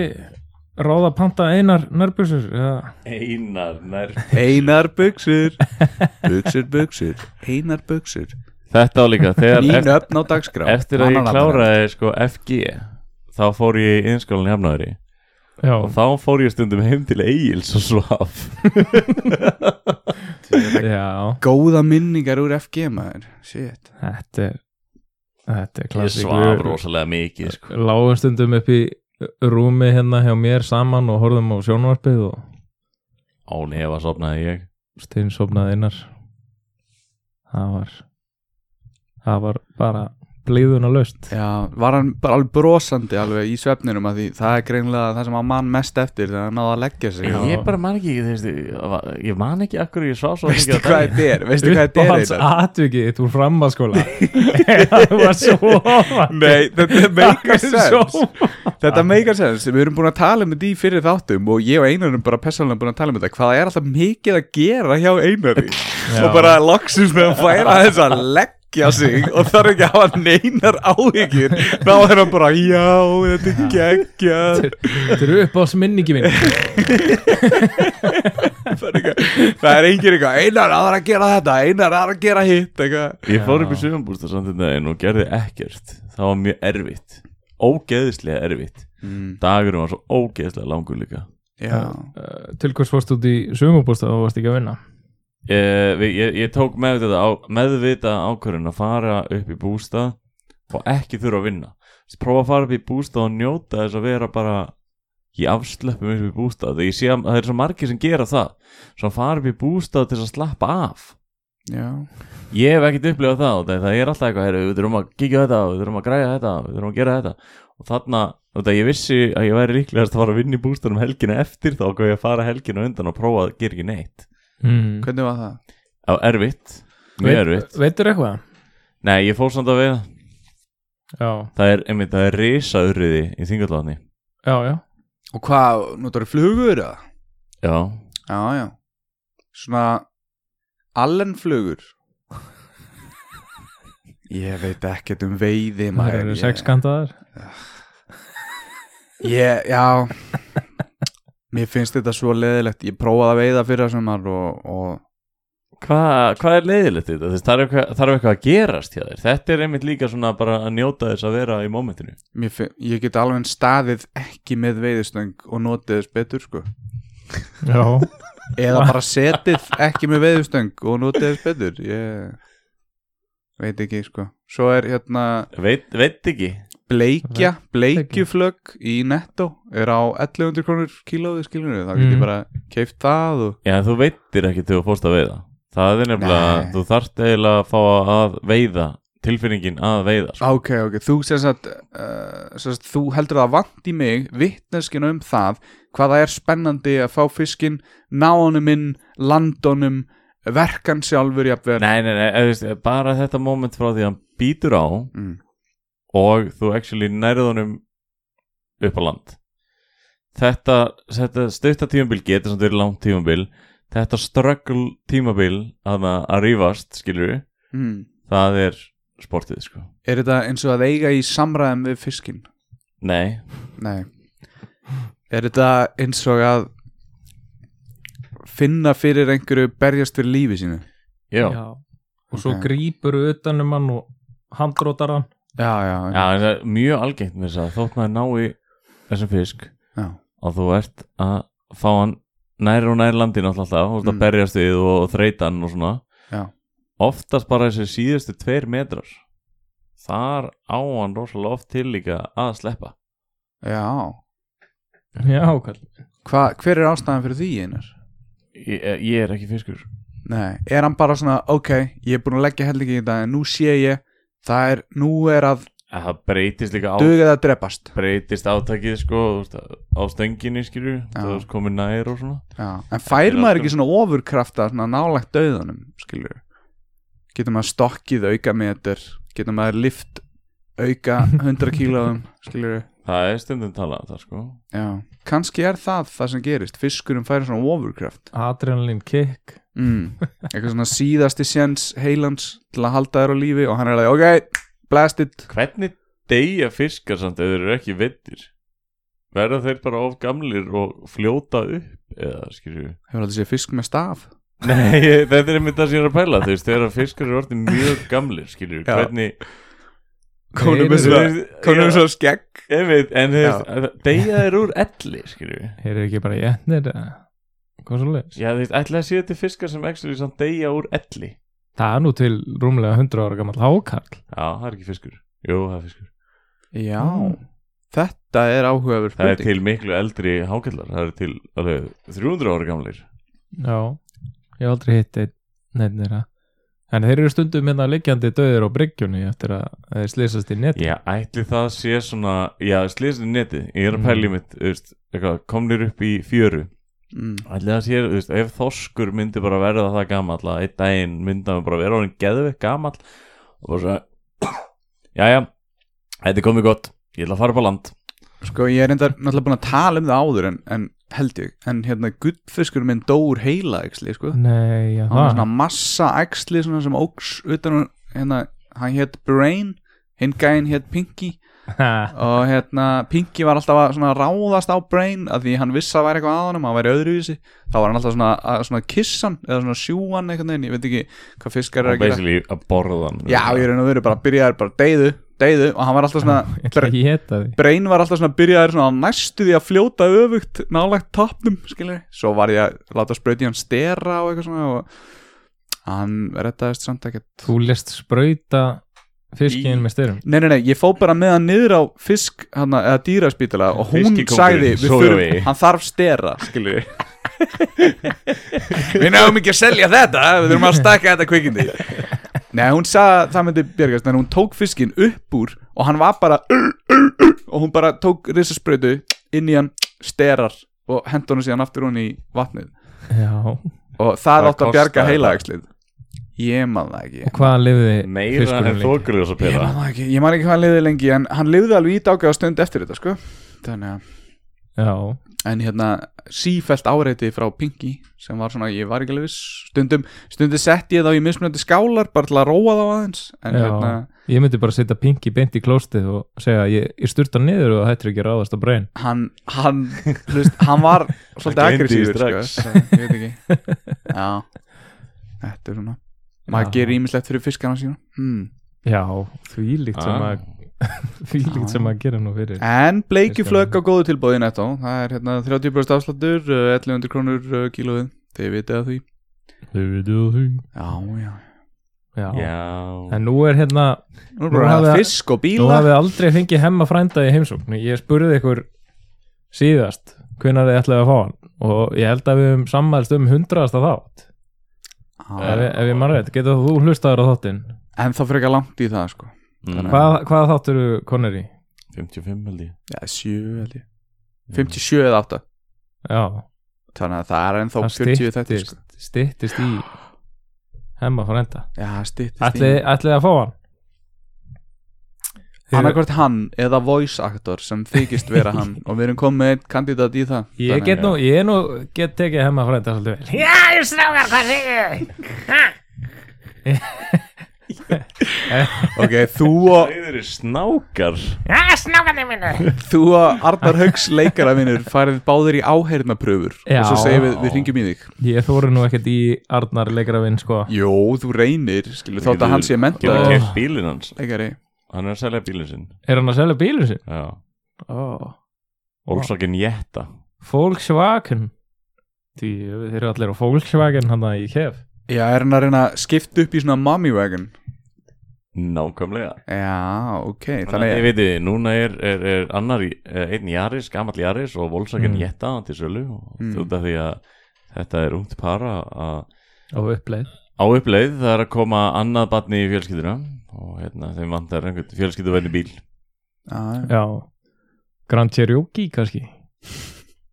Speaker 4: ráða að panta einar nærbjörsur Já,
Speaker 2: Einar nær
Speaker 3: Einar buksur Buksur, buksur Einar buksur
Speaker 2: Þetta á líka, þegar
Speaker 3: Ný
Speaker 2: eftir,
Speaker 3: nöfn á dagskrá
Speaker 2: eftir að ég
Speaker 3: Mannanafnanefnd.
Speaker 2: kláraði sko FG þá fór ég í innskólan í Hafnaðari
Speaker 4: já
Speaker 2: og þá fór ég stundum heim til Egil's og svaf
Speaker 4: Já,
Speaker 3: Góða minningar úr FG maður Shit
Speaker 4: þetta er Þetta er
Speaker 2: Ég
Speaker 4: klassík
Speaker 2: svaf rosalega mikið sko.
Speaker 4: Láum stundum upp í rúmi hérna hjá mér saman og horfðum á sjónvarpið og
Speaker 2: Án hefa sofnaði ég
Speaker 4: stein sopnaði innar Það var Það var bara blíðuna löst
Speaker 3: Já, var hann bara alveg brosandi alveg í svefninum að því það er greinlega það sem hann mann mest eftir þegar hann náði að leggja sig
Speaker 2: Ég bara man ekki, þú veist, ég var- ég man ekki akkur ég svaf svo
Speaker 3: Veistu
Speaker 2: mikið á
Speaker 3: hvað
Speaker 2: daginn
Speaker 3: þetta er? Veistu hvað þetta er? Einar?
Speaker 4: atvikið úr framhalskóla Það var svo
Speaker 3: Nei, þetta meikar sens
Speaker 4: svo
Speaker 3: Þetta meikar sens, við erum búin að tala um þetta í fyrir þáttum og ég og Einar erum bara persónulega búin að tala um þetta hvað það er alltaf mikið að gera hjá Einari
Speaker 4: Já.
Speaker 3: og bara loksins þegar hann færa þess að leggja sig og þarf ekki að hafa neinar áhyggjur þá er hann bara, já, þetta er geggja
Speaker 4: Þetta er upp á sminningi mín
Speaker 3: það er engin eitthvað, Einar aðra að gera þetta Einar aðra að gera hitt eitthvað.
Speaker 2: Ég fór upp í
Speaker 4: Já.
Speaker 2: sögumbústa samt þetta en og gerði ekkert Það var mjög erfitt Ógeðislega erfitt Dagurum var svo ógeðislega langur líka
Speaker 3: Mm, Já,
Speaker 4: Til hvers fórst út í sögumabústað og varst ekki að vinna
Speaker 2: Eh, við- Ég, ég tók meðvitað, á, meðvitað ákvörðin að fara upp í bústað og ekki þurfa að vinna Þess, prófa að fara upp í bústað og njóta þess að vera bara ég afslöppi mig upp í bústað þegar ég sé að það er svo margir sem gera það svo að fara upp í bústað til þess að slappa af
Speaker 3: já
Speaker 2: ég hef ekkert upplifað það og það er alltaf eitthvað heyrðu, við þurfum að kíkja á þetta, við þurfum að græja þetta við þurfum að gera þetta og þarna, þetta ég vissi að ég væri líklegast að fara að vinna í bústunum helgina eftir þá gaf ég að fara helgina á undan og prófa að gera ekki neitt
Speaker 4: mm.
Speaker 3: Hvernig var það?
Speaker 2: á erfitt, mjög erfitt
Speaker 4: Veitur eitthvað?
Speaker 2: nei, ég fór samt að við
Speaker 4: Já,
Speaker 2: það er, einmitt, það er risaurriði í þingalláðni
Speaker 4: já, já
Speaker 3: Og hvað, notar þú flugur eða?
Speaker 2: já,
Speaker 3: Já, já Svona allenflugur Ég veit ekkert um veiði
Speaker 4: Það
Speaker 3: maður
Speaker 4: eru
Speaker 3: Ég-
Speaker 4: sexkantaðar
Speaker 3: Ég, já Mér finnst þetta svo leðilegt Ég prófaði að veiða fyrir sumar og, og
Speaker 2: Hva, hvað er leiðilegt í þetta? Þess, það, er eitthvað, það er eitthvað að gerast hjá þér þetta er einmitt líka svona bara að njóta þess að vera í mómentinu
Speaker 3: mér finn, ég get alveg eins staðið ekki með veiðistöng og notið þess betur sko
Speaker 4: Já
Speaker 3: Eða bara setið ekki með veiðistöng og notið þess betur Ég veit ekki sko Svo er hérna
Speaker 2: veit, veit ekki
Speaker 3: bleikja,
Speaker 4: Bleikja.
Speaker 3: bleikjuflögg í netto er á 1100 krónur kílóði skilinu, þá get
Speaker 4: Mm.
Speaker 3: ég bara keift það og
Speaker 2: Já, en þú veitir ekki þegar þú fórst að veiða Það er nefnilega,
Speaker 3: Nei.
Speaker 2: þú þarft eiginlega að fá að veiða Tilfinningin að veiða sko.
Speaker 3: Ah, ok, ok, þú sem sagt, uh, sem sagt þú heldur það vant í mig vittneskinu um það hvað það er spennandi að fá fiskin náunum inn, landunum verkan sjálfur jafnvel
Speaker 2: Nei, nei, nei, eða, þú veist, bara þetta moment frá því að hann býtur á
Speaker 3: mm.
Speaker 2: Og þú actually nærið honum upp á land Þetta, þetta stötta tímabil getur sem þau eru langt tímabil Þetta ströggl tímabil að, að rífast, skilur við
Speaker 3: Mm.
Speaker 2: Það er sportið, sko
Speaker 3: er þetta eins og að eiga í samræðum við fiskin?
Speaker 2: Nei,
Speaker 3: Nei Er þetta eins og að finna fyrir einhverju berjast fyrir lífi sínu?
Speaker 2: já,
Speaker 4: og svo
Speaker 3: Ok.
Speaker 4: grípur utan um hann og handrótar hann
Speaker 3: já, já, já,
Speaker 2: Já, en það er mjög algengt með þess að þótt maður ná í þessum fisk
Speaker 3: já.
Speaker 2: og þú ert að fá hann nær og nær landin alltaf og þú ert að
Speaker 3: Mm.
Speaker 2: berjast við og, og þreita hann og svona
Speaker 3: Já.
Speaker 2: oftast bara þessi síðustu tveir metrar þar á hann rosalega oft til líka að sleppa
Speaker 3: já.
Speaker 4: já, kall
Speaker 3: Hva, hver er ástæðan fyrir því einar?
Speaker 2: ég, eh, ég er ekki fiskur
Speaker 3: Nei, er hann bara svona, ok, ég er búin að leggja hellingi í þetta en nú sé ég, það er, nú er að
Speaker 2: En það breytist líka á
Speaker 3: dugið að drepast
Speaker 2: breytist átakið sko þú veist, á stönginni skilju þú veist komið nær og svona
Speaker 3: já. en fær
Speaker 2: Þetta er
Speaker 3: maður
Speaker 2: alltaf-
Speaker 3: ekki svona ofurkrafta svona nálægt döðunum, skilur getur maður stokkið auka metur getur maður lift auka 100 kílóðum, skilur
Speaker 2: það er stundum talað um það sko
Speaker 3: já, kannski er það það sem gerist fiskurinn fær svona ofurkraft
Speaker 4: adrenalin kick
Speaker 3: mm. eitthvað svona síðasti séns heilans til að halda þér á lífi og hann er að, ok, blast it
Speaker 2: hvernig deyja fiskar samt ef þeir eru ekki vittir verða þeir bara of gamlir og fljóta upp eða skilju
Speaker 3: hefur aldrei séð fisk með staf
Speaker 2: Nei, ég- þetta er einmitt það sem ég er að pæla þú veist, þegar fiskar eru orðin mjög gamlir skilju,
Speaker 3: Já.
Speaker 2: hvernig
Speaker 3: Konum
Speaker 4: Nei,
Speaker 3: með
Speaker 4: nei,
Speaker 3: svo
Speaker 2: nei.
Speaker 3: Konum með
Speaker 2: Já.
Speaker 3: svo skegg
Speaker 2: einmitt, en þú veist, að- deyja þeir úr elli skilju,
Speaker 4: þeir eru ekki bara jætnir eða? hvað svo leiðis
Speaker 2: já þú veist, ætla að séu þetta fiskar sem actually samt deyja úr elli
Speaker 4: það er nú til rúmlega 100 ára gammal hákall
Speaker 2: já, það er ekki fiskur, jú, það er fiskur
Speaker 3: Já
Speaker 4: Mm.
Speaker 3: Þetta er áhugaverð
Speaker 2: það er
Speaker 3: spurning
Speaker 2: til miklu eldri hákallar það er til alveg 300 ára gamlir
Speaker 4: já, ég hef aldrei hitt neitt þeirra en þeir eru stundum hérna liggjandi döðir á bryggjunni eftir að þeir slýsast í neti
Speaker 2: Já, ætli það sé svona Já, slýsni netið, ég er að pæli
Speaker 4: Mm.
Speaker 2: mitt þú veist, eitthvað, komnir upp í fjöru
Speaker 3: mm.
Speaker 2: Ætli það sé, þú veist, ef þoskur myndi bara verða það gamall að einn daginn myndi hann bara vera orðin geðveikt gamall og bara svona Jæja, þetta er komið gott Ég ætla að fara upp á land
Speaker 3: Sko ég er enda náttúrulega búin að tala um það áður en, en held ég En hérna gullfiskur minn dóur heila æxli sko
Speaker 4: nei, já,
Speaker 3: Hann var
Speaker 4: það
Speaker 3: svona massa æxli svona sem óks utan um- hérna Hann hétt Brain Hinn gæinn hétt Pinky
Speaker 4: Ha,
Speaker 3: Og hérna Pinky var alltaf að svona ráðast á Brain að Því hann vissi að væri eitthvað að honum Hann væri öðruvísi Þá var hann alltaf svona, að, svona kissan Eða svona sjúan einhvern veginn Ég veit ekki hvað fiskar er
Speaker 2: og
Speaker 3: að gera
Speaker 2: basically að borða hann
Speaker 3: Já, ég raun og veru bara byrjaðir bara deyðu, deyðu og hann var alltaf
Speaker 4: ég ætla
Speaker 3: svona
Speaker 4: ekki að heta því
Speaker 3: Brain var alltaf svona byrjaðir svona á næstu því að fljóta öfugt nálægt toppnum, skilur Svo var ég að láta sprauti hann stera og eitthvað svona og hann rettaðist samt ekkert
Speaker 4: þú lest sprauta fiskinn
Speaker 2: Í-
Speaker 4: með styrum
Speaker 3: Nei, nei, nei, ég fó bara með hann niður á fisk hana, eða dýraspítala og hún
Speaker 2: Fiskikóngurinn,
Speaker 3: sagði við
Speaker 2: svo
Speaker 3: þurfum,
Speaker 2: við.
Speaker 3: hann þarf stera, skilur Við náum ekki að selja þetta, við þurfum að stakka þetta kvikindi Nei, hún sagði að það myndi björgast, en hún tók fiskin upp úr og hann var bara og hún bara tók risasprautu inn í hann sterar og hendur hann síðan aftur hún í vatnið
Speaker 4: já,
Speaker 3: og það,
Speaker 2: Hvað
Speaker 3: átt að bjarga
Speaker 2: kostaði
Speaker 3: heila,
Speaker 2: það?
Speaker 3: Ég man það ekki
Speaker 4: og hvaðan lifði
Speaker 2: Meira
Speaker 4: fiskurinn
Speaker 2: en
Speaker 4: lengi?
Speaker 2: þokurljós að
Speaker 3: Ég
Speaker 2: pera
Speaker 3: man það ekki, ég man ekki hvað hann liði lengi en hann liði alveg í dágæða stund eftir þetta sko þannig að,
Speaker 4: já,
Speaker 3: en hérna sífælt áreiti frá Pinky sem var svona, ég var ekki alveg viss stundum, stundum sett ég þá í mismunandi skálar bara til að róa þá aðeins en
Speaker 4: Já.
Speaker 3: hérna,
Speaker 4: ég myndi bara setja pinki beint í klóstið og segja að ég, ég sturta niður og það hættir ekki að ráðast á brein
Speaker 3: hann hann, þú veist, hann var svolítið
Speaker 2: Hann gleymdi því
Speaker 3: aggressífur sko,
Speaker 2: strax.
Speaker 3: svo, ég veit ekki já, þetta er svona maður
Speaker 4: Já.
Speaker 3: gerir ímislegt fyrir fiskana sína hmm.
Speaker 4: já, því
Speaker 2: Ah.
Speaker 4: líkt sem að því
Speaker 3: Já.
Speaker 4: líkt sem að gera nú fyrir
Speaker 3: en bleikjuflögg á góðu tilbóði nettó það er hérna 30% afsláttur uh, 1100 krónur uh, kílóið þið vitið að því
Speaker 4: já,
Speaker 3: Já, já
Speaker 2: Já,
Speaker 4: en nú er hérna
Speaker 3: Nú er
Speaker 4: Nú
Speaker 3: bara
Speaker 4: hafið-
Speaker 3: fisk og
Speaker 4: nú
Speaker 3: bíla
Speaker 4: hafið aldrei fengið hemma frænda í heimsókn ég spurði ykkur síðast hvenær þið ætlaði að fá hann og ég held að við höfum sammælst um hundraðasta þátt
Speaker 3: Já,
Speaker 4: ef, ég- ef ég mann rétt, getur þú hlustaður á þáttinn
Speaker 3: En það fyrir ekki langt í það sko
Speaker 2: mm,
Speaker 4: Hvað, hvaða þáttur eru konur í?
Speaker 2: 55 held ég
Speaker 3: Já, 7 held ég 57 eða 8
Speaker 4: Já,
Speaker 3: Þannig að það er ennþá
Speaker 4: það
Speaker 3: 40 þetta sko
Speaker 4: styttist, styttist í hemma frænda
Speaker 3: Já, styttist
Speaker 4: Ætli,
Speaker 3: í
Speaker 4: ætliði að fá hann?
Speaker 3: Annarkvort hann eða voice actor sem þykist vera hann Og við erum komið með einn kandidat í það
Speaker 4: Ég
Speaker 3: Þannig-
Speaker 4: get nú, ég nú get tekið hemma frænda svolítið vel
Speaker 6: Já, ég strákar, hvað segir þau?
Speaker 3: Ok, þú og,
Speaker 2: Þeir eru snákar
Speaker 3: þú og Arnar Haugs leikara minnur farið báðir í áheyrnapröfur
Speaker 4: Já.
Speaker 3: og svo segir við, við ringjum í þig
Speaker 4: Ég þóru nú ekkert í Arnar leikrafinn sko
Speaker 3: Jó, þú reynir, skilur þátt að hann sé menta
Speaker 2: Getur keft bílinn hans
Speaker 3: leikari
Speaker 2: Hann er að selja bílinn sinn
Speaker 4: Er hann að selja bílinn sinn?
Speaker 2: Já
Speaker 4: Oh.
Speaker 2: Volkswagen Jetta
Speaker 4: Volkswagen Því þeir eru allir á Volkswagen hann að ég kef
Speaker 3: Já, er hann að reyna að skipta upp í svona mommy wagon
Speaker 2: Nákvæmlega
Speaker 3: Já, ok,
Speaker 2: Þannig að ég
Speaker 3: þannig að
Speaker 2: veit þið, núna er, er, er annar, í- eh, einn Jaris, gamall Jaris og Volkswagen
Speaker 4: Mm.
Speaker 2: Jetta til sölu og
Speaker 3: Mm.
Speaker 2: mm. því að þetta er ungt para að
Speaker 4: á uppleið
Speaker 2: á uppleið það er að koma annað batni í fjölskylduna og hérna þeim vantar einhvern fjölskylduvenni bíl
Speaker 3: Já,
Speaker 4: Já Grand Cherokee kannski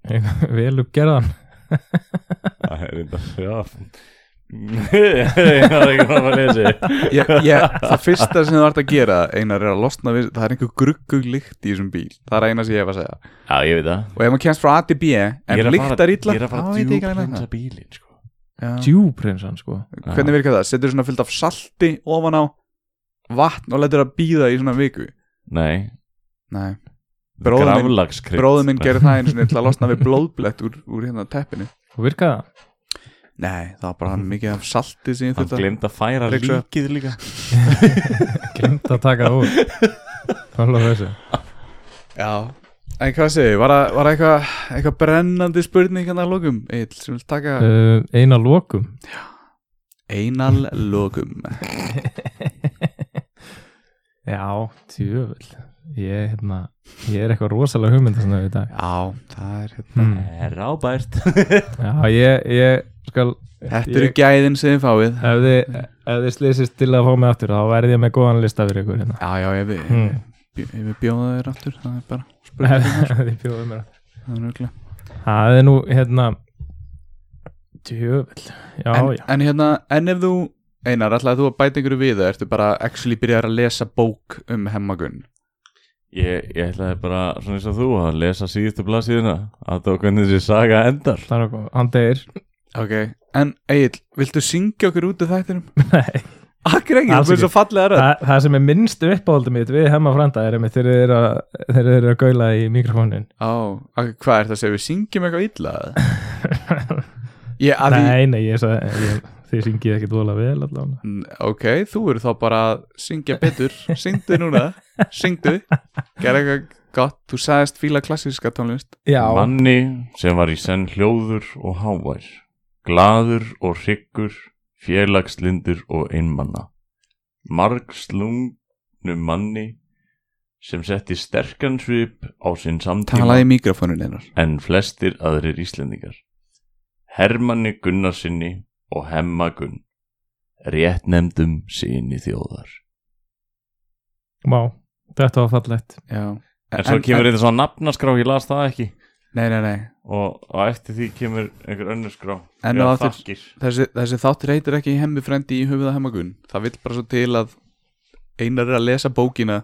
Speaker 4: Eitthvað Vel uppgerðan
Speaker 2: Það er enda Já Það er ekki hvað að lesi
Speaker 3: ég, ég, það fyrsta sem þú ert að gera einar er að losna við, það er einhver gruggug lykt í þessum bíl, það er eina sem ég hef að segja
Speaker 2: Já ég veit það
Speaker 3: og ef maður kemst frá ATB
Speaker 2: Ég
Speaker 3: en
Speaker 2: er að fara-
Speaker 3: lyktar illa
Speaker 2: Ég er að fara
Speaker 3: þá
Speaker 2: að
Speaker 3: veit ég ekki alveg með
Speaker 2: djúprensa bílinn sko
Speaker 3: það. Já.
Speaker 4: Djúprinsan sko
Speaker 3: hvernig virkar það, setur svona fyllt af salti ofan á vatn og letur það býða í svona viku
Speaker 2: Nei
Speaker 3: Nei. Bróðir minn-
Speaker 2: Graflagskrydd
Speaker 3: bróðum minn gerir það einu sinni til að losna við blóðblett úr, úr hérna teppinu
Speaker 4: Og virkaði það?
Speaker 3: nei, það var bara mikið af salti sem ég
Speaker 2: Hann
Speaker 3: þurfti að
Speaker 2: glemt að færa
Speaker 3: Ryksuga.
Speaker 2: líkið líka
Speaker 4: Glemt að taka það úr Fála þessu
Speaker 3: Já, en hvað segir, var það var það eitthvað eitthvað brennandi spurning hann að lokum Eil, sem vil taka
Speaker 4: uh, Eina lokum
Speaker 3: einal lokum
Speaker 4: Já, tjöfull Ég, hérna, ég er eitthvað rosalega hugmynda svona í dag
Speaker 3: Já, það er hérna
Speaker 4: hmm.
Speaker 2: Eh, Rábært
Speaker 4: Já, ég, ég skal
Speaker 3: Þetta eru gæðin sem þið fáið
Speaker 4: Ef þið, ef þið slýsist til að fá mig aftur þá verð ég með góðan lista fyrir ykkur hérna.
Speaker 3: Já, já, ef við,
Speaker 4: Mm.
Speaker 3: ef við bjóða þér aftur það er bara
Speaker 4: Ef
Speaker 3: spurning
Speaker 4: þið bjóðum mér aftur.
Speaker 3: það er örugglega.
Speaker 4: Það er nú hérna djöfull Já,
Speaker 3: en,
Speaker 4: já,
Speaker 3: en hérna, en ef þú Einar, ætlaði þú að bæta einhverju við eða ertu bara actually byrjar að lesa bók um hemmagun
Speaker 2: Ég, ég ætlaði bara, svona eins og þú, að lesa síðustu blaðsíðuna að það hvernig þessi saga endar
Speaker 4: það er okkur Hann deyr
Speaker 3: Ok, en Eil, viltu syngja okkur út af þættinum?
Speaker 4: Nei,
Speaker 3: Akkur ekki,
Speaker 4: Alls
Speaker 3: þú er
Speaker 4: ekki.
Speaker 3: svo fallega rödd
Speaker 4: það, það sem er minnst uppáhaldið mitt við hemma frænda er einmitt þegar þeir eru að, þegar þeir eru að gaula í mikrofónin
Speaker 3: Á, ok, hvað er það að segja, við syngjum eitthvað illa eða? Ég, að því,
Speaker 4: Nei, nei, ég, sagði- ég, þið syngið ekkert vola vel allavega
Speaker 3: N- ok, þú eru þá bara að syngja betur, syngdu núna, syngdu, gera eitthvað gott, þú sagðist fíla klassíska tónlist.
Speaker 4: Já,
Speaker 2: Manni sem var í senn hljóður og hávær, glaður og hryggur, félagslindur og einmanna. Margslungnum manni sem setti sterkan svip á sinn samtíma
Speaker 3: Talaði í mikrofónun einar.
Speaker 2: en flestir aðrir Íslendingar. Hermanni Gunnarsinni og Hemma Gunn, réttnefndum sinni þjóðar.
Speaker 4: Má, þetta var fallegt
Speaker 3: Já.
Speaker 2: En svo kemur þetta svona nafnaskrá, ég las það ekki,
Speaker 3: Nei, nei, nei.
Speaker 2: og, og eftir því kemur einhver önnur skrá.
Speaker 3: En
Speaker 2: Já,
Speaker 3: á aftur-
Speaker 2: þakkir.
Speaker 3: Þessi, þessi þáttur heitir ekki hemmi frendi í höfuða hemmagun. Það vill bara svo til að einar er að lesa bókina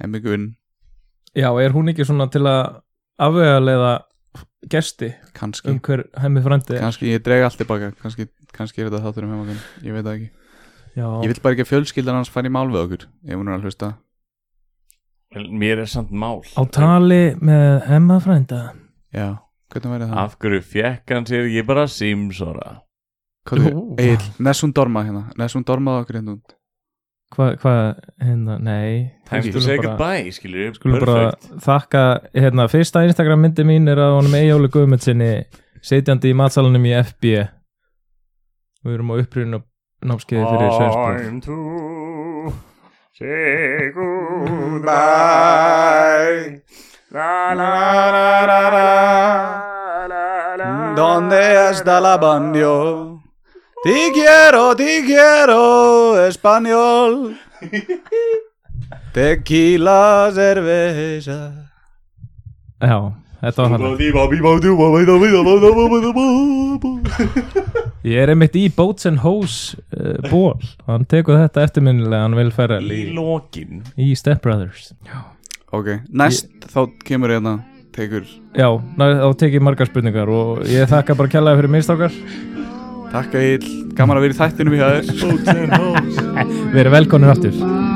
Speaker 3: hemmigun,
Speaker 4: Já, er hún ekki svona til að afvegulega gesti
Speaker 3: kannski.
Speaker 4: um hver hemmi frændi er?
Speaker 3: Kannski ég dreg allt tilbaka, kannski, kannski er þetta þáttur um hemmagun, ég veit það ekki.
Speaker 4: Já,
Speaker 3: Ég vil bara ekki að fjölskyldan hans fari í mál við okkur, ef hún er að hlusta.
Speaker 2: En Mér er samt mál
Speaker 4: á tali með hemma frænda
Speaker 3: Já, hvernig væri það?
Speaker 2: Af hverju fekk hann sér ekki bara símsora
Speaker 4: Ú.
Speaker 3: Egil, Nessun Dorma hérna Nessun Dorma á okkur hérna út
Speaker 4: Hvað, hvað, hérna, nei
Speaker 2: Time to
Speaker 4: Skulum
Speaker 2: say
Speaker 4: bara-
Speaker 2: goodbye, skilur við
Speaker 4: Skulum bara þakka, hérna, fyrsta Instagram myndi mín er að honum Eyjóli Guðmundsinni setjandi í matsalunum í FB Við erum á upprýðinu námskeiði fyrir Sveinsbúr
Speaker 2: Time to say
Speaker 3: Bye La la la la la Donde está la bandio Ti quiero, ti quiero Español Tequila cerveza
Speaker 4: Já, þetta var hann
Speaker 2: goodbye
Speaker 4: Ég er einmitt í Boats and Hose uh, ból Hann tekur þetta eftirminnilega, hann vil ferra
Speaker 2: Í
Speaker 4: í,
Speaker 2: lokin
Speaker 4: í Step Brothers
Speaker 3: Ok, næst þá kemur hérna Tekur
Speaker 4: Já, ná, þá tek ég margar spurningar og ég þakka bara kjallaði fyrir mistakar
Speaker 3: Takk Egil, gaman að vera í þættinu við hjá þér
Speaker 4: Verið velkonir aftur